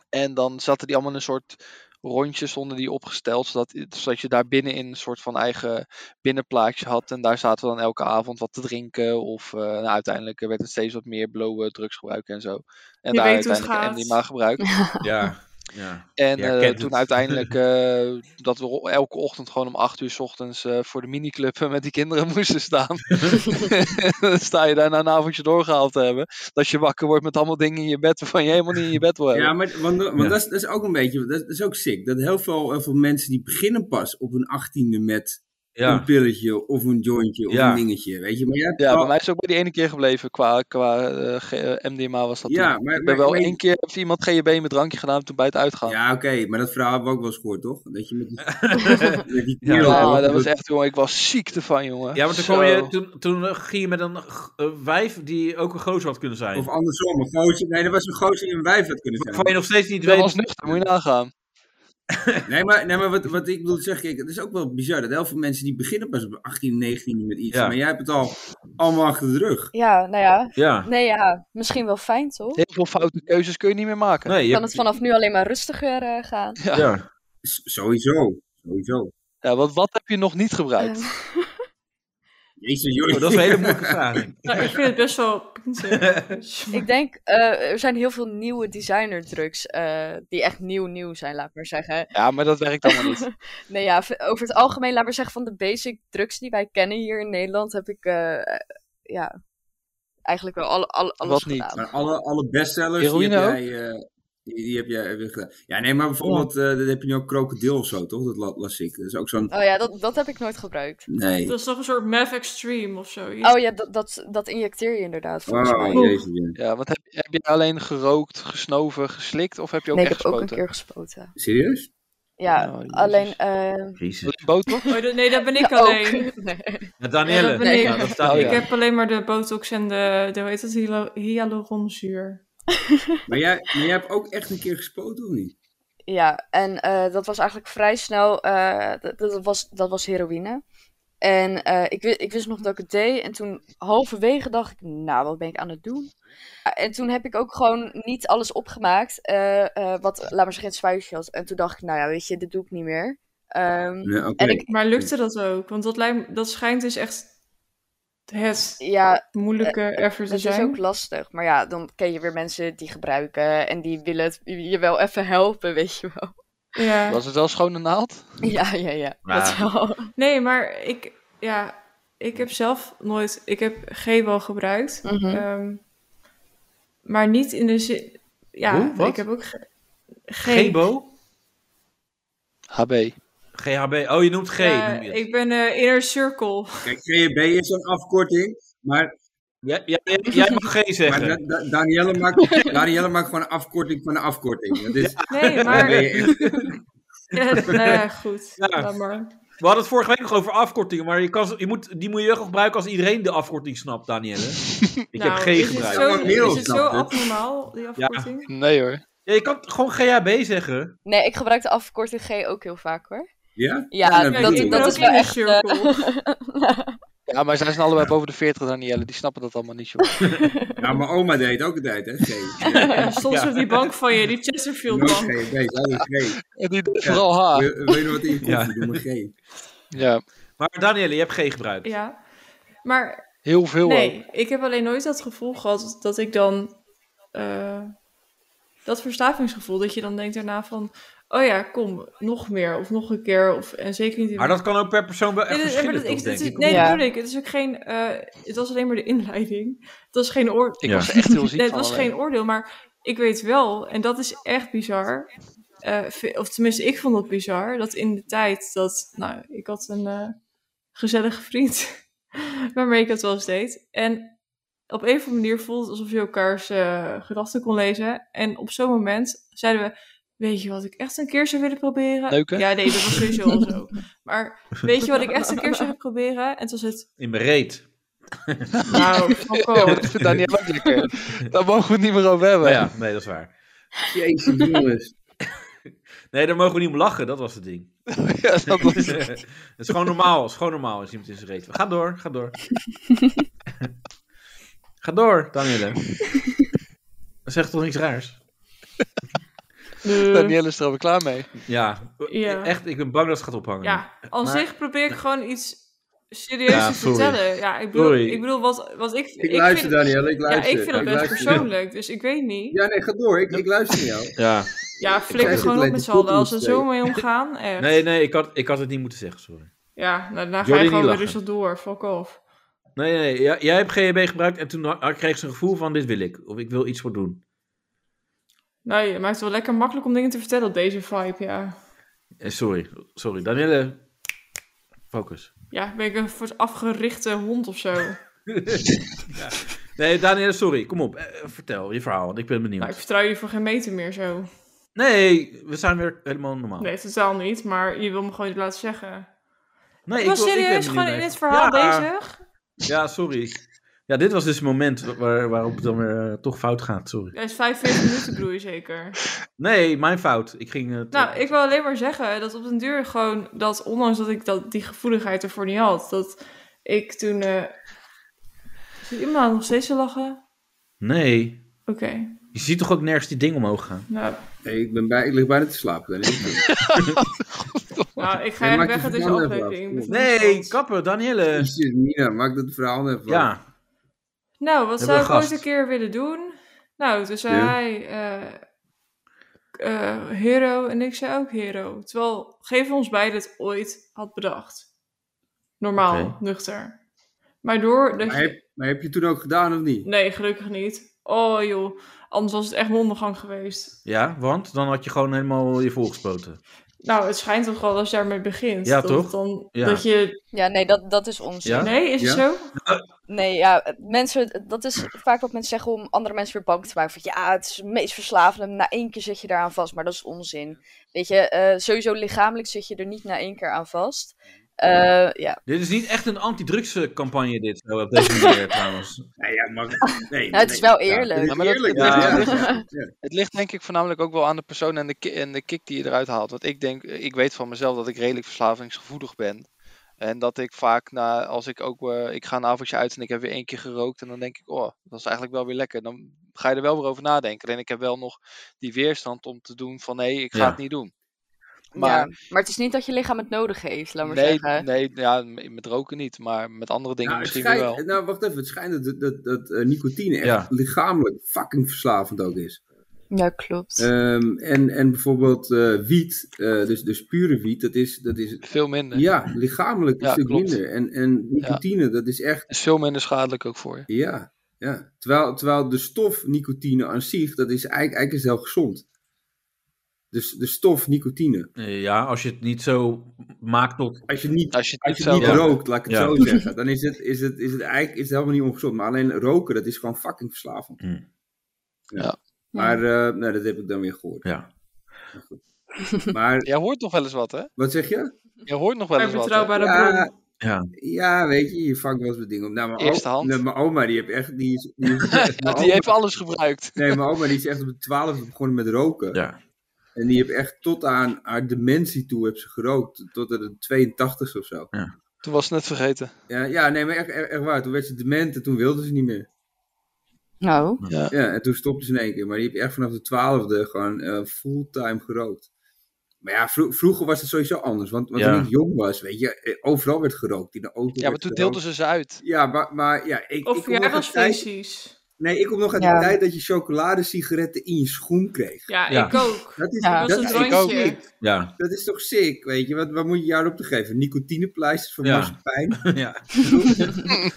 [SPEAKER 7] En dan zaten die allemaal in een soort rondjes onder die opgesteld. Zodat, zodat je daar binnenin een soort van eigen binnenplaatsje had. En daar zaten we dan elke avond wat te drinken. Of eh, nou, uiteindelijk werd het steeds wat meer blowen, drugs gebruiken en zo. En
[SPEAKER 5] Je
[SPEAKER 7] daar
[SPEAKER 5] weet hoe het
[SPEAKER 7] uiteindelijk
[SPEAKER 5] gaat.
[SPEAKER 7] MDMA gebruikt.
[SPEAKER 2] Ja. ja.
[SPEAKER 7] En
[SPEAKER 2] Ja,
[SPEAKER 7] eh,
[SPEAKER 2] kent
[SPEAKER 7] toen
[SPEAKER 2] het.
[SPEAKER 7] uiteindelijk eh, dat we ro- elke ochtend gewoon om 8 uur 's ochtends eh, voor de miniclub eh, met die kinderen moesten staan. dan sta je daar na een avondje doorgehaald te hebben. Dat je wakker wordt met allemaal dingen in je bed waarvan je helemaal niet in je bed wil hebben.
[SPEAKER 4] Ja, maar want, want
[SPEAKER 2] Ja.
[SPEAKER 4] Dat, is, dat is ook een beetje, dat is ook sick. Dat heel veel, heel veel mensen die beginnen pas op hun achttiende met een
[SPEAKER 2] Ja.
[SPEAKER 4] pilletje of een jointje of
[SPEAKER 2] Ja.
[SPEAKER 4] een dingetje, weet je. Maar jij hebt
[SPEAKER 7] Ja, bij
[SPEAKER 4] wel-
[SPEAKER 7] mij is het ook bij die ene keer gebleven qua, qua eh, G- eh, MDMA was dat
[SPEAKER 4] Ja,
[SPEAKER 7] toen.
[SPEAKER 4] maar-
[SPEAKER 7] Ik ben
[SPEAKER 4] maar-
[SPEAKER 7] wel
[SPEAKER 4] maar-
[SPEAKER 7] één keer, heeft iemand GHB met drankje gedaan toen bij het uitgaan. Ja,
[SPEAKER 4] ja oké, maar dat verhaal hebben we ook wel eens gehoord, toch? Dat je met die, met die
[SPEAKER 2] Ja,
[SPEAKER 4] kerel-
[SPEAKER 7] maar dat was echt, jongen, ik was ziek ervan, jongen.
[SPEAKER 2] Ja, want toen,
[SPEAKER 7] Zo.
[SPEAKER 2] kwam je, toen, toen eh, ging je met een g- eh, wijf die ook een gozer had kunnen zijn.
[SPEAKER 4] Of andersom, een gozer, nee, dat was een gozer die een wijf had kunnen zijn.
[SPEAKER 2] Waarvan je nog steeds niet
[SPEAKER 7] Dat
[SPEAKER 2] weet...
[SPEAKER 7] was nuchter, moet je nagaan.
[SPEAKER 4] Nee, maar, nee, maar wat, wat ik bedoel te zeggen, kijk, het is ook wel bizar dat heel veel mensen die beginnen pas op 18, 19 met iets.
[SPEAKER 2] Ja.
[SPEAKER 4] Maar jij hebt het al allemaal achter de rug.
[SPEAKER 3] Ja, nou ja.
[SPEAKER 2] Ja.
[SPEAKER 3] Nee, ja. Misschien wel fijn, toch?
[SPEAKER 7] Heel veel foute keuzes kun je niet meer maken.
[SPEAKER 2] Nee, je
[SPEAKER 3] Kan
[SPEAKER 2] hebt-
[SPEAKER 3] het vanaf nu alleen maar rustiger eh, gaan?
[SPEAKER 7] Ja.
[SPEAKER 2] Ja.
[SPEAKER 4] S- Sowieso, sowieso.
[SPEAKER 7] Ja, wat, wat heb je nog niet gebruikt?
[SPEAKER 3] Eh,
[SPEAKER 4] Jezus,
[SPEAKER 2] Oh,
[SPEAKER 4] joh.
[SPEAKER 2] dat is een hele moeilijke vraag.
[SPEAKER 5] Nou, ik vind het best wel pinzig. Dus-
[SPEAKER 3] ik denk, eh, er zijn heel veel nieuwe designerdrugs eh, die echt nieuw nieuw zijn, laat maar zeggen.
[SPEAKER 7] Ja, maar dat werkt allemaal niet.
[SPEAKER 3] Nee, ja, v- over het algemeen, laat maar zeggen, van de basic drugs die wij kennen hier in Nederland, heb ik, eh, eh, ja, eigenlijk wel alle, alle, alles
[SPEAKER 7] Wat niet?
[SPEAKER 3] gedaan.
[SPEAKER 4] Maar alle, alle bestsellers die heb,
[SPEAKER 7] Heroïne
[SPEAKER 4] jij, eh, die, die heb jij heb je gedaan. Ja, nee, maar bijvoorbeeld, eh dat heb je nu ook krokodil of zo, toch? Dat la- las ik. Dat is ook zo'n...
[SPEAKER 3] Oh ja, dat, dat heb ik nooit gebruikt.
[SPEAKER 4] Nee.
[SPEAKER 5] Dat is toch een soort Mav Extreme of zoiets?
[SPEAKER 3] Oh ja, dat, dat, dat injecteer je inderdaad, volgens
[SPEAKER 4] Oh,
[SPEAKER 3] mij.
[SPEAKER 4] jezus. ja.
[SPEAKER 7] Ja, want heb, heb je alleen gerookt, gesnoven, geslikt of heb je ook
[SPEAKER 3] Nee, ik
[SPEAKER 7] echt
[SPEAKER 3] heb ook een
[SPEAKER 7] gespoten?
[SPEAKER 3] keer gespoten.
[SPEAKER 4] Serieus?
[SPEAKER 3] Ja,
[SPEAKER 7] Oh, jezus.
[SPEAKER 3] alleen... eh
[SPEAKER 2] Jezus.
[SPEAKER 7] Botox?
[SPEAKER 5] Oh, dat- nee, dat ben ik
[SPEAKER 3] ja,
[SPEAKER 5] alleen.
[SPEAKER 3] ook. Nee.
[SPEAKER 2] Ja, Danielle.
[SPEAKER 5] Ja, dat ben ik.
[SPEAKER 2] Ja, dat staat
[SPEAKER 7] Oh,
[SPEAKER 2] hier.
[SPEAKER 5] Ik
[SPEAKER 7] Ja.
[SPEAKER 5] heb alleen maar de botox en de, de hoe heet dat, hyalo- hyaluronzuur.
[SPEAKER 4] Maar jij, maar jij hebt ook echt een keer gespoten, of niet?
[SPEAKER 3] Ja, en eh, dat was eigenlijk vrij snel. eh, dat, dat, was, dat was heroïne. En eh, ik, wi- ik wist nog dat ik het deed. En toen halverwege dacht ik, nou, wat ben ik aan het doen? Ah, En toen heb ik ook gewoon niet alles opgemaakt. eh, eh, wat, laat maar zeggen, in het spuitje had. En toen dacht ik, nou ja, weet je, dit doe ik niet meer. Ehm,
[SPEAKER 4] Nee, oké.
[SPEAKER 3] En ik-
[SPEAKER 5] Maar lukte dat ook? Want dat, lijkt, me- dat schijnt dus echt het
[SPEAKER 3] ja,
[SPEAKER 5] moeilijke effort te
[SPEAKER 3] Eh, het is dus
[SPEAKER 5] zijn.
[SPEAKER 3] ook lastig. Maar ja, dan ken je weer mensen die gebruiken. En die willen het, je wel even helpen, weet je wel.
[SPEAKER 5] Ja.
[SPEAKER 7] Was het wel schone naald?
[SPEAKER 3] Ja, ja, ja. Dat
[SPEAKER 2] Ja.
[SPEAKER 3] wel.
[SPEAKER 5] Nee, maar ik, ja, Ik heb zelf nooit, ik heb G-wel gebruikt.
[SPEAKER 3] Mhm.
[SPEAKER 5] Ehm, maar niet in de zin. Ja,
[SPEAKER 2] Hoe? Wat?
[SPEAKER 5] ik heb ook ge- G.
[SPEAKER 2] Gebo?
[SPEAKER 7] HB.
[SPEAKER 2] GHB. Oh, je noemt G.
[SPEAKER 5] Ja,
[SPEAKER 2] noem je het.
[SPEAKER 5] ik ben eh, inner circle.
[SPEAKER 4] Kijk, GHB is zo'n afkorting, maar,
[SPEAKER 2] Ja, ja, ja, jij mag G
[SPEAKER 4] maar
[SPEAKER 2] zeggen.
[SPEAKER 4] da- da- Danielle, maakt, Danielle maakt gewoon een afkorting van een afkorting. Dat is,
[SPEAKER 5] Nee,
[SPEAKER 4] dan ben je
[SPEAKER 5] maar.
[SPEAKER 4] echt-
[SPEAKER 5] Ja, nou ja, goed.
[SPEAKER 2] Ja.
[SPEAKER 5] Laat maar.
[SPEAKER 2] We hadden het vorige week nog over afkortingen, maar je kan, ze- je moet, die moet je wel gebruiken als iedereen de afkorting snapt, Danielle. Ik
[SPEAKER 5] Nou,
[SPEAKER 2] heb G
[SPEAKER 5] is het
[SPEAKER 2] gebruikt.
[SPEAKER 5] zo-
[SPEAKER 4] Ja, maar Merel
[SPEAKER 5] Is het zo
[SPEAKER 4] snapt het.
[SPEAKER 5] abnormaal, die afkorting?
[SPEAKER 7] Nee hoor.
[SPEAKER 2] Ja, je kan gewoon GHB zeggen.
[SPEAKER 3] Nee, ik gebruik de afkorting G ook heel vaak hoor.
[SPEAKER 4] Ja?
[SPEAKER 3] Ja,
[SPEAKER 4] Nou,
[SPEAKER 5] Ja,
[SPEAKER 3] dat-
[SPEAKER 4] bedoel
[SPEAKER 5] ik
[SPEAKER 4] ik.
[SPEAKER 5] ben
[SPEAKER 3] dat
[SPEAKER 5] ook
[SPEAKER 3] is wel
[SPEAKER 5] inner
[SPEAKER 3] echt, eh,
[SPEAKER 5] circle.
[SPEAKER 7] Ja, maar zij zijn allebei boven de 40, Danielle. Die snappen dat allemaal niet, joh.
[SPEAKER 4] Nou, mijn oma deed ook altijd, hè? G.
[SPEAKER 5] Ja, soms
[SPEAKER 2] Ja.
[SPEAKER 5] op die bank van je, die Chesterfield
[SPEAKER 4] Nooit
[SPEAKER 5] bank.
[SPEAKER 4] G, nee, altijd G.
[SPEAKER 7] En die vooral haar.
[SPEAKER 4] Wil wil je nog wat in je koffie? Doe maar G.
[SPEAKER 7] Ja,
[SPEAKER 2] Maar Danielle, je hebt G gebruikt.
[SPEAKER 5] Ja. Maar
[SPEAKER 7] heel veel ook.
[SPEAKER 5] nee, ik heb alleen nooit dat gevoel gehad dat ik dan... eh, dat verstavingsgevoel, dat je dan denkt daarna van... Oh ja, kom, nog meer of nog een keer. Of, en zeker niet... in-
[SPEAKER 2] Maar dat kan ook per persoon wel echt
[SPEAKER 5] Nee, dat- maar
[SPEAKER 2] verschillen,
[SPEAKER 5] dat- ik-
[SPEAKER 2] toch,
[SPEAKER 5] dat
[SPEAKER 2] denk ik.
[SPEAKER 5] is- Nee,
[SPEAKER 3] Ja.
[SPEAKER 5] dat bedoel ik. Het is ook geen... eh, het was alleen maar de inleiding. Het was geen oor...
[SPEAKER 7] Ik
[SPEAKER 2] Ja.
[SPEAKER 7] was er echt heel ziek
[SPEAKER 5] Nee, het
[SPEAKER 7] van.
[SPEAKER 5] was
[SPEAKER 7] alleen.
[SPEAKER 5] geen oordeel, maar ik weet wel, en dat is echt bizar. eh, vi- of tenminste, ik vond het bizar dat in de tijd dat. Nou, ik had een eh, gezellige vriend waarmee ik dat wel eens deed. En op een of andere manier voelde het alsof je elkaars eh, gedachten kon lezen. En op zo'n moment zeiden we: Weet je wat ik echt een keer zou willen proberen?
[SPEAKER 7] Neuken?
[SPEAKER 5] Ja, nee, dat was sowieso al zo. Maar weet je wat ik echt een keer zou willen proberen? En toen was het:
[SPEAKER 2] In mijn reet.
[SPEAKER 5] Nou, fuck
[SPEAKER 7] Ja, maar
[SPEAKER 5] off.
[SPEAKER 7] dat vindt Danielle ook lekker. Daar mogen we het niet meer over hebben.
[SPEAKER 2] Maar Nou ja, nee, dat is waar.
[SPEAKER 4] Jezus, jongens.
[SPEAKER 2] Nee, daar mogen we niet om lachen, dat was het ding.
[SPEAKER 7] Ja, dat was-
[SPEAKER 2] het is gewoon normaal. Het is gewoon normaal als iemand in zijn reet. Ga door, ga door. ga door, Danielle. Zeg toch niks raars?
[SPEAKER 7] Danielle is er alweer klaar mee.
[SPEAKER 2] Ja,
[SPEAKER 5] Ja.
[SPEAKER 2] echt, ik ben bang dat het gaat ophangen.
[SPEAKER 5] Ja, aan
[SPEAKER 2] Maar-
[SPEAKER 5] zich probeer ik gewoon iets serieus
[SPEAKER 2] Ja,
[SPEAKER 5] te
[SPEAKER 2] sorry.
[SPEAKER 5] vertellen. Ja, ik bedoel,
[SPEAKER 2] Sorry.
[SPEAKER 5] ik bedoel wat, wat ik,
[SPEAKER 4] Ik, luister,
[SPEAKER 5] vind,
[SPEAKER 4] Daniel, ik
[SPEAKER 5] Ja,
[SPEAKER 4] luister.
[SPEAKER 5] ik vind het best
[SPEAKER 4] luister.
[SPEAKER 5] persoonlijk, dus ik weet niet.
[SPEAKER 4] Ja, nee, ga door. Ik, ik luister naar jou.
[SPEAKER 2] Ja.
[SPEAKER 5] Ja, flikker
[SPEAKER 4] zit
[SPEAKER 5] gewoon op
[SPEAKER 4] alleen
[SPEAKER 5] met
[SPEAKER 4] de
[SPEAKER 5] z'n allen. Als ze
[SPEAKER 4] koekoeks
[SPEAKER 5] zo mee omgaan, echt.
[SPEAKER 2] Nee, nee, ik had, ik had het niet moeten zeggen, sorry.
[SPEAKER 5] Ja, nou, daarna ga
[SPEAKER 2] Jordi,
[SPEAKER 5] je
[SPEAKER 2] niet
[SPEAKER 5] gewoon weer
[SPEAKER 2] lachen.
[SPEAKER 5] rustig door. Fuck off.
[SPEAKER 2] Nee, nee, ja, jij hebt GHB gebruikt en toen ha- kreeg ze een gevoel van dit wil ik. Of ik wil iets voor doen.
[SPEAKER 5] Nee, het maakt het wel lekker makkelijk om dingen te vertellen op deze vibe, ja.
[SPEAKER 2] Eh, Sorry, sorry. Danielle, focus.
[SPEAKER 5] Ja, ben ik een soort afgerichte hond of zo.
[SPEAKER 2] Nee, Danielle, sorry, kom op. Eh, eh, vertel je verhaal, want ik ben benieuwd.
[SPEAKER 5] Nou, ik vertrouw jullie voor geen meter meer zo.
[SPEAKER 2] Oh. Nee, we zijn weer helemaal normaal.
[SPEAKER 5] Nee, totaal niet, maar je wil me gewoon laten zeggen.
[SPEAKER 2] Nee,
[SPEAKER 5] ik was
[SPEAKER 2] wil- ben
[SPEAKER 5] serieus
[SPEAKER 2] benieuwd
[SPEAKER 5] gewoon
[SPEAKER 2] naar
[SPEAKER 5] in
[SPEAKER 2] je-
[SPEAKER 5] het verhaal
[SPEAKER 2] Ja.
[SPEAKER 5] bezig.
[SPEAKER 2] Ja, sorry. Ja, dit was dus het moment waar, waarop het dan weer eh, toch fout gaat, sorry.
[SPEAKER 5] Dat is 45 minuten, broei, zeker.
[SPEAKER 2] Nee, mijn fout. Ik ging... eh, te-
[SPEAKER 5] Nou, ik wil alleen maar zeggen dat op den duur gewoon dat, ondanks dat ik dat, die gevoeligheid ervoor niet had, dat ik toen. eh Zit iemand nog steeds te lachen?
[SPEAKER 2] Nee.
[SPEAKER 5] Oké,
[SPEAKER 2] Je ziet toch ook nergens die ding omhoog gaan?
[SPEAKER 5] nou,
[SPEAKER 4] Nee, ik, ben bij, ik lig bijna te slapen. Daniel.
[SPEAKER 5] nou, ik ga
[SPEAKER 4] Nee,
[SPEAKER 5] eigenlijk
[SPEAKER 4] maak je
[SPEAKER 5] weg uit deze
[SPEAKER 4] verhaal even
[SPEAKER 5] aflevering.
[SPEAKER 4] af.
[SPEAKER 5] Ik ben
[SPEAKER 2] Nee,
[SPEAKER 5] verantwoord.
[SPEAKER 2] kappen, Danielle.
[SPEAKER 4] Jezus, Mina, maak dat verhaal even.
[SPEAKER 2] Ja.
[SPEAKER 5] Nou, wat
[SPEAKER 2] We
[SPEAKER 5] zou ik
[SPEAKER 2] hebben een
[SPEAKER 5] ooit een
[SPEAKER 2] gast.
[SPEAKER 5] keer willen doen? Nou, toen zei
[SPEAKER 4] Ja.
[SPEAKER 5] hij eh, eh, Hero en ik zei ook Hero. Terwijl Geef ons beiden het ooit had bedacht. Normaal,
[SPEAKER 2] Oké.
[SPEAKER 5] nuchter. Maar door dat
[SPEAKER 4] Maar
[SPEAKER 5] je-
[SPEAKER 4] heb, maar heb je het toen ook gedaan of niet?
[SPEAKER 5] Nee, gelukkig niet. Oh joh, anders was het echt mijn ondergang geweest.
[SPEAKER 2] Ja, want dan had je gewoon helemaal je volgespoten.
[SPEAKER 5] Nou, het schijnt toch wel als je daarmee begint.
[SPEAKER 2] Ja,
[SPEAKER 5] dat
[SPEAKER 2] toch?
[SPEAKER 5] het Dan,
[SPEAKER 2] Ja.
[SPEAKER 5] Dat je...
[SPEAKER 3] Ja, nee, dat, dat is onzin.
[SPEAKER 2] Ja?
[SPEAKER 5] Nee, is
[SPEAKER 4] Ja?
[SPEAKER 5] het zo?
[SPEAKER 3] Nee, ja, mensen, dat is vaak wat mensen zeggen om andere mensen weer bang te maken. Van, ja, het is het meest verslavende. Na één keer zit je daaraan vast, maar dat is onzin. Weet je, eh, sowieso lichamelijk zit je er niet na één keer aan vast. Eh, ja.
[SPEAKER 2] Dit is niet echt een anti-drugscampagne, dit. zo Op deze manier, trouwens.
[SPEAKER 4] Nee, ja, maar, nee,
[SPEAKER 3] Nou, het is
[SPEAKER 4] nee.
[SPEAKER 3] wel
[SPEAKER 4] Ja,
[SPEAKER 3] eerlijk.
[SPEAKER 4] het
[SPEAKER 7] Ja,
[SPEAKER 4] is
[SPEAKER 7] maar dat-
[SPEAKER 4] eerlijk.
[SPEAKER 2] ja.
[SPEAKER 4] Ja,
[SPEAKER 7] Het ligt denk ik voornamelijk ook wel aan de persoon en de, ki- en de kick die je eruit haalt. Want ik denk, ik weet van mezelf dat ik redelijk verslavingsgevoelig ben. En dat ik vaak na, als ik ook, eh, ik ga een avondje uit en ik heb weer één keer gerookt. En dan denk ik, oh, dat is eigenlijk wel weer lekker. Dan ga je er wel weer over nadenken. En ik heb wel nog die weerstand om te doen van, nee, ik ga
[SPEAKER 2] Ja.
[SPEAKER 7] het niet doen.
[SPEAKER 3] ja,
[SPEAKER 7] Maar
[SPEAKER 3] maar het is niet dat je lichaam het nodig heeft, laat maar
[SPEAKER 7] nee,
[SPEAKER 3] zeggen.
[SPEAKER 7] nee, ja, m- met roken niet. Maar met andere dingen
[SPEAKER 4] Nou, het
[SPEAKER 7] misschien
[SPEAKER 4] schijnt-
[SPEAKER 7] wel.
[SPEAKER 4] nou, wacht even. Het schijnt dat, dat, dat eh, nicotine echt
[SPEAKER 2] Ja.
[SPEAKER 4] lichamelijk fucking verslavend ook is.
[SPEAKER 3] Ja, klopt.
[SPEAKER 4] Ehm, en, en bijvoorbeeld eh, wiet, eh, dus, dus pure wiet, dat is, dat is
[SPEAKER 7] Veel minder.
[SPEAKER 4] ja, lichamelijk een
[SPEAKER 7] Ja,
[SPEAKER 4] stuk
[SPEAKER 7] klopt.
[SPEAKER 4] minder. En, en nicotine, dat is echt,
[SPEAKER 7] Is veel minder schadelijk ook voor je.
[SPEAKER 4] ja. ja. Terwijl, terwijl de stof nicotine aan zich, dat is eigenlijk, eigenlijk is het heel gezond. Dus de stof nicotine.
[SPEAKER 2] Eh, ja, als je het niet zo maakt tot...
[SPEAKER 4] Als je niet,
[SPEAKER 7] Als je het
[SPEAKER 4] als
[SPEAKER 7] niet
[SPEAKER 4] je
[SPEAKER 7] zelf
[SPEAKER 4] niet
[SPEAKER 2] ja.
[SPEAKER 4] rookt, laat ik het
[SPEAKER 2] Ja.
[SPEAKER 4] zo zeggen, dan is het, is, het, is het eigenlijk is het helemaal niet ongezond. Maar alleen roken, dat is gewoon fucking verslavend.
[SPEAKER 2] Mm.
[SPEAKER 7] Ja.
[SPEAKER 4] Maar eh, nou, dat heb ik dan weer gehoord.
[SPEAKER 2] Ja.
[SPEAKER 4] Maar
[SPEAKER 7] Jij hoort nog wel eens wat, hè?
[SPEAKER 4] wat zeg je?
[SPEAKER 7] Jij hoort nog wel
[SPEAKER 5] Maar
[SPEAKER 7] eens wat. hè?
[SPEAKER 5] betrouwbare
[SPEAKER 4] Ja,
[SPEAKER 5] bron.
[SPEAKER 2] Ja.
[SPEAKER 4] Ja, weet je, je vangt wel eens wat dingen op. Nou, mijn
[SPEAKER 7] Eerste
[SPEAKER 4] o-
[SPEAKER 7] hand.
[SPEAKER 4] Nee, mijn oma, die heeft echt... Die is, die is-
[SPEAKER 7] Ja,
[SPEAKER 4] mijn
[SPEAKER 7] die
[SPEAKER 4] oma-
[SPEAKER 7] heeft alles gebruikt.
[SPEAKER 4] Nee, mijn oma die is echt op de twaalfde begonnen met roken.
[SPEAKER 2] ja.
[SPEAKER 4] En die heeft echt tot aan haar dementie toe heeft ze gerookt. Tot aan de 82 of zo.
[SPEAKER 7] Toen was het net vergeten.
[SPEAKER 4] Ja, ja nee, maar echt, echt, echt waar. Toen werd ze dement en toen wilde ze niet meer.
[SPEAKER 3] Nou,
[SPEAKER 4] Ja, en toen stopte ze in één keer. Maar die heeft echt vanaf de twaalfde gewoon eh, fulltime gerookt. Maar ja, vro- vroeger was het sowieso anders. Want, want
[SPEAKER 2] Ja.
[SPEAKER 4] toen ik jong was, weet je, eh, overal werd gerookt. In de auto
[SPEAKER 7] Ja, maar
[SPEAKER 4] werd
[SPEAKER 7] toen
[SPEAKER 4] gerookt.
[SPEAKER 7] deelden ze ze uit.
[SPEAKER 4] Ja, maar, maar ja, ik...
[SPEAKER 5] Of
[SPEAKER 4] ik kom nog uit tijd-
[SPEAKER 5] verjaardagsfeestjes.
[SPEAKER 4] Nee, ik kom nog uit
[SPEAKER 3] Ja.
[SPEAKER 4] de tijd dat je chocoladesigaretten in je schoen kreeg.
[SPEAKER 5] Ja,
[SPEAKER 2] Ja.
[SPEAKER 5] ik ook.
[SPEAKER 4] Dat is,
[SPEAKER 3] Ja.
[SPEAKER 5] Dat
[SPEAKER 4] dat
[SPEAKER 5] was
[SPEAKER 4] is
[SPEAKER 5] een
[SPEAKER 7] ik ook.
[SPEAKER 5] drankje.
[SPEAKER 2] Ja.
[SPEAKER 4] Dat is toch sick, weet je? Wat, wat moet je daarop te geven? Nicotinepleisters voor
[SPEAKER 2] Ja.
[SPEAKER 4] marsepein?
[SPEAKER 2] ja.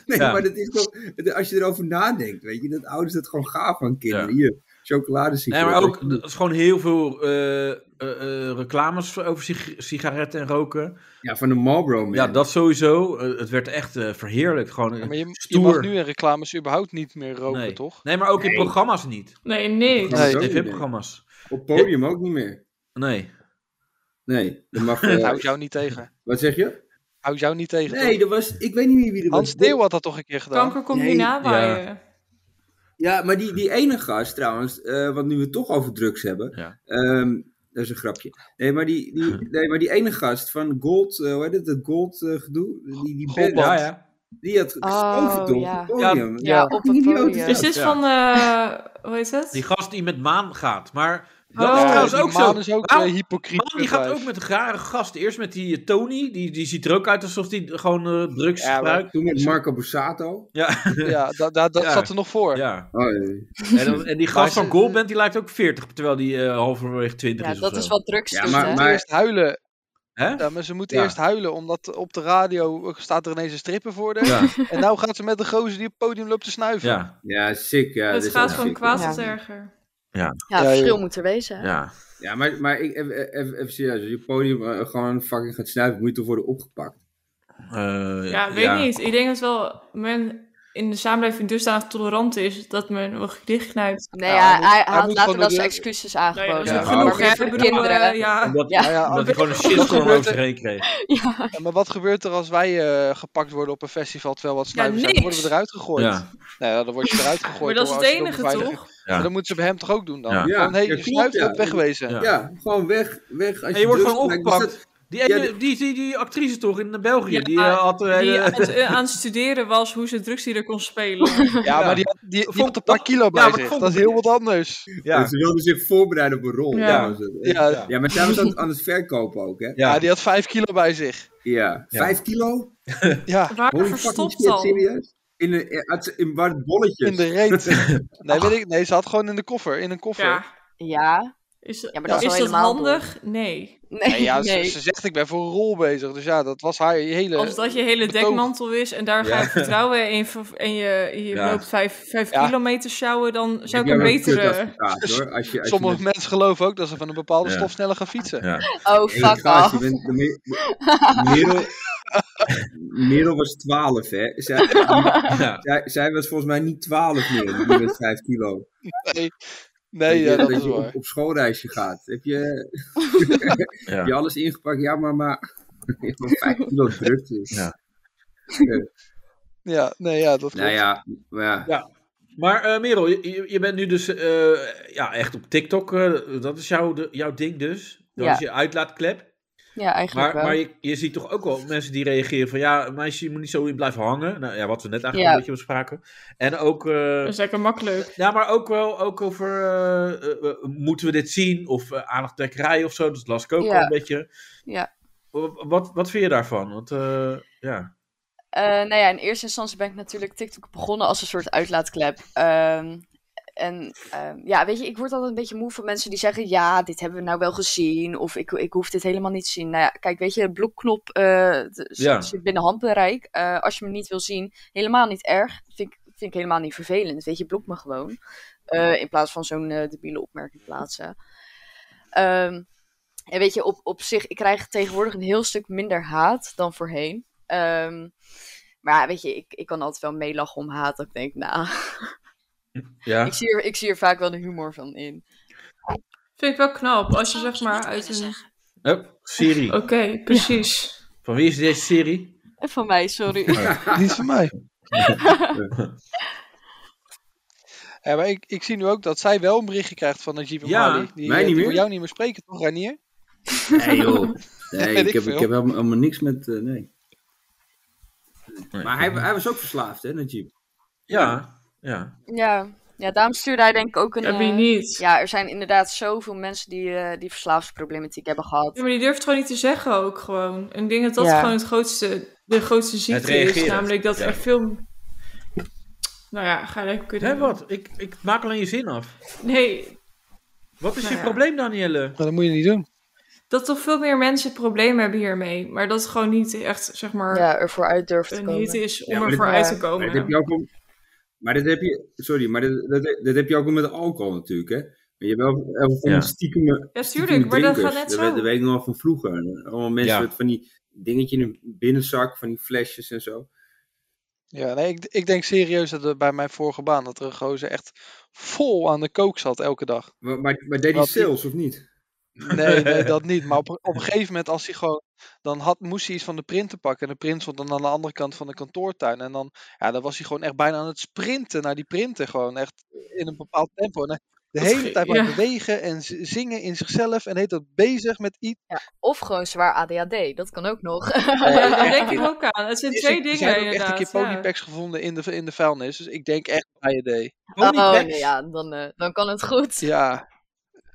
[SPEAKER 4] Nee,
[SPEAKER 2] Ja.
[SPEAKER 4] maar dat is toch... dat- Als je erover nadenkt, weet je? Dat ouders dat gewoon gaaf aan kinderen.
[SPEAKER 2] Ja.
[SPEAKER 4] Hier,
[SPEAKER 2] Nee,
[SPEAKER 4] chocoladesigaretten.
[SPEAKER 2] maar ook, er is gewoon heel veel eh, eh, eh, reclames over sig- sigaretten en roken.
[SPEAKER 4] Ja, van de Marlboro Man.
[SPEAKER 2] Ja, dat sowieso. Eh, het werd echt eh, verheerlijk. Gewoon, eh,
[SPEAKER 7] Ja, maar je, je
[SPEAKER 2] stoer.
[SPEAKER 7] mag nu in reclames überhaupt niet meer roken,
[SPEAKER 2] nee.
[SPEAKER 7] toch?
[SPEAKER 2] Nee, maar ook in
[SPEAKER 4] Nee.
[SPEAKER 2] programma's niet.
[SPEAKER 5] Nee, niks.
[SPEAKER 4] Dat is ook niet meer.
[SPEAKER 2] TV-programma's.
[SPEAKER 4] Op podium ook niet meer.
[SPEAKER 2] Nee.
[SPEAKER 4] Nee, dat mag... eh,
[SPEAKER 7] Dat
[SPEAKER 2] Nou,
[SPEAKER 7] houdt jou niet tegen.
[SPEAKER 4] wat zeg je?
[SPEAKER 7] Houdt jou niet tegen.
[SPEAKER 4] Nee,
[SPEAKER 7] toch?
[SPEAKER 4] dat was... Ik weet niet meer wie dat
[SPEAKER 7] Hans
[SPEAKER 4] was.
[SPEAKER 7] Deeuw had dat toch een keer gedaan?
[SPEAKER 5] Kanker komt
[SPEAKER 4] Nee,
[SPEAKER 5] niet nawaaien.
[SPEAKER 4] Ja, maar die, die ene gast trouwens, eh want nu we het toch over drugs hebben.
[SPEAKER 2] Ja.
[SPEAKER 4] ehm, dat is een grapje. Nee, maar die, die, nee, maar die ene gast van Gold, eh hoe heet het, dat Gold eh, gedoe? Die, die,
[SPEAKER 7] Goldband.
[SPEAKER 4] band,
[SPEAKER 2] Ja, ja.
[SPEAKER 4] die had gestoven toch?
[SPEAKER 3] Oh, ja.
[SPEAKER 4] op het podium.
[SPEAKER 3] ja, op het
[SPEAKER 4] Idioot is
[SPEAKER 3] podium.
[SPEAKER 4] dat.
[SPEAKER 5] Is dit
[SPEAKER 2] Ja.
[SPEAKER 5] van, eh hoe heet het?
[SPEAKER 2] Die gast die met Maan gaat. Maar dat
[SPEAKER 5] Oh,
[SPEAKER 2] is
[SPEAKER 7] Ja,
[SPEAKER 2] trouwens
[SPEAKER 7] die
[SPEAKER 2] ook zo.
[SPEAKER 7] man is ook
[SPEAKER 2] Waarom-
[SPEAKER 7] eh, hypocriet.
[SPEAKER 2] Maan die gaat ook met een rare gast. Eerst met die eh, Tony. Die, die ziet er ook uit alsof die gewoon eh, drugs
[SPEAKER 7] Ja, maar-
[SPEAKER 2] gebruikt.
[SPEAKER 4] Toen met Marco Borsato.
[SPEAKER 2] Ja.
[SPEAKER 7] Ja, da- da- dat
[SPEAKER 2] Ja.
[SPEAKER 7] zat er nog voor.
[SPEAKER 2] ja.
[SPEAKER 4] Oh, nee.
[SPEAKER 2] En, dan- en die
[SPEAKER 7] Maar
[SPEAKER 2] gast
[SPEAKER 7] ze-
[SPEAKER 2] van Goldband die lijkt ook 40. Terwijl die eh, halverwege 20
[SPEAKER 3] ja,
[SPEAKER 2] is of
[SPEAKER 3] dat is
[SPEAKER 2] zo.
[SPEAKER 3] wat drugs
[SPEAKER 4] Ja,
[SPEAKER 3] doet,
[SPEAKER 4] maar-
[SPEAKER 3] hè?
[SPEAKER 7] Moet Dus eerst huilen.
[SPEAKER 2] Hè?
[SPEAKER 7] Ja, maar ze moet
[SPEAKER 2] Ja.
[SPEAKER 7] eerst huilen, omdat op de radio staat er ineens een stripper voor haar.
[SPEAKER 2] Ja.
[SPEAKER 7] En nou gaat ze met de gozer die op het podium loopt te snuiven.
[SPEAKER 2] Ja.
[SPEAKER 4] Ja, sick. Ja,
[SPEAKER 5] het
[SPEAKER 4] dat is
[SPEAKER 5] gaat
[SPEAKER 4] echt
[SPEAKER 5] van
[SPEAKER 4] sick.
[SPEAKER 5] kwaad
[SPEAKER 3] Ja.
[SPEAKER 5] tot erger.
[SPEAKER 3] Ja,
[SPEAKER 7] Ja,
[SPEAKER 3] verschil
[SPEAKER 7] joh.
[SPEAKER 3] moet er wezen. hè?
[SPEAKER 2] Ja.
[SPEAKER 4] Ja, maar, maar ik, even, even, even serieus. Als je op het podium eh, gewoon fucking gaat snuiven, moet je toch worden opgepakt.
[SPEAKER 2] Eh,
[SPEAKER 5] Ja, weet niet. Ik denk dat wel men in de samenleving dusdanig tolerant is dat men wel dicht knijpt.
[SPEAKER 3] Nee,
[SPEAKER 7] Ja,
[SPEAKER 3] ja,
[SPEAKER 7] hij moet-
[SPEAKER 3] hij,
[SPEAKER 7] hij
[SPEAKER 3] hij had
[SPEAKER 7] moet
[SPEAKER 3] later
[SPEAKER 7] gewoon
[SPEAKER 3] wel zijn
[SPEAKER 7] door de-
[SPEAKER 3] excuses
[SPEAKER 5] Nou ja,
[SPEAKER 3] aangeboden.
[SPEAKER 5] dat is
[SPEAKER 4] Ja.
[SPEAKER 5] ook
[SPEAKER 4] Oh,
[SPEAKER 5] genoeg.
[SPEAKER 4] oké.
[SPEAKER 5] hè. Ik
[SPEAKER 3] Voor
[SPEAKER 5] bedoel,
[SPEAKER 3] kinderen.
[SPEAKER 5] eh, ja.
[SPEAKER 2] Omdat,
[SPEAKER 3] Ja.
[SPEAKER 7] Nou ja,
[SPEAKER 2] omdat hij gewoon een
[SPEAKER 7] Wat
[SPEAKER 2] shitstorm
[SPEAKER 7] gebeurt
[SPEAKER 2] over zich
[SPEAKER 7] er-
[SPEAKER 2] heen kreeg.
[SPEAKER 7] Ja, maar wat gebeurt er als wij eh, gepakt worden op een festival terwijl wat snuivers zijn? Dan worden we
[SPEAKER 5] niks.
[SPEAKER 7] eruit gegooid.
[SPEAKER 2] Ja.
[SPEAKER 7] Nou ja, dan word je eruit gegooid.
[SPEAKER 5] Maar dat is
[SPEAKER 7] hoor,
[SPEAKER 5] het
[SPEAKER 7] als je door
[SPEAKER 5] enige,
[SPEAKER 7] beveiliging-
[SPEAKER 5] toch?
[SPEAKER 7] Maar dan moeten ze bij hem toch ook doen dan?
[SPEAKER 2] Ja.
[SPEAKER 7] Gewoon,
[SPEAKER 4] Ja,
[SPEAKER 7] hey,
[SPEAKER 4] ja,
[SPEAKER 7] je
[SPEAKER 4] klopt,
[SPEAKER 7] snuift
[SPEAKER 4] ja.
[SPEAKER 7] hebt wegwezen.
[SPEAKER 2] Ja.
[SPEAKER 4] Ja, gewoon weg. weg als
[SPEAKER 2] En je wordt
[SPEAKER 4] drugs
[SPEAKER 2] gewoon
[SPEAKER 4] gebruikt. Is Dus dat-
[SPEAKER 2] opgepakt. Die, ene-
[SPEAKER 4] Ja,
[SPEAKER 2] die, die, die, actrice toch in België,
[SPEAKER 5] Ja,
[SPEAKER 2] die eh, had... eh,
[SPEAKER 5] Die
[SPEAKER 2] eh,
[SPEAKER 5] aan het, eh, aan het studeren was hoe ze drugsdealer kon spelen.
[SPEAKER 7] Ja, maar die, had- die, die
[SPEAKER 2] Vond-
[SPEAKER 7] had een paar
[SPEAKER 2] dat-
[SPEAKER 7] kilo bij
[SPEAKER 2] maar ik
[SPEAKER 7] zich.
[SPEAKER 2] vond-
[SPEAKER 7] Dat is heel wat anders.
[SPEAKER 2] ja.
[SPEAKER 4] Ze wilden zich voorbereiden op een rol.
[SPEAKER 5] Ja.
[SPEAKER 4] Ja, was het.
[SPEAKER 7] Ja,
[SPEAKER 2] Ja.
[SPEAKER 7] ja.
[SPEAKER 4] Ja, maar zij was aan het, aan het verkopen ook, hè?
[SPEAKER 2] Ja.
[SPEAKER 7] die had vijf kilo bij zich.
[SPEAKER 4] Ja.
[SPEAKER 2] Ja.
[SPEAKER 4] Vijf kilo?
[SPEAKER 7] Ja,
[SPEAKER 5] Waar
[SPEAKER 4] Holy fucking
[SPEAKER 5] verstopt
[SPEAKER 4] shit,
[SPEAKER 5] dan?
[SPEAKER 4] serieus? In een, in- uit- in waar het bolletjes.
[SPEAKER 7] in de reet. Nee, weet ik, nee, ze had gewoon in de koffer. In een koffer.
[SPEAKER 5] Ja.
[SPEAKER 3] Ja.
[SPEAKER 5] Is,
[SPEAKER 3] Ja, maar
[SPEAKER 5] dat
[SPEAKER 3] dat
[SPEAKER 5] is
[SPEAKER 3] is wel
[SPEAKER 5] dat
[SPEAKER 3] helemaal
[SPEAKER 5] handig? Nee.
[SPEAKER 3] Nee,
[SPEAKER 7] Nee, ja,
[SPEAKER 3] nee.
[SPEAKER 7] Ze, ze zegt ik ben voor een rol bezig. Dus ja, dat was haar hele...
[SPEAKER 5] Als dat je hele
[SPEAKER 7] betoog.
[SPEAKER 5] dekmantel is en daar ga
[SPEAKER 2] Ja.
[SPEAKER 5] je vertrouwen en je, ver- en je, je
[SPEAKER 2] Ja.
[SPEAKER 5] loopt vijf, vijf
[SPEAKER 7] Ja.
[SPEAKER 5] kilometer sjouwen, dan zou ik
[SPEAKER 4] Ja,
[SPEAKER 5] een
[SPEAKER 4] maar kut
[SPEAKER 5] betere...
[SPEAKER 4] advocaat, hoor. Als je, als je
[SPEAKER 7] Sommige
[SPEAKER 4] met-
[SPEAKER 7] mensen geloven ook dat ze van een bepaalde
[SPEAKER 2] Ja.
[SPEAKER 7] stof sneller gaan fietsen.
[SPEAKER 2] Ja.
[SPEAKER 3] Oh,
[SPEAKER 4] Hey,
[SPEAKER 3] fuck
[SPEAKER 4] Kaas, je
[SPEAKER 3] off.
[SPEAKER 4] bent de me- Merel, Merel was 12, hè? Zij,
[SPEAKER 2] Ja.
[SPEAKER 4] zij, zij was volgens mij niet 12 meer, die met 5 kilo.
[SPEAKER 7] Nee, nee ja,
[SPEAKER 4] je,
[SPEAKER 7] dat is
[SPEAKER 4] je
[SPEAKER 7] waar.
[SPEAKER 4] op, op schoolreisje gaat. Heb je,
[SPEAKER 2] Ja.
[SPEAKER 4] heb je alles ingepakt? Ja, maar, maar, je hebt maar 5 kilo dus. drukte.
[SPEAKER 2] Ja.
[SPEAKER 7] Ja, nee, ja, dat klopt.
[SPEAKER 4] Nou ja, maar ja.
[SPEAKER 2] Maar eh, Merel, je- je, je bent nu dus eh, ja, echt op TikTok. eh, dat is jouw, de- jouw ding dus. Dat
[SPEAKER 3] Ja.
[SPEAKER 2] is je uitlaatklep.
[SPEAKER 3] Ja, eigenlijk
[SPEAKER 2] Maar,
[SPEAKER 3] wel.
[SPEAKER 2] maar je, je ziet toch ook wel mensen die reageren van... Ja, meisje, je moet niet zo in blijven hangen. Nou ja, wat we net eigenlijk
[SPEAKER 3] Ja.
[SPEAKER 2] een beetje bespraken. En ook... eh,
[SPEAKER 5] Dat is lekker makkelijk.
[SPEAKER 2] Ja, maar ook wel ook over eh, eh, eh, moeten we dit zien of eh aandachttrekkerij of zo. Dat las ik ook
[SPEAKER 3] Ja.
[SPEAKER 2] wel een beetje.
[SPEAKER 3] Ja.
[SPEAKER 2] Wa- Wat, wat vind je daarvan? Want, eh, ja.
[SPEAKER 3] Eh, nou ja, in eerste instantie ben ik natuurlijk TikTok begonnen als een soort uitlaatklep. Ehm, En ehm, ja, weet je, ik word altijd een beetje moe van mensen die zeggen: Ja, dit hebben we nou wel gezien. Of ik, ik hoef dit helemaal niet te zien. Nou ja, kijk, weet je, de blokknop eh, d- zit-
[SPEAKER 2] Ja.
[SPEAKER 3] zit binnen handbereik. Eh, als je me niet wil zien, helemaal niet erg. Vind ik, vind ik helemaal niet vervelend. Weet je, blok me gewoon. Eh, in plaats van zo'n eh, debiele opmerking plaatsen. Ehm, en weet je, op, op zich, ik krijg tegenwoordig een heel stuk minder haat dan voorheen. Ehm, maar ja, weet je, ik, ik kan altijd wel meelachen om haat. Dat ik denk, nou,
[SPEAKER 2] Ja.
[SPEAKER 3] ik, zie er, ik zie er vaak wel de humor van in.
[SPEAKER 5] Vind ik wel knap. Als je
[SPEAKER 8] zou
[SPEAKER 5] zeg
[SPEAKER 8] ik je
[SPEAKER 5] maar
[SPEAKER 8] niet
[SPEAKER 5] uit
[SPEAKER 8] willen
[SPEAKER 5] een...
[SPEAKER 7] Oh.
[SPEAKER 2] Hup, Siri.
[SPEAKER 5] Oké, precies.
[SPEAKER 2] Van wie is deze Siri?
[SPEAKER 3] En van mij, sorry.
[SPEAKER 7] Niet van mij. Ja, maar ik, ik zie nu ook dat zij wel een berichtje krijgt van Najib
[SPEAKER 2] Ja,
[SPEAKER 7] Amali. die,
[SPEAKER 4] mij niet
[SPEAKER 7] eh, die
[SPEAKER 4] meer.
[SPEAKER 7] wil jou niet meer spreken, toch Ranier?
[SPEAKER 4] Nee joh. Nee,
[SPEAKER 7] Weet
[SPEAKER 4] ik,
[SPEAKER 7] ik
[SPEAKER 4] heb,
[SPEAKER 7] veel.
[SPEAKER 4] ik heb helemaal, helemaal niks met... eh, nee.
[SPEAKER 2] Nee.
[SPEAKER 4] Maar hij, hij was ook verslaafd, hè, Najib?
[SPEAKER 7] Oh,
[SPEAKER 2] Ja, ja.
[SPEAKER 3] ja. ja, daarom stuurde hij denk ik ook een...
[SPEAKER 5] Heb je
[SPEAKER 3] eh,
[SPEAKER 5] niet. Ja.
[SPEAKER 3] Ja, er zijn inderdaad zoveel mensen die, eh, die verslavingsproblematiek hebben gehad.
[SPEAKER 5] maar die durft gewoon niet te zeggen ook gewoon. En ik denk dat dat
[SPEAKER 3] Ja.
[SPEAKER 5] gewoon het grootste, de grootste ziekte is.
[SPEAKER 2] reageren.
[SPEAKER 5] Namelijk dat
[SPEAKER 2] Ja.
[SPEAKER 5] er veel... Nou ja, ga lekker kunnen.
[SPEAKER 2] Hé, wat? Ik, ik maak alleen je zin af.
[SPEAKER 5] Nee,
[SPEAKER 2] Wat is
[SPEAKER 5] Nou
[SPEAKER 2] je
[SPEAKER 5] ja.
[SPEAKER 2] probleem, Danielle?
[SPEAKER 7] Maar dat moet je niet doen.
[SPEAKER 5] dat toch veel meer mensen problemen hebben hiermee. Maar dat het gewoon niet echt, zeg maar,
[SPEAKER 3] Ja, ervoor uit durven te
[SPEAKER 5] een
[SPEAKER 3] komen.
[SPEAKER 5] hit is om
[SPEAKER 4] Ja, maar
[SPEAKER 5] ervoor
[SPEAKER 3] dit-
[SPEAKER 5] uit te
[SPEAKER 4] Maar
[SPEAKER 5] komen.
[SPEAKER 4] dat heb je ook al- Maar dat heb je... Sorry, maar dat, dat, dat heb je ook al met alcohol natuurlijk, hè? Maar je hebt wel heel veel van
[SPEAKER 2] Ja.
[SPEAKER 4] die stiekeme-
[SPEAKER 5] Ja,
[SPEAKER 4] stiekem...
[SPEAKER 5] tuurlijk, maar dat
[SPEAKER 4] drinkers.
[SPEAKER 5] gaat net
[SPEAKER 4] Dat, weet-
[SPEAKER 5] zo.
[SPEAKER 4] dat weet ik nog wel van vroeger. Allemaal mensen
[SPEAKER 2] Ja.
[SPEAKER 4] met van die dingetje in hun binnenzak, van die flesjes en zo.
[SPEAKER 7] Ja, nee, ik, ik denk serieus dat er bij mijn vorige baan dat er een gozer echt vol aan de kook zat elke dag.
[SPEAKER 4] Maar, maar, maar deed hij
[SPEAKER 7] Wat die-
[SPEAKER 4] sales, of niet?
[SPEAKER 7] Nee, nee, dat niet. Maar op, op een gegeven moment, als hij gewoon. dan had, moest hij iets van de printer pakken. En de print stond dan aan de andere kant van de kantoortuin. En dan, ja, dan was hij gewoon echt bijna aan het sprinten naar die printer. Gewoon echt in een bepaald tempo. En hij de
[SPEAKER 5] Dat
[SPEAKER 7] hele
[SPEAKER 5] ge-
[SPEAKER 7] tijd maar
[SPEAKER 5] ja.
[SPEAKER 7] bewegen en z- zingen in zichzelf. En heet dat bezig met iets.
[SPEAKER 3] Of gewoon zwaar ADHD, dat kan ook nog.
[SPEAKER 5] Ja, daar denk ik ook aan. Het zijn
[SPEAKER 7] Is
[SPEAKER 5] twee
[SPEAKER 7] het-
[SPEAKER 5] dingen
[SPEAKER 7] Ze hebben ook echt een
[SPEAKER 5] inderdaad,
[SPEAKER 7] keer
[SPEAKER 5] ja.
[SPEAKER 7] ponypacks gevonden in de, in de vuilnis. Dus ik denk echt bij je
[SPEAKER 3] Oh,
[SPEAKER 2] Ponypacks?
[SPEAKER 3] nee, ja, dan, eh, dan kan het goed.
[SPEAKER 7] Ja,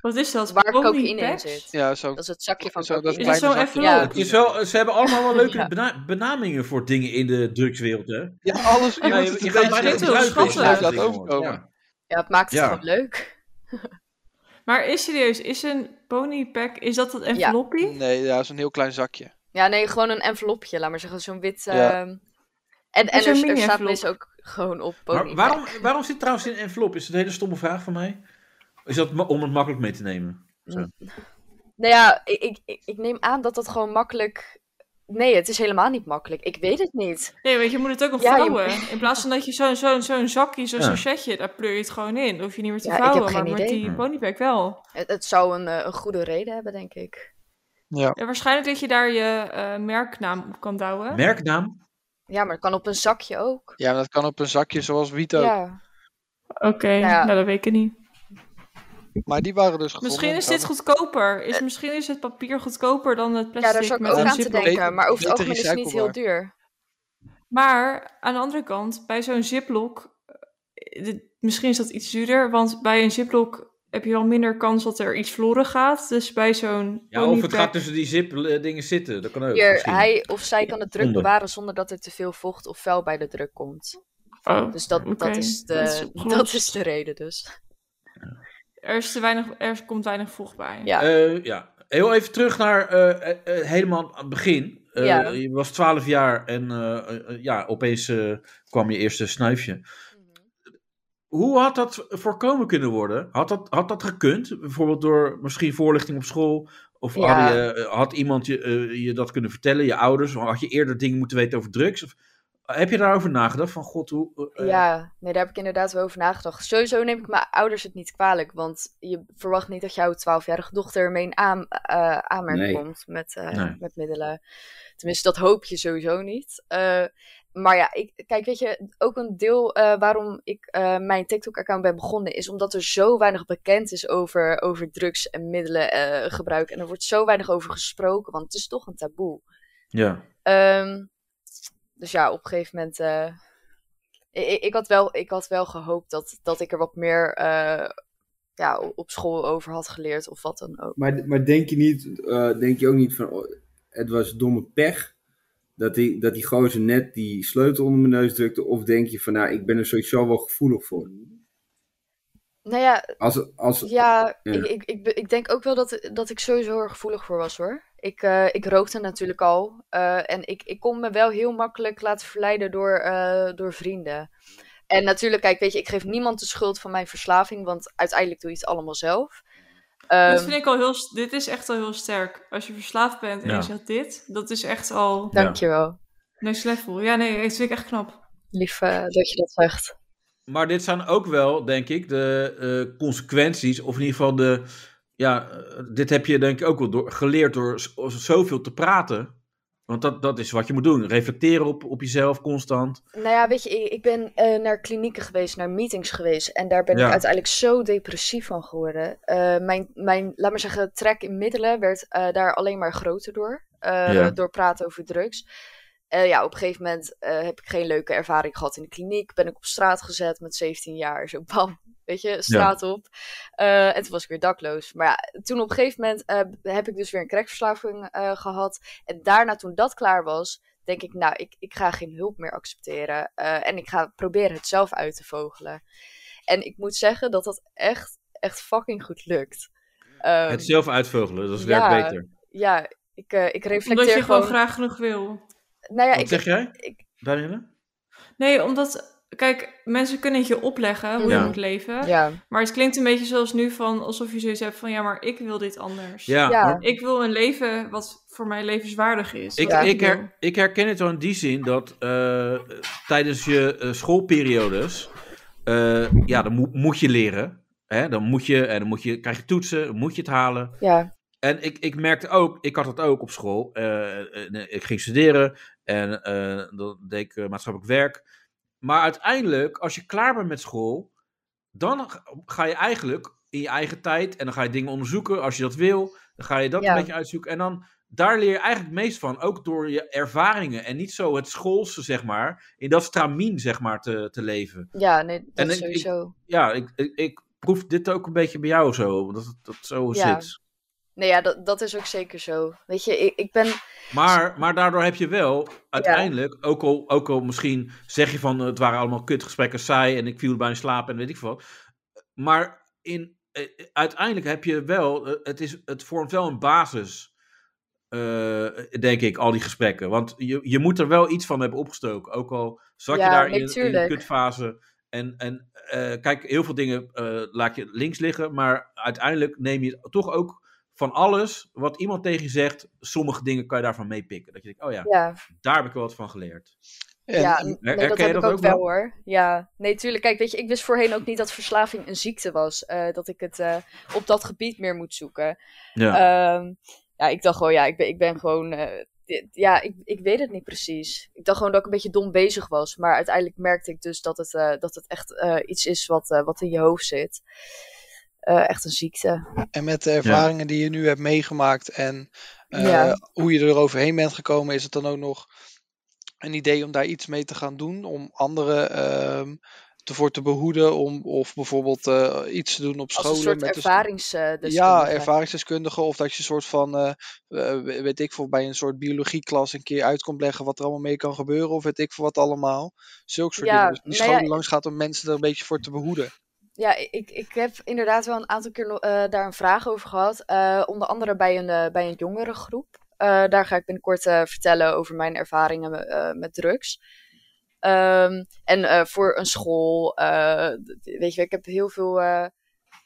[SPEAKER 5] Wat is dat?
[SPEAKER 3] Waar
[SPEAKER 5] Omnipax?
[SPEAKER 3] cocaïne in zit.
[SPEAKER 7] ja, zo.
[SPEAKER 3] Dat is het zakje van
[SPEAKER 7] Zo, dat
[SPEAKER 5] Is
[SPEAKER 3] cocaïne.
[SPEAKER 5] dat
[SPEAKER 7] kleine
[SPEAKER 5] zo'n
[SPEAKER 7] zakje.
[SPEAKER 5] envelop?
[SPEAKER 2] Het is wel, eh, ze hebben allemaal wel leuke bena- benamingen voor dingen in de drugswereld, hè?
[SPEAKER 7] Ja, alles. Je
[SPEAKER 2] Ja,
[SPEAKER 7] moet het
[SPEAKER 2] je gaat
[SPEAKER 7] een beetje
[SPEAKER 5] bijna
[SPEAKER 2] bijna
[SPEAKER 5] niet
[SPEAKER 2] druipen
[SPEAKER 5] schatten.
[SPEAKER 2] in dat
[SPEAKER 7] Laat
[SPEAKER 2] ding,
[SPEAKER 7] overkomen.
[SPEAKER 2] jongen. Ja.
[SPEAKER 3] Ja, het maakt het
[SPEAKER 2] Ja.
[SPEAKER 3] gewoon leuk.
[SPEAKER 5] Maar is serieus, is een ponypack, is dat dat enveloppie?
[SPEAKER 7] Nee, ja, zo'n heel klein zakje.
[SPEAKER 3] Ja, nee, gewoon een envelopje, laat maar zeggen. Zo'n wit...
[SPEAKER 7] Ja.
[SPEAKER 3] ehm, En, en
[SPEAKER 5] Zo'n
[SPEAKER 3] er, er staat
[SPEAKER 5] mini-envelop.
[SPEAKER 3] dus ook gewoon op
[SPEAKER 2] Maar
[SPEAKER 3] ponypack.
[SPEAKER 2] waarom, waarom zit trouwens in een envelop? Is dat een hele stomme vraag van mij? Is dat ma- om het makkelijk mee te nemen?
[SPEAKER 3] Nou ja, ik, ik- ik, ik neem aan dat dat gewoon makkelijk... Nee, het is helemaal niet makkelijk. Ik weet het niet.
[SPEAKER 5] Nee, want je moet het ook nog
[SPEAKER 3] Ja, je
[SPEAKER 5] vouwen. In plaats van dat je zo'n zo'n zo'n zakje, zo'n
[SPEAKER 2] Ja.
[SPEAKER 5] sachetje, daar pleur je het gewoon in. Dan hoef je niet meer te
[SPEAKER 3] Ja, ik heb
[SPEAKER 5] vouwen,
[SPEAKER 3] geen
[SPEAKER 5] maar met
[SPEAKER 3] idee.
[SPEAKER 5] die
[SPEAKER 2] Hm.
[SPEAKER 5] ponypack wel.
[SPEAKER 3] Het, het zou een, eh, een goede reden hebben, denk ik.
[SPEAKER 7] Ja.
[SPEAKER 5] Ja, waarschijnlijk dat je daar je eh, merknaam op kan douwen.
[SPEAKER 2] Merknaam?
[SPEAKER 3] Ja, maar het kan op een zakje ook.
[SPEAKER 7] Ja, maar dat kan op een zakje zoals Wito.
[SPEAKER 3] Ja.
[SPEAKER 5] Oké,
[SPEAKER 3] Ja.
[SPEAKER 5] nou dat weet ik niet.
[SPEAKER 7] Maar die waren dus gevonden.
[SPEAKER 5] Misschien is dit goedkoper. Is, misschien is het papier goedkoper dan het
[SPEAKER 3] Eh. ja,
[SPEAKER 5] plastic.
[SPEAKER 3] daar zou ik
[SPEAKER 5] met
[SPEAKER 3] ook
[SPEAKER 5] een
[SPEAKER 3] aan te
[SPEAKER 5] Ziploc.
[SPEAKER 3] denken. Maar over het
[SPEAKER 7] Beter
[SPEAKER 3] algemeen is het niet heel
[SPEAKER 7] recyclebaar.
[SPEAKER 3] duur.
[SPEAKER 5] Maar aan de andere kant, bij zo'n ziplock, eh, dit- misschien is dat iets duurder, want bij een ziplock heb je wel minder kans dat er iets verloren gaat. Dus bij zo'n
[SPEAKER 2] Ja, of het
[SPEAKER 5] ponypack-
[SPEAKER 2] gaat tussen die zip-dingen zitten. Dat kan ook.
[SPEAKER 3] Hier,
[SPEAKER 2] misschien.
[SPEAKER 3] hij of zij kan het druk
[SPEAKER 2] Onder.
[SPEAKER 3] bewaren zonder dat er te veel vocht of vuil bij de druk komt.
[SPEAKER 5] Oh,
[SPEAKER 3] Dus dat,
[SPEAKER 5] Oké,
[SPEAKER 3] dat, is, de,
[SPEAKER 5] dat is
[SPEAKER 3] dat,
[SPEAKER 5] opgelost.
[SPEAKER 3] is de reden dus.
[SPEAKER 5] er, is te weinig, er komt weinig vocht bij.
[SPEAKER 3] Ja.
[SPEAKER 2] Eh, ja. Heel even terug naar eh, eh, eh, helemaal aan het begin. Eh,
[SPEAKER 3] Ja.
[SPEAKER 2] Je was 12 jaar en eh, eh, eh, ja, opeens eh, kwam je eerste snuifje.
[SPEAKER 3] Mhm.
[SPEAKER 2] Hoe had dat voorkomen kunnen worden? Had dat, had dat gekund? Bijvoorbeeld door misschien voorlichting op school? Of
[SPEAKER 3] Ja.
[SPEAKER 2] had, je, eh, had iemand je, eh, je dat kunnen vertellen, je ouders? Of had je eerder dingen moeten weten over drugs? Of, heb je daarover nagedacht? Van god, hoe... eh,
[SPEAKER 3] ja, nee, daar heb ik inderdaad wel over nagedacht. Sowieso neem ik mijn ouders het niet kwalijk, want je verwacht niet dat jouw 12-jarige dochter ermee in aan, eh, aanmerking
[SPEAKER 4] Nee.
[SPEAKER 3] komt met, eh,
[SPEAKER 2] Nee.
[SPEAKER 3] met middelen. Tenminste, dat hoop je sowieso niet. Eh, maar ja, ik, kijk, weet je, ook een deel eh, waarom ik eh, mijn TikTok-account ben begonnen is omdat er zo weinig bekend is over, over drugs en middelengebruik. en er wordt zo weinig over gesproken, want het is toch een taboe.
[SPEAKER 2] ja.
[SPEAKER 3] Ehm, dus ja, op een gegeven moment. eh, i- i- ik, had wel, ik had wel gehoopt dat, dat ik er wat meer eh, ja, o- op school over had geleerd of wat dan ook.
[SPEAKER 4] Maar, maar denk, je niet, eh, denk je ook niet van, oh, het was domme pech dat die, dat die gozer net die sleutel onder mijn neus drukte? Of denk je van, nou, ik ben er sowieso wel gevoelig voor?
[SPEAKER 3] Nou ja,
[SPEAKER 4] Als, als,
[SPEAKER 3] Ja,
[SPEAKER 4] Ja.
[SPEAKER 3] Ik, ik, ik, be- ik denk ook wel dat, dat ik sowieso er gevoelig voor was hoor. Ik, eh, ik rookte natuurlijk al. eh, en ik, ik kon me wel heel makkelijk laten verleiden door, eh, door vrienden. En natuurlijk, kijk, weet je, ik geef niemand de schuld van mijn verslaving, want uiteindelijk doe je het allemaal zelf. Ehm,
[SPEAKER 5] dat vind ik al heel... s- Dit is echt al heel sterk. Als je verslaafd bent en
[SPEAKER 2] Ja.
[SPEAKER 5] je zegt dit, dat is echt al
[SPEAKER 3] Dankjewel.
[SPEAKER 5] next level. Ja, nee, dat vind ik echt knap.
[SPEAKER 3] Lief eh, dat je dat zegt.
[SPEAKER 2] Maar dit zijn ook wel, denk ik, de eh, consequenties. Of in ieder geval de. Ja, eh, dit heb je denk ik ook wel door, geleerd door z- zoveel te praten. Want dat, dat is wat je moet doen. Reflecteren op, op jezelf constant.
[SPEAKER 3] Nou ja, weet je, ik, ik ben eh, naar klinieken geweest, naar meetings geweest. En daar ben
[SPEAKER 2] Ja.
[SPEAKER 3] ik uiteindelijk zo depressief van geworden. Eh, mijn, mijn, laat maar zeggen, trek in middelen werd eh, daar alleen maar groter door. eh,
[SPEAKER 2] Ja.
[SPEAKER 3] Door praten over drugs. Eh, ja, op een gegeven moment eh, heb ik geen leuke ervaring gehad in de kliniek. Ben ik op straat gezet met 17 jaar. Zo bam, weet je, straat op. Eh, en toen was ik weer dakloos. Maar ja, toen op een gegeven moment eh, heb ik dus weer een crackverslaving eh, gehad. En daarna, toen dat klaar was, denk ik, nou, ik, ik ga geen hulp meer accepteren. eh, en ik ga proberen het zelf uit te vogelen. En ik moet zeggen dat dat echt, echt fucking goed lukt. Ehm,
[SPEAKER 2] het zelf uitvogelen, dat is
[SPEAKER 3] ja,
[SPEAKER 2] werkt beter.
[SPEAKER 3] ja, ik, eh, ik reflecteer
[SPEAKER 5] Omdat je gewoon...
[SPEAKER 3] gewoon...
[SPEAKER 5] graag genoeg wil.
[SPEAKER 3] Nou ja,
[SPEAKER 2] Wat
[SPEAKER 3] ik,
[SPEAKER 2] zeg jij,
[SPEAKER 3] ik-
[SPEAKER 2] Danielle?
[SPEAKER 5] Nee, omdat... Kijk, mensen kunnen het je opleggen hoe
[SPEAKER 3] Ja.
[SPEAKER 5] je moet leven.
[SPEAKER 3] ja,
[SPEAKER 5] Maar het klinkt een beetje zoals nu van... Alsof je zoiets hebt van... Ja, maar ik wil dit anders.
[SPEAKER 2] Ja,
[SPEAKER 3] Ja.
[SPEAKER 2] maar
[SPEAKER 5] Ik wil een leven wat voor mij levenswaardig is.
[SPEAKER 2] Ik,
[SPEAKER 5] Wat
[SPEAKER 2] ik,
[SPEAKER 5] wil.
[SPEAKER 2] her- ik herken het wel in die zin dat eh, tijdens je eh, schoolperiodes, eh, ja, dan moet- moet je leren. Hè? Dan moet je, en dan moet je, krijg je toetsen, dan moet je het halen.
[SPEAKER 3] ja,
[SPEAKER 2] En ik, ik merkte ook, ik had dat ook op school. Eh, eh, ik ging studeren en eh, dan deed ik eh, maatschappelijk werk. Maar uiteindelijk, als je klaar bent met school, dan g- ga je eigenlijk in je eigen tijd en dan ga je dingen onderzoeken als je dat wil. Dan ga je dat
[SPEAKER 3] Ja.
[SPEAKER 2] een beetje uitzoeken. En dan daar leer je eigenlijk het meest van, ook door je ervaringen en niet zo het schoolse, zeg maar, in dat stramien, zeg maar, te, te leven.
[SPEAKER 3] ja, nee,
[SPEAKER 2] En
[SPEAKER 3] dat
[SPEAKER 2] ik- ik-
[SPEAKER 3] sowieso...
[SPEAKER 2] Ja, ik, ik, ik proef dit ook een beetje bij jou zo, dat het- dat het zo
[SPEAKER 3] Ja.
[SPEAKER 2] zit.
[SPEAKER 3] Nee, ja, dat, dat is ook zeker zo. Weet je, ik, ik ben...
[SPEAKER 2] Maar, maar daardoor heb je wel uiteindelijk, ook, al, ook al misschien zeg je van eh, het waren allemaal kutgesprekken, saai en ik viel bijna in slaap en weet ik veel wat. Maar in, eh, eh, uiteindelijk heb je wel, eh, het, is, het vormt wel een basis, eh, denk ik, al die gesprekken. Want je, je moet er wel iets van hebben opgestoken, ook al zat
[SPEAKER 3] Ja,
[SPEAKER 2] je daar
[SPEAKER 3] nee,
[SPEAKER 2] in, in de
[SPEAKER 3] tuurlijk.
[SPEAKER 2] kutfase. En, en eh, kijk, heel veel dingen eh, laat je links liggen, maar uiteindelijk neem je toch ook van alles wat iemand tegen je zegt, sommige dingen kan je daarvan meepikken. Dat je denkt, oh ja,
[SPEAKER 3] Ja,
[SPEAKER 2] daar heb ik wel wat van geleerd.
[SPEAKER 7] En,
[SPEAKER 3] ja
[SPEAKER 7] en-
[SPEAKER 3] nee,
[SPEAKER 2] herken
[SPEAKER 3] dat
[SPEAKER 2] je
[SPEAKER 3] heb
[SPEAKER 2] dat
[SPEAKER 3] ik ook
[SPEAKER 2] ook
[SPEAKER 3] wel
[SPEAKER 2] wel?
[SPEAKER 3] hoor. Ja, nee, tuurlijk. Kijk, weet je, ik wist voorheen ook niet dat verslaving een ziekte was. eh, dat ik het eh, op dat gebied meer moet zoeken.
[SPEAKER 2] Ja.
[SPEAKER 3] Ehm, ja, ik dacht gewoon, ja, ik ben, ik ben gewoon... eh, dit- ja, ik, ik weet het niet precies. Ik dacht gewoon dat ik een beetje dom bezig was. Maar uiteindelijk merkte ik dus dat het, eh, dat het echt eh, iets is wat, eh, wat in je hoofd zit. Eh, echt een ziekte.
[SPEAKER 7] en met de ervaringen die je nu hebt meegemaakt en eh,
[SPEAKER 3] Ja.
[SPEAKER 7] hoe je er overheen bent gekomen, is het dan ook nog een idee om daar iets mee te gaan doen? Om anderen ehm ervoor te behoeden? Om, of bijvoorbeeld eh, iets te doen op
[SPEAKER 3] Als
[SPEAKER 7] scholen?
[SPEAKER 3] een soort
[SPEAKER 7] met de-
[SPEAKER 3] ervaringsdeskundige.
[SPEAKER 7] Ja, ervaringsdeskundige. Of dat je een soort van, eh, eh, we- weet ik veel, bij een soort biologieklas een keer uit komt leggen wat er allemaal mee kan gebeuren. Of weet ik veel wat allemaal. Zulke soort
[SPEAKER 3] Ja,
[SPEAKER 7] dingen. Dus die
[SPEAKER 3] nou ja,
[SPEAKER 7] scholen langs gaat om mensen er een beetje voor te behoeden.
[SPEAKER 3] Ja, ik, ik heb inderdaad wel een aantal keer eh, daar een vraag over gehad. Eh, onder andere bij een, eh, bij een jongere groep. Eh, daar ga ik binnenkort eh, vertellen over mijn ervaringen eh, met drugs. Ehm, en eh, voor een school. eh, d- weet je, ik heb heel veel eh,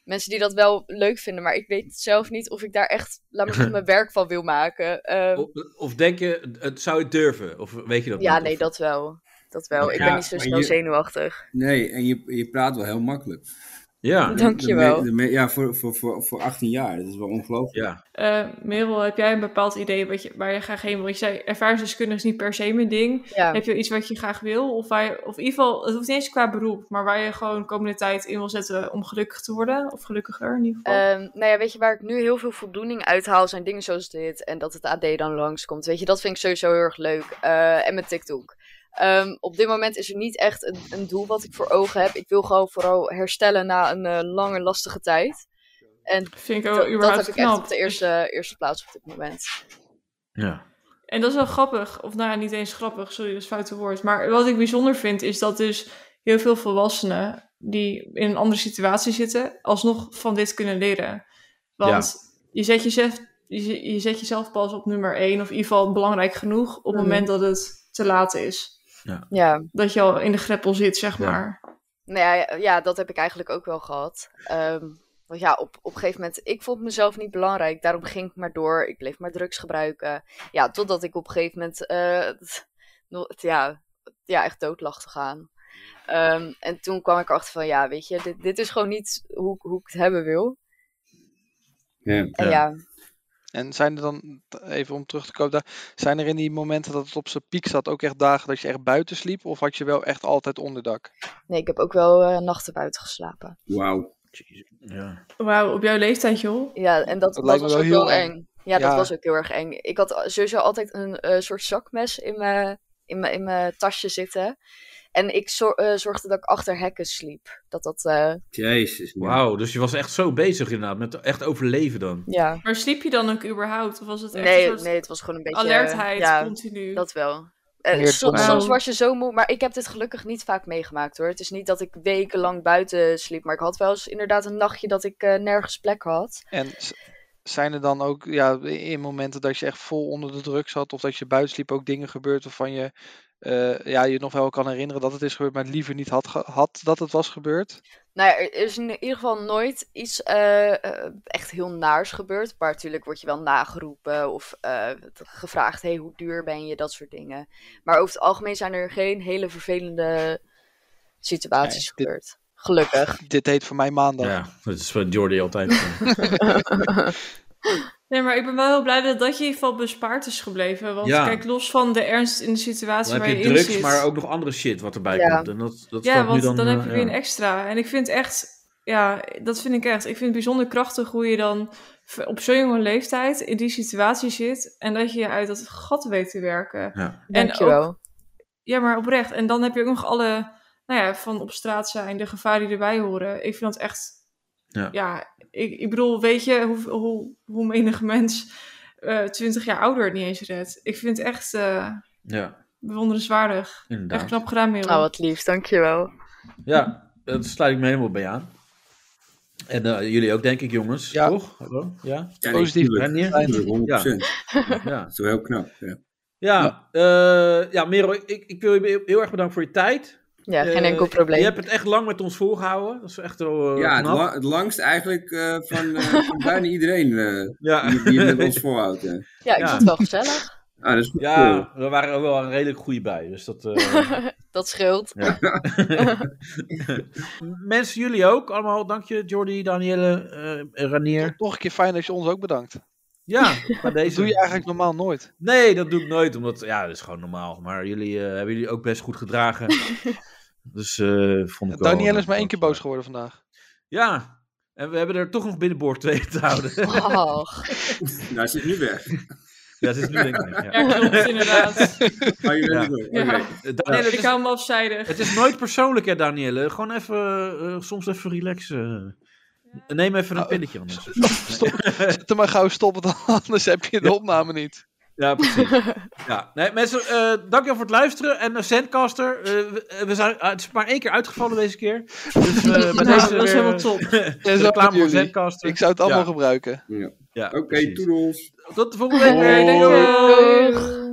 [SPEAKER 3] mensen die dat wel leuk vinden. Maar ik weet zelf niet of ik daar echt, laat maar zeggen, mijn werk van wil maken. Ehm,
[SPEAKER 2] Of, of denk je, het zou je durven? Of weet je Oh, dat
[SPEAKER 3] ja,
[SPEAKER 2] niet?
[SPEAKER 3] nee,
[SPEAKER 2] Of-
[SPEAKER 3] dat wel. Dat wel. Ik
[SPEAKER 4] Ja,
[SPEAKER 3] ben niet zo
[SPEAKER 4] maar
[SPEAKER 3] snel
[SPEAKER 4] je-
[SPEAKER 3] zenuwachtig.
[SPEAKER 4] Nee, en je, je praat wel heel makkelijk.
[SPEAKER 2] Ja,
[SPEAKER 3] Dankjewel.
[SPEAKER 4] De me- de me- Ja, voor, voor, voor, voor 18 jaar. Dat is wel ongelooflijk.
[SPEAKER 2] ja.
[SPEAKER 5] Eh, Merel, heb jij een bepaald idee wat je, waar je graag heen wil? Je zei, ervaringsdeskundig is niet per se mijn ding.
[SPEAKER 3] Ja.
[SPEAKER 5] Heb je iets wat je graag wil? Of, waar je- of in ieder geval, het hoeft niet eens qua beroep, maar waar je gewoon de komende tijd in wil zetten om gelukkig te worden? Of gelukkiger in ieder geval?
[SPEAKER 3] Ehm, nou ja, weet je, waar ik nu heel veel voldoening uit haal, zijn dingen zoals dit. En dat het AD dan langskomt. Weet je, dat vind ik sowieso heel erg leuk. Eh, en met TikTok. Ehm, op dit moment is er niet echt een, een doel wat ik voor ogen heb. Ik wil gewoon vooral herstellen na een eh, lange, lastige tijd. En
[SPEAKER 5] Vind ik
[SPEAKER 3] dat-
[SPEAKER 5] ook
[SPEAKER 3] dat
[SPEAKER 5] Oh, überhaupt
[SPEAKER 3] heb ik
[SPEAKER 5] knap.
[SPEAKER 3] echt op de eerste, eerste plaats op dit moment.
[SPEAKER 2] ja.
[SPEAKER 5] En dat is wel grappig. Of nou ja, niet eens grappig, sorry, dat is een foute woord. Maar wat ik bijzonder vind, is dat dus heel veel volwassenen die in een andere situatie zitten, alsnog van dit kunnen leren. Want je, zet jezelf, je, zet- je zet jezelf pas op nummer één, of in ieder geval belangrijk genoeg, op het
[SPEAKER 3] Mhm.
[SPEAKER 5] moment dat het te laat is.
[SPEAKER 3] Ja.
[SPEAKER 5] Dat je al in de greppel zit, zeg
[SPEAKER 2] Ja.
[SPEAKER 5] maar.
[SPEAKER 3] Nou ja, ja, dat heb ik eigenlijk ook wel gehad. Ehm, want ja, op, op een gegeven moment, ik vond mezelf niet belangrijk. Daarom ging ik maar door. Ik bleef maar drugs gebruiken. Ja, totdat ik op een gegeven moment eh, het- no- het- ja, ja, echt dood lag te gaan. Ehm, en toen kwam ik erachter van, ja, weet je, dit, dit is gewoon niet hoe, ik- hoe ik het hebben wil.
[SPEAKER 4] Ja.
[SPEAKER 3] En
[SPEAKER 2] Ja.
[SPEAKER 3] ja,
[SPEAKER 7] En zijn er dan, t- even om terug te komen, daar, zijn er in die momenten dat het op zijn piek zat ook echt dagen dat je echt buiten sliep? Of had je wel echt altijd onderdak?
[SPEAKER 3] nee, ik heb ook wel eh, nachten buiten geslapen.
[SPEAKER 4] Wauw.
[SPEAKER 2] Ja.
[SPEAKER 5] Wauw, op jouw leeftijd, joh.
[SPEAKER 3] Ja, en dat,
[SPEAKER 7] Dat
[SPEAKER 3] dat,
[SPEAKER 7] lijkt me
[SPEAKER 3] was
[SPEAKER 7] wel
[SPEAKER 3] ook
[SPEAKER 7] heel
[SPEAKER 3] heel
[SPEAKER 7] eng.
[SPEAKER 3] eng. Ja, dat
[SPEAKER 7] Ja.
[SPEAKER 3] was ook heel erg eng. Ik had al- sowieso altijd een eh, soort zakmes in mijn, in, mijn, in mijn tasje zitten. En ik zor- eh, zorgde dat ik achter hekken sliep. Dat dat, eh,
[SPEAKER 4] Jezus. man.
[SPEAKER 2] Wauw, dus je was echt zo bezig inderdaad, met echt overleven dan.
[SPEAKER 3] ja.
[SPEAKER 5] Maar sliep je dan ook überhaupt? Of was het echt
[SPEAKER 3] Nee,
[SPEAKER 5] een soort
[SPEAKER 3] nee, het was gewoon een beetje...
[SPEAKER 5] alertheid
[SPEAKER 3] Ja,
[SPEAKER 5] continu?
[SPEAKER 3] dat wel. Eh,
[SPEAKER 7] Meer nou.
[SPEAKER 3] so-
[SPEAKER 7] dan-
[SPEAKER 3] soms was je zo moe, maar ik heb dit gelukkig niet vaak meegemaakt hoor. Het is niet dat ik wekenlang buiten sliep, maar ik had wel eens inderdaad een nachtje dat ik eh, nergens plek had.
[SPEAKER 7] En z- zijn er dan ook ja, in momenten dat je echt vol onder de druk zat of dat je buiten sliep ook dingen gebeurd waarvan je eh, ja, je nog wel kan herinneren dat het is gebeurd, maar het liever niet had gehad dat het was gebeurd?
[SPEAKER 3] Nou ja, er is in ieder geval nooit iets eh, eh, echt heel naars gebeurd. Maar natuurlijk word je wel nageroepen of eh, gevraagd: hey, hoe duur ben je? Dat soort dingen. Maar over het algemeen zijn er geen hele vervelende situaties
[SPEAKER 7] Nee, dit-
[SPEAKER 3] gebeurd. Gelukkig.
[SPEAKER 7] Dit heet voor mij maandag.
[SPEAKER 2] Ja, dat is wat Jordi altijd.
[SPEAKER 5] Nee, maar ik ben wel heel blij dat dat je in ieder geval bespaard is gebleven. Want
[SPEAKER 2] Ja.
[SPEAKER 5] kijk, los van de ernst in de situatie
[SPEAKER 2] Dan
[SPEAKER 5] waar
[SPEAKER 2] heb
[SPEAKER 5] je
[SPEAKER 2] je
[SPEAKER 5] in
[SPEAKER 2] drugs,
[SPEAKER 5] zit.
[SPEAKER 2] maar ook nog andere shit wat erbij
[SPEAKER 3] Ja.
[SPEAKER 2] komt. En dat, dat
[SPEAKER 5] ja,
[SPEAKER 2] valt nu
[SPEAKER 5] want
[SPEAKER 2] dan,
[SPEAKER 5] dan, heb
[SPEAKER 2] eh,
[SPEAKER 5] je weer
[SPEAKER 2] ja.
[SPEAKER 5] een extra. En ik vind echt, ja, dat vind ik echt. Ik vind het bijzonder krachtig hoe je dan v- op zo'n jonge leeftijd in die situatie zit. En dat je je uit dat gat weet te werken.
[SPEAKER 2] Ja.
[SPEAKER 5] En
[SPEAKER 3] Dankjewel.
[SPEAKER 5] Ja, maar oprecht. En dan heb je ook nog alle, nou ja, van op straat zijn, de gevaren die erbij horen. Ik vind dat echt,
[SPEAKER 2] Ja.
[SPEAKER 5] ja, ik, ik bedoel, weet je hoe, hoe, hoe menig mens eh, twintig jaar ouder het niet eens redt. Ik vind het echt eh,
[SPEAKER 2] ja,
[SPEAKER 5] bewonderenswaardig.
[SPEAKER 2] inderdaad.
[SPEAKER 5] Echt knap gedaan, Merel.
[SPEAKER 3] Nou, wat lief, dankjewel.
[SPEAKER 2] Ja, daar sluit ik me helemaal bij aan. En eh, jullie ook, denk ik, jongens.
[SPEAKER 7] Ja.
[SPEAKER 2] Toch? Hallo? Ja?
[SPEAKER 4] Ja, nee,
[SPEAKER 7] Positief.
[SPEAKER 4] tuurlijk.
[SPEAKER 2] Renier?
[SPEAKER 7] Fijn.
[SPEAKER 4] Tuurlijk, 100%.
[SPEAKER 2] Ja.
[SPEAKER 4] Dat is wel heel knap. Ja.
[SPEAKER 2] Ja, eh, ja Merel, ik, ik wil je heel erg bedanken voor je tijd.
[SPEAKER 3] Ja, geen
[SPEAKER 2] Eh,
[SPEAKER 3] enkel probleem.
[SPEAKER 2] Je hebt het echt lang met ons volgehouden. Dat is echt wel eh,
[SPEAKER 4] Ja, het,
[SPEAKER 2] knap.
[SPEAKER 4] la- het langst eigenlijk eh, van, eh, van bijna iedereen eh,
[SPEAKER 2] Ja.
[SPEAKER 4] die, die het met ons volhoudt. hè.
[SPEAKER 3] Ja, ik
[SPEAKER 2] ja.
[SPEAKER 3] vond het wel gezellig.
[SPEAKER 4] Ah, dat is goed.
[SPEAKER 2] ja, we waren er wel redelijk goede bij. Dus dat, eh,
[SPEAKER 3] Dat scheelt.
[SPEAKER 2] Ja. Mensen, jullie ook allemaal. Dank je, Jordi, Danielle, eh Ranier.
[SPEAKER 7] Nog een keer fijn dat je ons ook bedankt.
[SPEAKER 2] Ja, bij
[SPEAKER 7] Dat
[SPEAKER 2] deze.
[SPEAKER 7] doe je eigenlijk normaal nooit.
[SPEAKER 2] Nee, dat doe ik nooit, omdat ja, dat is gewoon normaal. Maar jullie eh, hebben jullie ook best goed gedragen. dus eh vond ik wel-
[SPEAKER 7] Danielle is maar één keer boos geworden vandaag.
[SPEAKER 2] Ja, en we hebben er toch nog binnenboord tegen te houden.
[SPEAKER 3] Och.
[SPEAKER 4] Daar Nou, zit nu weg.
[SPEAKER 2] ja, dat is nu denk ik. Ja.
[SPEAKER 5] Ja, klopt, inderdaad.
[SPEAKER 4] Oh,
[SPEAKER 2] Ja.
[SPEAKER 4] je bent er
[SPEAKER 5] Ja.
[SPEAKER 4] ook. Oké.
[SPEAKER 2] Eh, Danielle,
[SPEAKER 5] ik
[SPEAKER 2] het, is,
[SPEAKER 5] hou me afzijdig.
[SPEAKER 2] het is nooit persoonlijk, hè, Danielle. Gewoon even, eh, soms even relaxen. Neem even een
[SPEAKER 7] Oh.
[SPEAKER 2] pilletje anders.
[SPEAKER 7] Stop. Zet hem maar gauw stoppen, dan anders heb je de opname niet.
[SPEAKER 2] Ja, precies. ja. Nee, mensen, eh, dankjewel voor het luisteren. En eh, Zendcaster, eh, we, eh, we zijn, ah, het is maar één keer uitgevallen deze keer. Dus eh met deze
[SPEAKER 5] Nou, dat is
[SPEAKER 2] weer, eh,
[SPEAKER 5] helemaal top.
[SPEAKER 7] En zo
[SPEAKER 2] reclame
[SPEAKER 7] met
[SPEAKER 2] voor
[SPEAKER 7] jullie.
[SPEAKER 2] Zendcaster.
[SPEAKER 7] Ik zou het allemaal
[SPEAKER 2] Ja,
[SPEAKER 7] gebruiken.
[SPEAKER 2] ja,
[SPEAKER 4] Oké,
[SPEAKER 2] precies.
[SPEAKER 4] toedels.
[SPEAKER 2] Tot de volgende week.
[SPEAKER 5] Oké,
[SPEAKER 2] Doei.
[SPEAKER 5] dankjewel.
[SPEAKER 3] Doeg.